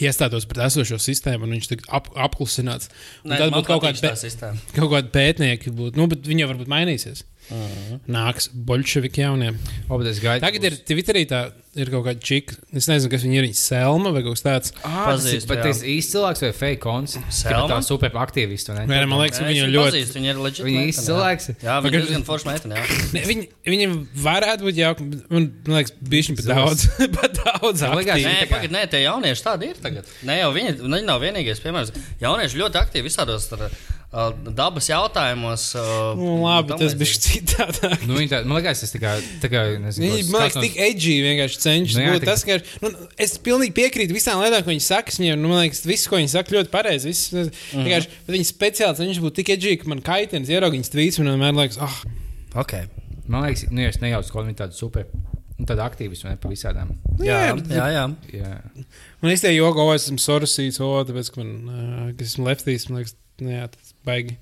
[SPEAKER 3] iestātos pret esošo sistēmu, un viņš tiktu ap, apklusināts. Un
[SPEAKER 2] Nē,
[SPEAKER 3] Tad
[SPEAKER 2] man
[SPEAKER 3] būtu kaut
[SPEAKER 2] patīk
[SPEAKER 3] kāda,
[SPEAKER 2] šī
[SPEAKER 3] pē,
[SPEAKER 2] sistēma.
[SPEAKER 3] kaut kāda pētnieka, būtu, nu, bet viņa varbūt mainīsies.
[SPEAKER 2] Mhm.
[SPEAKER 3] Nāks bolševiki jauniem.
[SPEAKER 1] O, bet es gaidu.
[SPEAKER 3] Tagad ir Twitterī tā, ir kaut kāda čika. Es nezinu, kas viņa ir. Viņa Selma vai kaut kas tāds.
[SPEAKER 1] Ah, tas ir
[SPEAKER 2] Pazīstu,
[SPEAKER 1] bet
[SPEAKER 2] jā.
[SPEAKER 1] tas īsts cilvēks vai fake cons?
[SPEAKER 2] Selma?
[SPEAKER 1] Tā superaktīvisti, vai ne?
[SPEAKER 3] Vai, man liekas,
[SPEAKER 2] Nē, es
[SPEAKER 3] viņa
[SPEAKER 2] viņu
[SPEAKER 3] ļoti.
[SPEAKER 2] pazīstu, Viņa ir leģitāra.
[SPEAKER 1] Viņa īsts cilvēks.
[SPEAKER 2] Jā, viņa
[SPEAKER 3] Pagaid-
[SPEAKER 2] ir diezgan forša meitene. jā.
[SPEAKER 3] Ne, Viņa, viņam varētu būt jauka. bet Man man liekas, bija viņa pat daudz. Pat daudz.
[SPEAKER 1] Man liekas,
[SPEAKER 3] aktīvi.
[SPEAKER 2] Nē,
[SPEAKER 1] tā kā-
[SPEAKER 2] pagaid, nē, tie jaunieši tādi ir tagad. Nē, jau viņi, nu, viņi nav vienīgais piemērs. Jaunieši ļoti aktīvi visādos tur, uh, dabas jautājumos. Uh,
[SPEAKER 3] Nu, Labi,
[SPEAKER 2] tam
[SPEAKER 3] tas
[SPEAKER 2] līdzīgi.
[SPEAKER 3] bija citādāk.
[SPEAKER 1] Nu, viņa tā, man liekas, tas tā kā, tā kā nezinu,
[SPEAKER 3] Viņi
[SPEAKER 1] kaut
[SPEAKER 3] man
[SPEAKER 1] kas
[SPEAKER 3] liekas,
[SPEAKER 1] tāds
[SPEAKER 3] tik edgy vienkārši cenšas.
[SPEAKER 1] Nu jā,
[SPEAKER 3] Nu,
[SPEAKER 1] tik-
[SPEAKER 3] tas, ka, nu, es pilnīgi piekrītu visām lietām, ko viņi saka. es Viņiem, nu, man liekas, viss, ko viņi saka, ļoti pareizi. Viss, mm -hmm. Bet viņi speciāli cenšas būt tik edgy, ka man kaitins ierauga viņas tvīts, un man liekas, ah,
[SPEAKER 2] Okay.
[SPEAKER 1] no- Man liekas, nu, ja es nejaucu, ka viņi tādi super, nu, tādi aktīvisti, vai ne, pa visādām.
[SPEAKER 3] Nu,
[SPEAKER 2] Jā,
[SPEAKER 3] bet-
[SPEAKER 2] jā, jā.
[SPEAKER 1] Jā.
[SPEAKER 3] man īstenībā joga, o, es esmu sorosīts, o, tāpēc, ka man, uh, esmu leftīs, man liekas, nu, jā, tas baigi.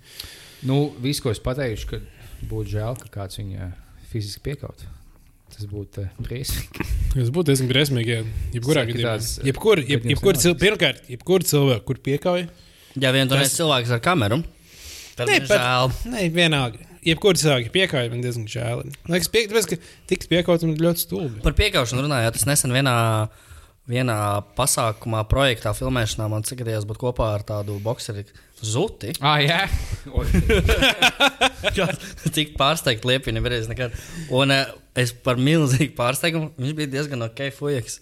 [SPEAKER 1] Nu, viss, ko es pateikšu, ka būtu žēl, ka kāds viņu ā, fiziski piekaut. Tas būtu ā, briesmīgi.
[SPEAKER 3] Tas būtu diezgan briesmīgi, ja jebkurā
[SPEAKER 1] Saki tās,
[SPEAKER 3] gadījumā.
[SPEAKER 1] eh,
[SPEAKER 3] Jebkur, jeb,
[SPEAKER 1] gadījums
[SPEAKER 3] jebkur,
[SPEAKER 1] nevajag.
[SPEAKER 3] cil, pirmkārt, jebkur cilvēku, kur piekauj,
[SPEAKER 2] ja vien tur ir cilvēks ar kameru, tad
[SPEAKER 3] Nē,
[SPEAKER 2] viņš
[SPEAKER 3] pat-
[SPEAKER 2] žēl.
[SPEAKER 3] Nē, vienalga. Jebkurā cilvēka piekāpja, man diezgan žēl. Man liekas, pie, tāpēc, ka tiks piekāpts man ļoti stulbi.
[SPEAKER 2] Par piekāpšanu runājot, es nesen vienā, vienā pasākumā, projektā, filmēšanā man sagadījās būt kopā ar tādu boxeri Zuti.
[SPEAKER 1] Ah, jā.
[SPEAKER 2] Tik pārsteigts liepiņa brīdis nekad. Un eh, es par milzīgu pārsteigumu, viņš bija diezgan ok, fujaks.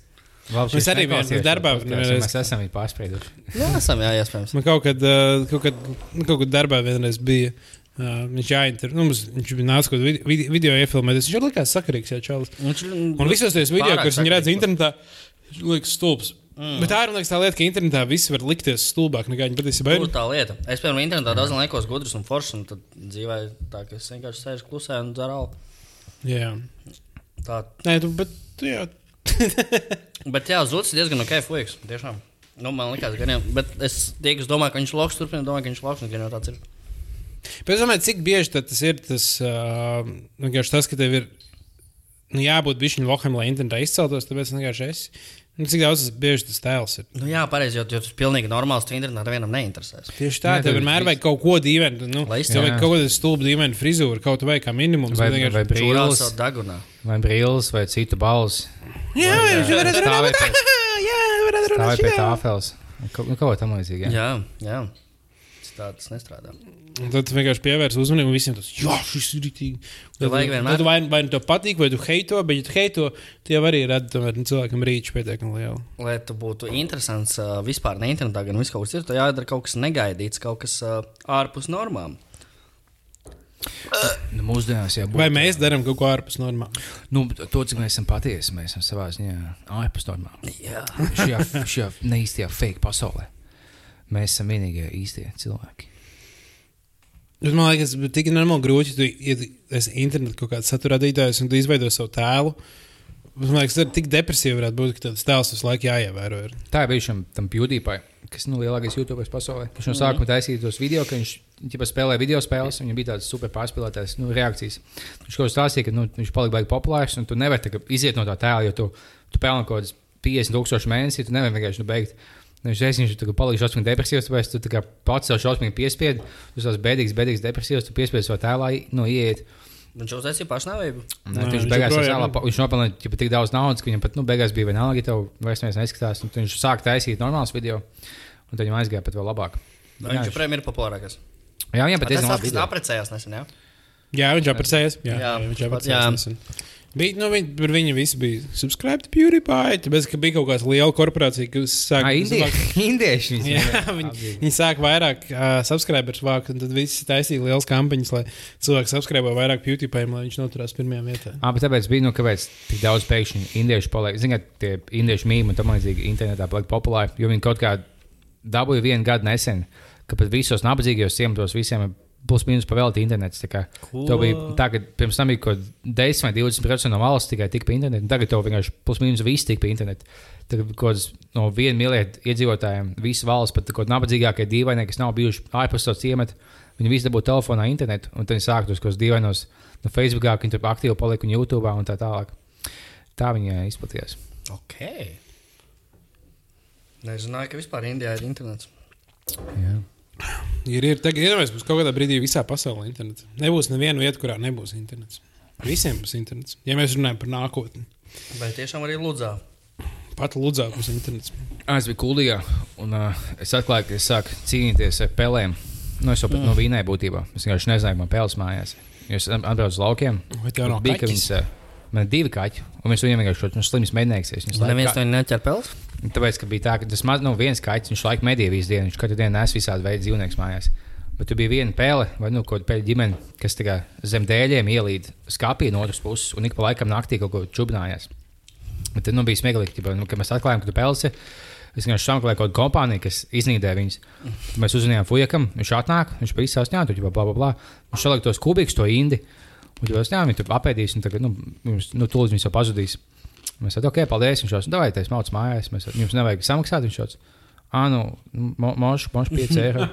[SPEAKER 1] Labi,
[SPEAKER 3] Mēs arī vienreiz darbā vienreiz-
[SPEAKER 1] Mēs esam viņu pārspējuši.
[SPEAKER 2] Jā, esam, jā, iespējams.
[SPEAKER 3] Man kaut kad, ā, kaut kad, nu, kaut kad darbā vienreiz bija. Uh, viņš jāinter... nu, mums, viņš bija nācis kaut kādā vid- vid- video iefilmēties. Viņš jau likās sakarīgs, ja čalis.
[SPEAKER 2] Viņš ir
[SPEAKER 3] Un visos tajos video,
[SPEAKER 2] Pārāk
[SPEAKER 3] kurus viņi redz
[SPEAKER 2] sakarīgs.
[SPEAKER 3] internetā, viņš liekas stulbs. Mm. Bet tā ir man liekas, tā lieta, ka internetā viss var likties stulbāk nekā viņi patiesībā ir.
[SPEAKER 2] Tur tā lieta. Es, piemēram, internetā daudz laikos gudrs un foršs, un tad dzīvē tā, ka es vienkārši sēžu klusē un dzeru.
[SPEAKER 3] Jā,
[SPEAKER 2] Tā.
[SPEAKER 3] Nē, tu, bet tu jā,
[SPEAKER 2] Bet, jā, zudis diezgan ok, fuks. Tiešām. Nu, man liekas, ka viņš ir. Bet es tie, kas domā, ka viņš loks turpina, domā, ka viņš loks gan jau tāds ir.
[SPEAKER 3] Bet es domāju, cik bieži tad tas ir tas, uh, tas ka tev ir nu, jābūt bišķiņu lokam, lai internetā izceltos, tāpēc es vienkārši es. Nu, cik daudz tas bieži tas tēls ir.
[SPEAKER 2] Nu, jā, pareizi, jo jo tas pilnīgi normāls, tu internetā vienam neinteresēs.
[SPEAKER 3] Tieši tā,
[SPEAKER 1] Nē,
[SPEAKER 3] tev
[SPEAKER 1] tev
[SPEAKER 3] vienmēr
[SPEAKER 1] ir
[SPEAKER 3] vajag kaut ko dīvainu. Nu,
[SPEAKER 2] Lai
[SPEAKER 3] tev vajag
[SPEAKER 1] izceltos.
[SPEAKER 3] kaut kādu stulbu dīvainu frizūru, kaut vai kā minimums.
[SPEAKER 1] Vai,
[SPEAKER 3] bet vienkārši-
[SPEAKER 1] vai
[SPEAKER 2] Brīlis
[SPEAKER 1] brīlis,
[SPEAKER 2] jau dagunā.
[SPEAKER 1] vai brīlis, vai citu balsi.
[SPEAKER 3] Jā, viņš varētu
[SPEAKER 1] Stāvēt
[SPEAKER 3] runāt.
[SPEAKER 1] pie-
[SPEAKER 3] Jā, varētu
[SPEAKER 1] Tā
[SPEAKER 3] runāt.
[SPEAKER 1] ir pie
[SPEAKER 3] šitā.
[SPEAKER 1] tā afels. Nu, Kaut ko tam līdzīga.
[SPEAKER 2] Jā, jā. Tas Tā tas nestrādā.
[SPEAKER 3] Un Tad tu vienkārši pievērs uzmanību un visiem tas, jā, šis ir rītīgi.
[SPEAKER 2] Tev
[SPEAKER 3] Tad,
[SPEAKER 2] vajag vienmēr-
[SPEAKER 3] tad vai, vai nu tev patīk, vai tu heito, bet ja tu heito, tie arī rada tomēr, nu, cilvēkam rīču pietiekami lielu.
[SPEAKER 2] Lai tu būtu interesants ā, vispār ne internetā, gan viss kaut kas ir, tev jādara kaut kas negaidīts, kaut kas ā, ārpus normām.
[SPEAKER 1] Nu, mūsdienās jau
[SPEAKER 3] Vai mēs darām kaut ko ārpus normāla?
[SPEAKER 1] Nu, to, cik mēs esam patiesi, mēs esam savā ziņā ārpus normām.
[SPEAKER 2] Jā.
[SPEAKER 1] Šajā, šajā neīstajā fake pasaulē. Mēs esam vienīgie īstie cilvēki.
[SPEAKER 3] Bet, man liekas, tas ir tik normāli grūti, ja tu ja esi interneta kaut kāds satura radītājs un tu izveido savu tēlu. Bet, Man liekas, tas ir tik depresīvi, varētu būt, ka tāds tēls visu laiku jāievēro. Ir.
[SPEAKER 1] Tā bija šim tam PewDiePie, kas ir nu, lielākais YouTube pasaulē. Viņš no sākuma taisīja tos video, ka viņš ģipa, spēlēja video spēles, un viņam bija tādas super pārspīlētas nu, reakcijas. Viņš kaut kā stāstīja, ka nu, viņš palika baigi populārs, un tu nevari tā kā iziet no tā tēla, jo tu, tu pelni kaut kādas 50,000 mēnesī, tu nevari vienkārši nu, beigt. Viņš teica, viņš tur palika šausmīgi depresīvs, tāpēc tu tā kā pats sev šausmīgi piespiedi. Uz tās bēdīgas, bēdīgas depresīvas, tu piespiedi savu tēlā nu, iet.
[SPEAKER 2] Viņš uztaisīja pašnāvību.
[SPEAKER 1] Nē,
[SPEAKER 3] Nē,
[SPEAKER 1] Nu, viņš
[SPEAKER 3] viņš
[SPEAKER 1] beigās jau
[SPEAKER 3] joprojām-
[SPEAKER 1] tādā formā, viņš nopelnīja ķipa, tik daudz naudas, ka viņam pat nu, beigās bija vienalga, ja tev vairs neviens neskatās. Un tad Viņš sāka taisīt normālus video, un tad viņam aizgāja pat vēl labāk.
[SPEAKER 2] Viņš
[SPEAKER 1] Jā,
[SPEAKER 2] joprojām ir populārākais.
[SPEAKER 1] jā, jā
[SPEAKER 2] Bet
[SPEAKER 1] pat
[SPEAKER 2] es
[SPEAKER 1] diezgan labi.
[SPEAKER 2] domāju, ka
[SPEAKER 1] video.
[SPEAKER 2] aprecējās nesen. Jā?
[SPEAKER 3] Jā, viņš jau apcēlies. Jā, jā,
[SPEAKER 2] Jā,
[SPEAKER 3] viņš jau
[SPEAKER 2] pat- jā.
[SPEAKER 3] apcēlies. Bija, nu, viņi, par viņu visi bija subscribed PewDiePie, tāpēc, ka bija kaut kāda liela korporācija, kas sāka
[SPEAKER 1] Ai, indie- Indieši viņi
[SPEAKER 3] Jā, viņi, viņi sāk vairāk uh, subscribers vākt, un tad viss taisīja lielas kampaņas, lai cilvēki subscribē vairāk PewDiePie, lai viņš noturās pirmajā vietā.
[SPEAKER 1] Ah, bet tāpēc bija, nu, kāpēc tik daudz pēkšņi indiešu paliek. Ziniet, tie indiešu mīmīmi un tam līdzīgi internetā paliek populāri, jo viņi kaut kā dabūja vienu gadu nesen, ka pat visos nabadzīgajos ciematos visiem ir plus mīnus pavēlti internets. Tā kā to bija tā, ka pirms tam bija kaut kāds 10 vai 20% no valsts tikai tika pie interneta, un tagad to vienkārši plus mīnus viss tika pie interneta. Tad kaut kāds no viena miljārda iedzīvotājiem, visas valsts, pat kaut kādi nabadzīgākie dīvainie, kas nav bijuši ārpus to ciemata, viņi visi dabūja telefonā internetu, un tad viņi sāktu uz kaut kādiem dīvainiem no Facebook, ka viņi tur aktīvi paliek un YouTube un tā tālāk. Tā viņa izplatījās.
[SPEAKER 2] Ok. Nezināju, ka vispār Indijā ir internets.
[SPEAKER 1] Jā.
[SPEAKER 3] Ir, ir tagad iedomājieties, būs kaut kādā brīdī visā pasaulē internets. Nebūs neviena vieta, kurā nebūs internets. Visiem būs internets. Ja mēs runājam par nākotni,
[SPEAKER 2] Vai tiešām arī Lūdzā?
[SPEAKER 3] pat Ludzā būs internets.
[SPEAKER 1] Ah, Es biju Kulija, un uh, es atklāju, ka es sāku cīnīties ar pelēm. Nu, es jau pat no vīnē būtībā. Es vienkārši nezināju, man pēles mājās. Jo es at- atbraucu uz laukiem.
[SPEAKER 3] Vai tev nav
[SPEAKER 1] bija, ka
[SPEAKER 3] kaķis?
[SPEAKER 1] viņas, uh, man ir divi kaķi, un viņš viņam vienkārši ir slims mednieks. Viņš
[SPEAKER 2] Neviens to neķer pels.
[SPEAKER 1] Tāpēc, ka bija tā, ka tas maz, nu, viens kaķis, viņš laikam medīja visu dienu, viņš katru dienu nes visādi veidi dzīvnieks mājās. Bet tur bija viena pēle, vai nu kaut kāda pēļu ģimene, kas tā kā zem dēļiem ielīd skāpī no otras puses un ik pa laikam naktī kaut ko čubinājās. Bet tad nu, bija smieklīgi, ķipa, nu, ka mēs atklājām, ka tu pelsi. Es vienkārši sameklēju kaut kādu kompāniju, kas iznīdēja viņus. Tad Mēs uzzinājām, fujakam, viņš atnāk, viņš bija sasniegts, jau bla, bla, bla. Viņš šalika tos kubikus, to indi. Un jau es nezinu, tur apēdīs, un tagad, nu, mums- nu tūlīt viņš jau pazudīs. Mēs sakām, ok, paldies, viņš nu, jau tādā veidā smauc mājās. Mēs, sakām, jums nevajag samaksāt, viņš jau Ah, nu, mošu, mošu 5 eiro.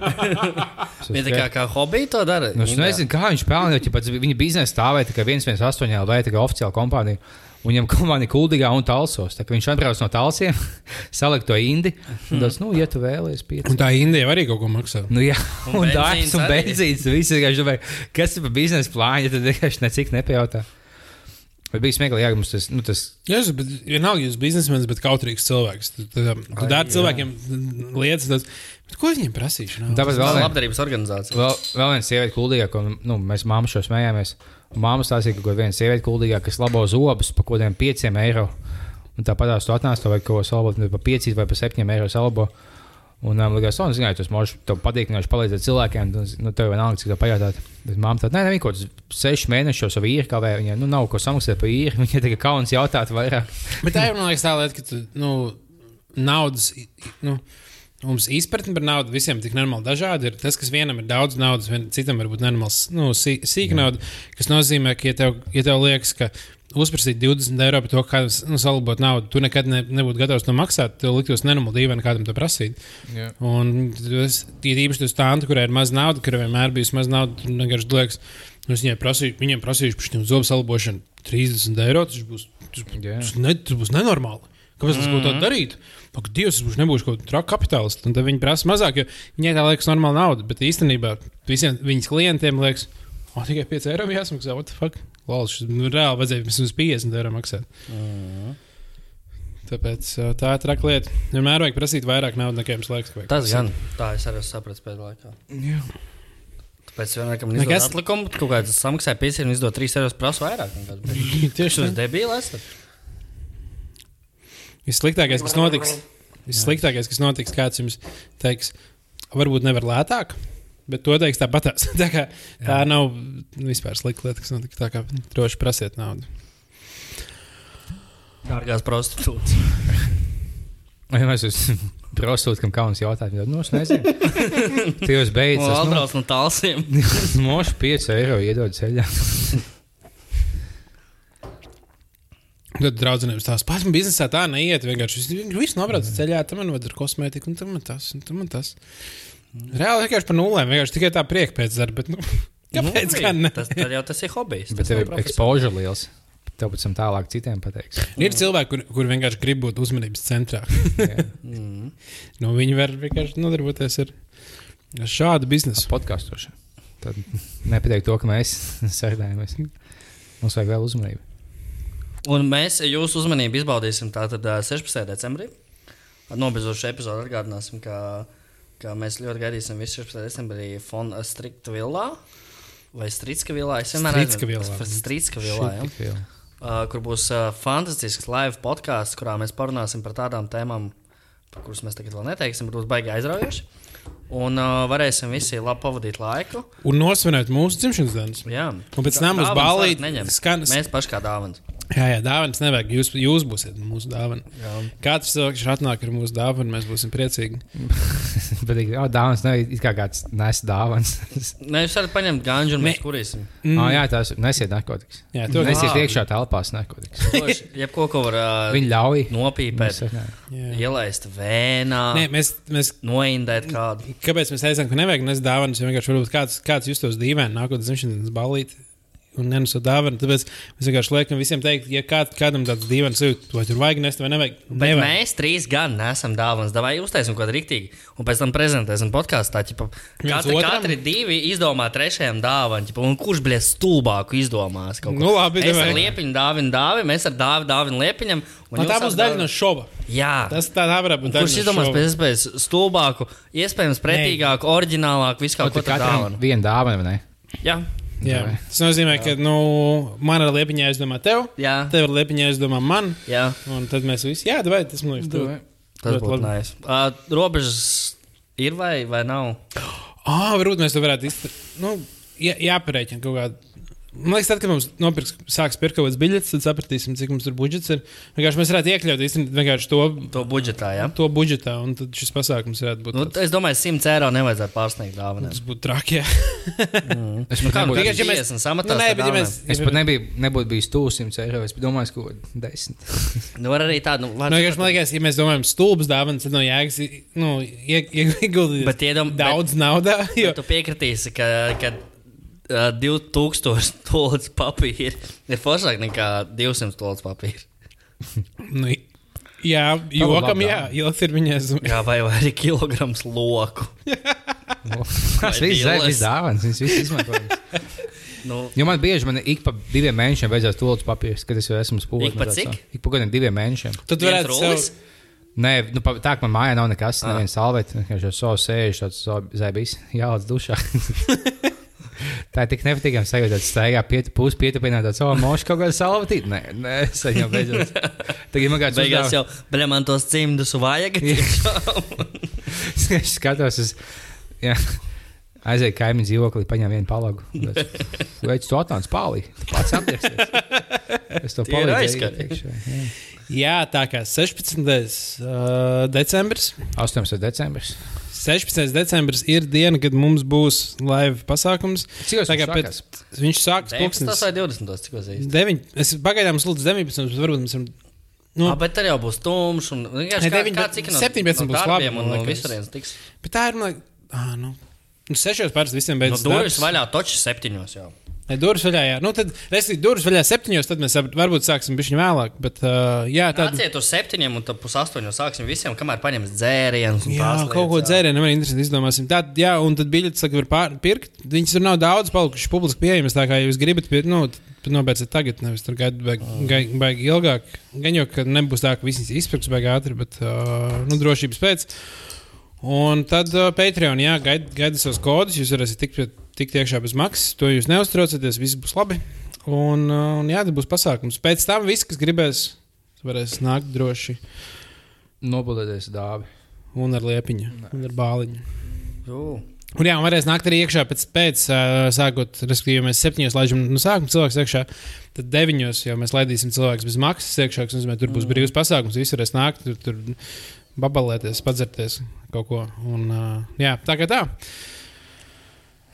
[SPEAKER 1] Es
[SPEAKER 2] Viņa
[SPEAKER 1] saku,
[SPEAKER 2] tā kā, kā hobija to dara.
[SPEAKER 1] Nu, es
[SPEAKER 2] Indijā.
[SPEAKER 1] nezinu, kā viņš pelnīja. Ja pats viņa biznesa stāvēja tikai 118 LV, tikai oficiāla kompānija. Un viņam komanda Kuldīgā un Talsos. Tā kā viņš atbrauc no Talsiem, salika to indi. Un tas, nu, ja tu vēlies pieci.
[SPEAKER 3] Un tā Indija arī kaut ko maksā.
[SPEAKER 1] Nu, jā,
[SPEAKER 2] Un
[SPEAKER 1] un dārsts
[SPEAKER 2] benzīns
[SPEAKER 1] un
[SPEAKER 2] arī.
[SPEAKER 1] benzīns. Viss vienkārši domāja, kas ir par biznesa plānu, ja tad vienkārši necik nepajautā. Bet bija smieklīgi, ja mums tas, nu, tas
[SPEAKER 3] Jā, bet vienalga, jūs esat biznesmenis, bet kautrīgs cilvēks. Tad- Tad tad dara cilvēkiem lietas, tas, bet ko viņiem Nu, prasīšu? Nav.
[SPEAKER 1] tāpēc
[SPEAKER 2] Tā
[SPEAKER 1] vēl
[SPEAKER 2] ir
[SPEAKER 1] vien.
[SPEAKER 2] labdarības organizācija.
[SPEAKER 1] Vēl, vēl viena sieviete, kuldīgā, ko nu, mēs māmu šo smējāmies. Māma stāstīja, ka kaut kāda sieviete kuldīgā, kas labo zobus par kaut kādiem 5 eiro. Un tāpat tās tu atnāc, tev vajag kaut ko salabot, nu, par 5 vai par 7 eiro salabo. Un um, likās, ka, zināmā mērā, tas mums patīk, ka viņš palīdz cilvēkiem. un, Nu, tev vienalga, cik tā pajautāt. Bet māte tāda, nē, nē, kaut kāds 6 mēnešos jau ir kavē. Viņai nu, nav ko samaksāt par īri. Viņai tikai kauns jautāt vairāk.
[SPEAKER 3] Bet tā ir man liekas, tā lieta, ka tu, nu, naudas. i- i- Nu, Mums izpratne par naudu visiem ir tik nenormāli dažāda. Ir tas, kas vienam ir daudz naudas, vien, citam var būt nenormāls, nu, sī, sīka nauda. Tas nozīmē, ka, ja tev, ja tev liekas, ka uzprasīt 20 eiro par to, kā nu, salabot naudu, tu nekad ne, nebūtu gatavs to maksāt. Tev liktos nenormāli dīvaini kādam to prasīt.
[SPEAKER 4] Jā.
[SPEAKER 3] Un tas ir īpaši tas tāds, kurai ir maz naudas, kurai vienmēr bijusi maz naudas. Tur vienkārši liekas, nu, es viņai prasīju, viņiem prasīju par šīm zobu salabošanu 30 eiro. Tas būs, tas,
[SPEAKER 1] Jā.
[SPEAKER 3] tas, ne, tas būs nenormāli. Kāpēc tas kaut tā darīt? Ak, Dievs, es būšu nebūšu kaut kāds traks kapitālists. Un tad viņi prasa mazāk, jo viņai tā liekas normāla nauda. Bet īstenībā visiem viņas klientiem liekas, o, tikai 5 eiro jāsmaksā. What the fuck? Lol, šis nu, reāli vajadzēja vismaz 50 eiro maksāt. Tāpēc ā, tā ir traka lieta. Vienmēr vajag prasīt vairāk naudas, nekā jums liekas. ka vajag
[SPEAKER 2] Tas
[SPEAKER 3] prasīt.
[SPEAKER 2] gan. Tā es arī sapratu pēdējā laikā. Tāpēc vienmēr, kad man ir
[SPEAKER 3] Nekas-
[SPEAKER 2] tāds atlikums, kaut kāds samaksāja 5 un izdod 3 eiro, prasa vairāk.
[SPEAKER 3] Mm.
[SPEAKER 2] Tieši tas debilis.
[SPEAKER 3] Vissliktākais, kas notiks, vissliktākais, kas notiks, kāds jums teiks, varbūt nevar lētāk, bet to teiks tāpat. Tā, kā, tā nav vispār slikta lieta, kas notiks. Tā kā droši prasiet naudu.
[SPEAKER 2] Dārgās prostitūts.
[SPEAKER 1] Un ja mēs esam prostitūti, kam kauns jautāt, tad, nu, es nezinu. Tos
[SPEAKER 2] Un
[SPEAKER 1] beidzas. Nu,
[SPEAKER 2] atbrauc no tālsiem.
[SPEAKER 1] Mošu 5 eiro iedod ceļā.
[SPEAKER 3] Tad draudzenēm stāsta, pats man biznesā tā neiet. Vienkārši viss- viss nobrauc ceļā, tam man vajag kosmētiku, un tam man tas, un tam man tas. Reāli vienkārši par nulēm, vienkārši tikai tā prieka pēc darba. Bet, nu, kāpēc? gan ne?
[SPEAKER 2] Tas tad jau tas ir hobijs.
[SPEAKER 1] Bet
[SPEAKER 2] tas
[SPEAKER 1] tev
[SPEAKER 2] nav
[SPEAKER 1] ir
[SPEAKER 2] profesi-
[SPEAKER 1] ekspozīcija liels. tev pēc tam tālāk citiem pateiks.
[SPEAKER 3] Ir cilvēki, kur, kur vienkārši grib būt uzmanības centrā.
[SPEAKER 1] Jā.
[SPEAKER 2] Mm.
[SPEAKER 3] Nu, viņi var vienkārši nodarboties ar ar šādu biznesu.
[SPEAKER 1] Podkāstoši. Tad nepateikt to, ka mēs sēdējamies. Mums vajag vēl uzmanību.
[SPEAKER 2] Un mēs jūsu uzmanību izbaudīsim tātad ā, 16. decembrī. Ar nobeidzošu epizodu atgādināsim, ka, ka mēs ļoti gaidīsim visu 16. decembrī Fonda Strikta villā. Vai Strītska vilā? Es vienmēr
[SPEAKER 3] Stricka villā.
[SPEAKER 2] Strītska vilā. Ja?
[SPEAKER 1] Šitīgi vēl.
[SPEAKER 2] Uh, kur būs uh, fantastisks live podkāsts, kurā mēs parunāsim par tādām tēmām, par kuras mēs tagad vēl neteiksim, bet būs baigi aizraujoši. Un uh, varēsim visi labi pavadīt laiku.
[SPEAKER 3] Un nosvinēt mūsu dzimšanas dienas.
[SPEAKER 2] Jā,
[SPEAKER 3] Un pēc tam uz ballīti skan-
[SPEAKER 2] Skanas. Mēs paši kā dāvana.
[SPEAKER 3] Jā, jā dāvāns nevajag. Jūs, jūs būsiet mūsu dāvana. Katrs cilvēks šeit atnāk ar mūsu dāvanu, mēs būsim priecīgi.
[SPEAKER 1] Bet tā dāvāns nav it kā kāds nes dāvāns.
[SPEAKER 2] Mēs varam paņemt ganģu un mēs
[SPEAKER 3] Ne.
[SPEAKER 2] kurīsim.
[SPEAKER 1] Mm. Oh, jā, tās nesiet narkotikas.
[SPEAKER 3] Jā, to-
[SPEAKER 1] nesiet
[SPEAKER 2] Ā.
[SPEAKER 1] iekšā telpās narkotikas.
[SPEAKER 2] Koši, Jebko, ko var uh,
[SPEAKER 1] Viņi ļauj.
[SPEAKER 2] nopīpēt,
[SPEAKER 1] Mums, jā.
[SPEAKER 3] Jā.
[SPEAKER 2] ielaist vēnā,
[SPEAKER 3] Nē, mēs, mēs,
[SPEAKER 2] noindēt kādu.
[SPEAKER 3] kāpēc mēs teicām, ka nevajag nes dāvanas? Jo vienkārši varbūt kāds, kāds justos dīvaini nākotnes dzimšanas ballīti. Un nenesu dāvanu. Tāpēc mēs vienkārši liekam visiem teikt, ja kād, kādam tāds dīvains ir, vai tur vajag nest vai nevajag.
[SPEAKER 2] Bet
[SPEAKER 3] nevajag.
[SPEAKER 2] mēs trīs gan nesam dāvāns. Vai uztaisim kaut ko rīktīgu, un pēc tam prezentēsim podkāstā.
[SPEAKER 3] Viens
[SPEAKER 2] Katri,
[SPEAKER 3] otram?
[SPEAKER 2] katri divi izdomā trešajam dāvānu, un kurš bija stulbāku izdomās? kaut ko?
[SPEAKER 3] Nu, labi,
[SPEAKER 2] es ar
[SPEAKER 3] davai.
[SPEAKER 2] liepiņu dāvinu dāvinu, mēs ar dāvinu dāvinu liepiņam. un
[SPEAKER 3] Un
[SPEAKER 2] jūs
[SPEAKER 3] tā
[SPEAKER 2] ar
[SPEAKER 3] būs daļa
[SPEAKER 2] dāvinu-
[SPEAKER 3] no šova.
[SPEAKER 2] Jā.
[SPEAKER 3] Tas tā tā varētu būt. daļa
[SPEAKER 2] Kurš
[SPEAKER 3] no
[SPEAKER 2] izdomās
[SPEAKER 3] šova.
[SPEAKER 2] pēc iespējas stulbāku, iespējams, pretīgāku, oriģinālāku, vispār ko
[SPEAKER 1] Tur
[SPEAKER 2] tādu
[SPEAKER 1] katram
[SPEAKER 2] dāvanu?
[SPEAKER 1] viena dāvana, vai ne?
[SPEAKER 2] Jā,
[SPEAKER 3] Jā. Tas nozīmē, ka nu, man ir liepiņā aizdomā tev,
[SPEAKER 2] Jā.
[SPEAKER 3] tev ir liepiņā aizdomā man.
[SPEAKER 2] jā.
[SPEAKER 3] Un tad mēs visi, jā, vai tas man liekas, tur.
[SPEAKER 2] tas
[SPEAKER 3] Ļoti
[SPEAKER 2] būtu
[SPEAKER 3] labi.
[SPEAKER 2] nājas. Uh, robežas ir vai, vai nav?
[SPEAKER 3] Ah, varbūt mēs to varētu izdarīt. Nu, jā, jāparēķina kaut kādā. Man liekas, tad, kad mums nopirks, sāks pirkt kaut kādas biļetes, tad sapratīsim, cik mums tur budžets ir. Vienkārši mēs varētu iekļaut īstenībā vienkārši to,
[SPEAKER 2] To budžetā, jā.
[SPEAKER 3] to budžetā, un tad šis pasākums varētu būt.
[SPEAKER 2] Nu,
[SPEAKER 3] Nu,
[SPEAKER 2] es domāju, 100 eiro nevajadzētu pārsniegt dāvanām.
[SPEAKER 3] tas būtu traki. jā.
[SPEAKER 1] Es pat,
[SPEAKER 2] Kādu
[SPEAKER 1] nebūtu,
[SPEAKER 2] Mm. Nu tikai
[SPEAKER 3] Vienkārši, ja mēs-
[SPEAKER 2] mēs esam samatā?
[SPEAKER 3] Nu, nē, bet ja mēs-
[SPEAKER 1] es pat nebiju, nebūtu bijis 200 eiro. Es domāju, ka kaut kāda 10.
[SPEAKER 2] Nu, var arī tādu, nu,
[SPEAKER 3] Nu,
[SPEAKER 2] labi.
[SPEAKER 3] vienkārši, man liekas, ja mēs domājam, stulbs dāvāns, tad no jēgas i- nu, ie- ie- ieguldīt
[SPEAKER 2] Bet iedom-
[SPEAKER 3] daudz naudā. Jo,
[SPEAKER 2] Tu piekritīsi, ka, ka ā, 2000 tolus papīra ir foršāk nekā 200 tolus papīra.
[SPEAKER 3] nu, jā, jokam,
[SPEAKER 1] labi
[SPEAKER 3] jā, ilgs ir viņa aizdomā.
[SPEAKER 2] Jā, vai, vai arī kilograms loku.
[SPEAKER 1] Tas viss
[SPEAKER 2] Vai
[SPEAKER 1] ir
[SPEAKER 2] billes?
[SPEAKER 1] dāvāns. Viņš viss izmantojams.
[SPEAKER 2] Nu,
[SPEAKER 1] Jo man bieži man ik pa diviem mēnešiem beidzās tolds papīrs, kad es jau esmu spūlis.
[SPEAKER 2] Ik pa cik?
[SPEAKER 1] Ik pa gadiem diviem mēnešiem.
[SPEAKER 3] Tad
[SPEAKER 2] Viens
[SPEAKER 3] varētu
[SPEAKER 2] rullis?
[SPEAKER 3] sev,
[SPEAKER 1] Nē, nu, pa- tā kā man mājā nav nekas,
[SPEAKER 2] Ah.
[SPEAKER 1] neviena salvēta. Es jau savu sēžu, tāds savu zēbīs, jālādz dušā. tā ir tik nepatīkama sajūta, ka staigā piet, pusi pietupināt ar savu mošu kaut kādu salvētību. Nē, nē, es jau beidzot. Tagad man kāds
[SPEAKER 2] beigās
[SPEAKER 1] uzdāv-
[SPEAKER 2] jau, bļa, man tos cimdus vajag.
[SPEAKER 1] es skatos uz. Jā. Aizēju kaimiņu dzīvoklī, paņēmu vienu palagu. Veids, to atnāc pāli. Tu Pats apgāzies. Es to
[SPEAKER 2] Tie ir
[SPEAKER 1] palīdzēju.
[SPEAKER 2] aizskari.
[SPEAKER 1] iepriekš, jā.
[SPEAKER 3] jā, tā kā 16. Uh, decembris.
[SPEAKER 1] 18. decembris.
[SPEAKER 3] 16. decembris ir diena, kad mums būs live pasākums.
[SPEAKER 1] Cik tas
[SPEAKER 3] Tā kā
[SPEAKER 1] sākās?
[SPEAKER 3] Viņš sākas
[SPEAKER 2] Tas
[SPEAKER 3] pulkstenis.
[SPEAKER 2] vai 20. cik es īsti.
[SPEAKER 3] 9. Es pagaidām mums lūdzu 19. bet Varbūt mums ir. Nu,
[SPEAKER 2] Nu. Bet tad jau būs tumšs. Un, nu, vienkārši
[SPEAKER 3] Nē,
[SPEAKER 2] kā,
[SPEAKER 3] deviņi,
[SPEAKER 2] kā
[SPEAKER 3] bet
[SPEAKER 2] cik no,
[SPEAKER 3] 17
[SPEAKER 2] no
[SPEAKER 3] būs labi,
[SPEAKER 2] darbiem
[SPEAKER 3] man
[SPEAKER 2] un no
[SPEAKER 3] liekas.
[SPEAKER 2] visurienes tiks.
[SPEAKER 3] bet tā ir. man liek- Ā, nu. Nu, Sešos pāris visiem
[SPEAKER 2] No
[SPEAKER 3] beidzas.
[SPEAKER 2] Nu, durvis
[SPEAKER 3] darbs.
[SPEAKER 2] vaļā toči septiņos jau.
[SPEAKER 3] Nē, durvis vaļā. Jā. Nu, tad, respektīvi, durvis vaļā septiņos, tad mēs saprat- varbūt sāksim bišķi vēlāk. Bet, uh, jā,
[SPEAKER 2] Tad...
[SPEAKER 3] tad.
[SPEAKER 2] Atsiet uz septiņiem, un tad pusastoņos sāksim visiem, kamēr paņems dzērienus. un
[SPEAKER 3] Jā,
[SPEAKER 2] tās
[SPEAKER 3] kaut ko
[SPEAKER 2] lietas, jā.
[SPEAKER 3] dzērienu man interesanti izdomāsim. Tad, jā, un tad biļetes, saka, var pār- pirkt. Viņas tur nav daudz palikušas publiski pieejamas, tā kā ja jūs gribat pirkt, nu, tad nobeidziet tagad, nevis tur gaidīt, baigi baig ilgāk. Gan jau, ka nebūs tā, ka visas izpirks baigi ātri, bet, uh, nu, drošības pēc. Un tad uh, Patreon, jā, gaid- gaida savus kodus, jūs varēsiet tikt, pie- tikt iekšā bez maksas, to jūs neuztraucieties, viss būs labi. Un, uh, un jā, tad būs pasākums. Pēc tam viss, kas gribēs, varēs nākt droši
[SPEAKER 1] Nobudēties dāvi.
[SPEAKER 3] un ar liepiņu, un ar bāliņu.
[SPEAKER 2] Jū.
[SPEAKER 3] Un jā, un varēs nākt arī iekšā pēc pēc, ā, sākot, respektīvi, ja mēs septiņos laidām no sākuma cilvēks iekšā, tad deviņos jau mēs laidīsim cilvēks bez maksas iekšā. kas Nozīmē, tur būs brīvs pasākums, visi varēs nākt, tur, tur babalēties, padzerties kaut ko. Un, ā, jā, tā kā tā.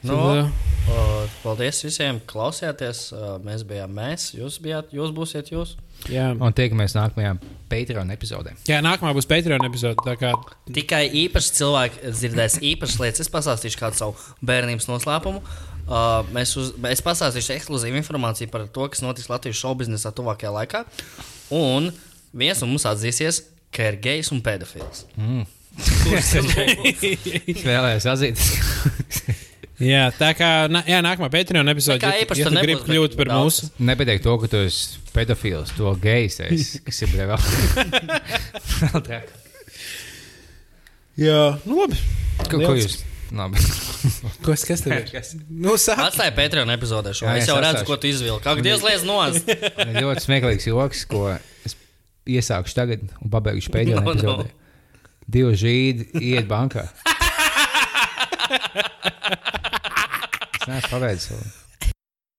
[SPEAKER 2] Nu,
[SPEAKER 3] Tad, ā,
[SPEAKER 2] uh, paldies visiem, klausījāties. Uh, mēs bijām mēs, jūs bijāt, jūs būsiet jūs.
[SPEAKER 3] jā.
[SPEAKER 1] Un tiekamies nākamajā Patreon epizodē.
[SPEAKER 3] jā, nākamā būs Patreon epizode. tā kā
[SPEAKER 2] Tikai īpaši cilvēki dzirdēs īpašas lietas. Es pastāstīšu kādu savu bērnības noslēpumu. Uh, mēs uz, es pastāstīšu ekskluzīvu informāciju par to, kas notiks Latvijas šovu biznesā tuvākajā laikā. Un viens no mums atzīsies, ka ir gejs un pedofils.
[SPEAKER 1] Es vēlējos atzīt,
[SPEAKER 3] Jā, tā kā nā, jā, nākamā Patreon epizode,
[SPEAKER 2] Tā kā
[SPEAKER 3] ja,
[SPEAKER 2] īpaši
[SPEAKER 3] ja
[SPEAKER 2] tur
[SPEAKER 3] tu gribi
[SPEAKER 2] nebūs, bet
[SPEAKER 3] kļūt par
[SPEAKER 2] daudz.
[SPEAKER 3] mūsu,
[SPEAKER 1] nepateikt to, ka tu esi pedofils, to gejs, esi, kas ir vēl vēl trāk.
[SPEAKER 3] jā, nu labi.
[SPEAKER 1] Ko, ko jūs? Labi.
[SPEAKER 3] Kas, kas tev ir? Nu, sāk.
[SPEAKER 2] Atstāja Patreon epizodē šo.
[SPEAKER 1] Jā,
[SPEAKER 2] Es
[SPEAKER 1] es
[SPEAKER 2] jau redzu,
[SPEAKER 1] atstāšu.
[SPEAKER 2] ko tu izvilki. Ak, Dievs, liedz nost!
[SPEAKER 1] ļoti smieklīgs joks, ko es iesākšu tagad un pabeigšu pēdējā
[SPEAKER 2] No, no.
[SPEAKER 1] no, epizodē. No. Divi žīdi iet bankā. Es neesmu pabeidzis. vēl.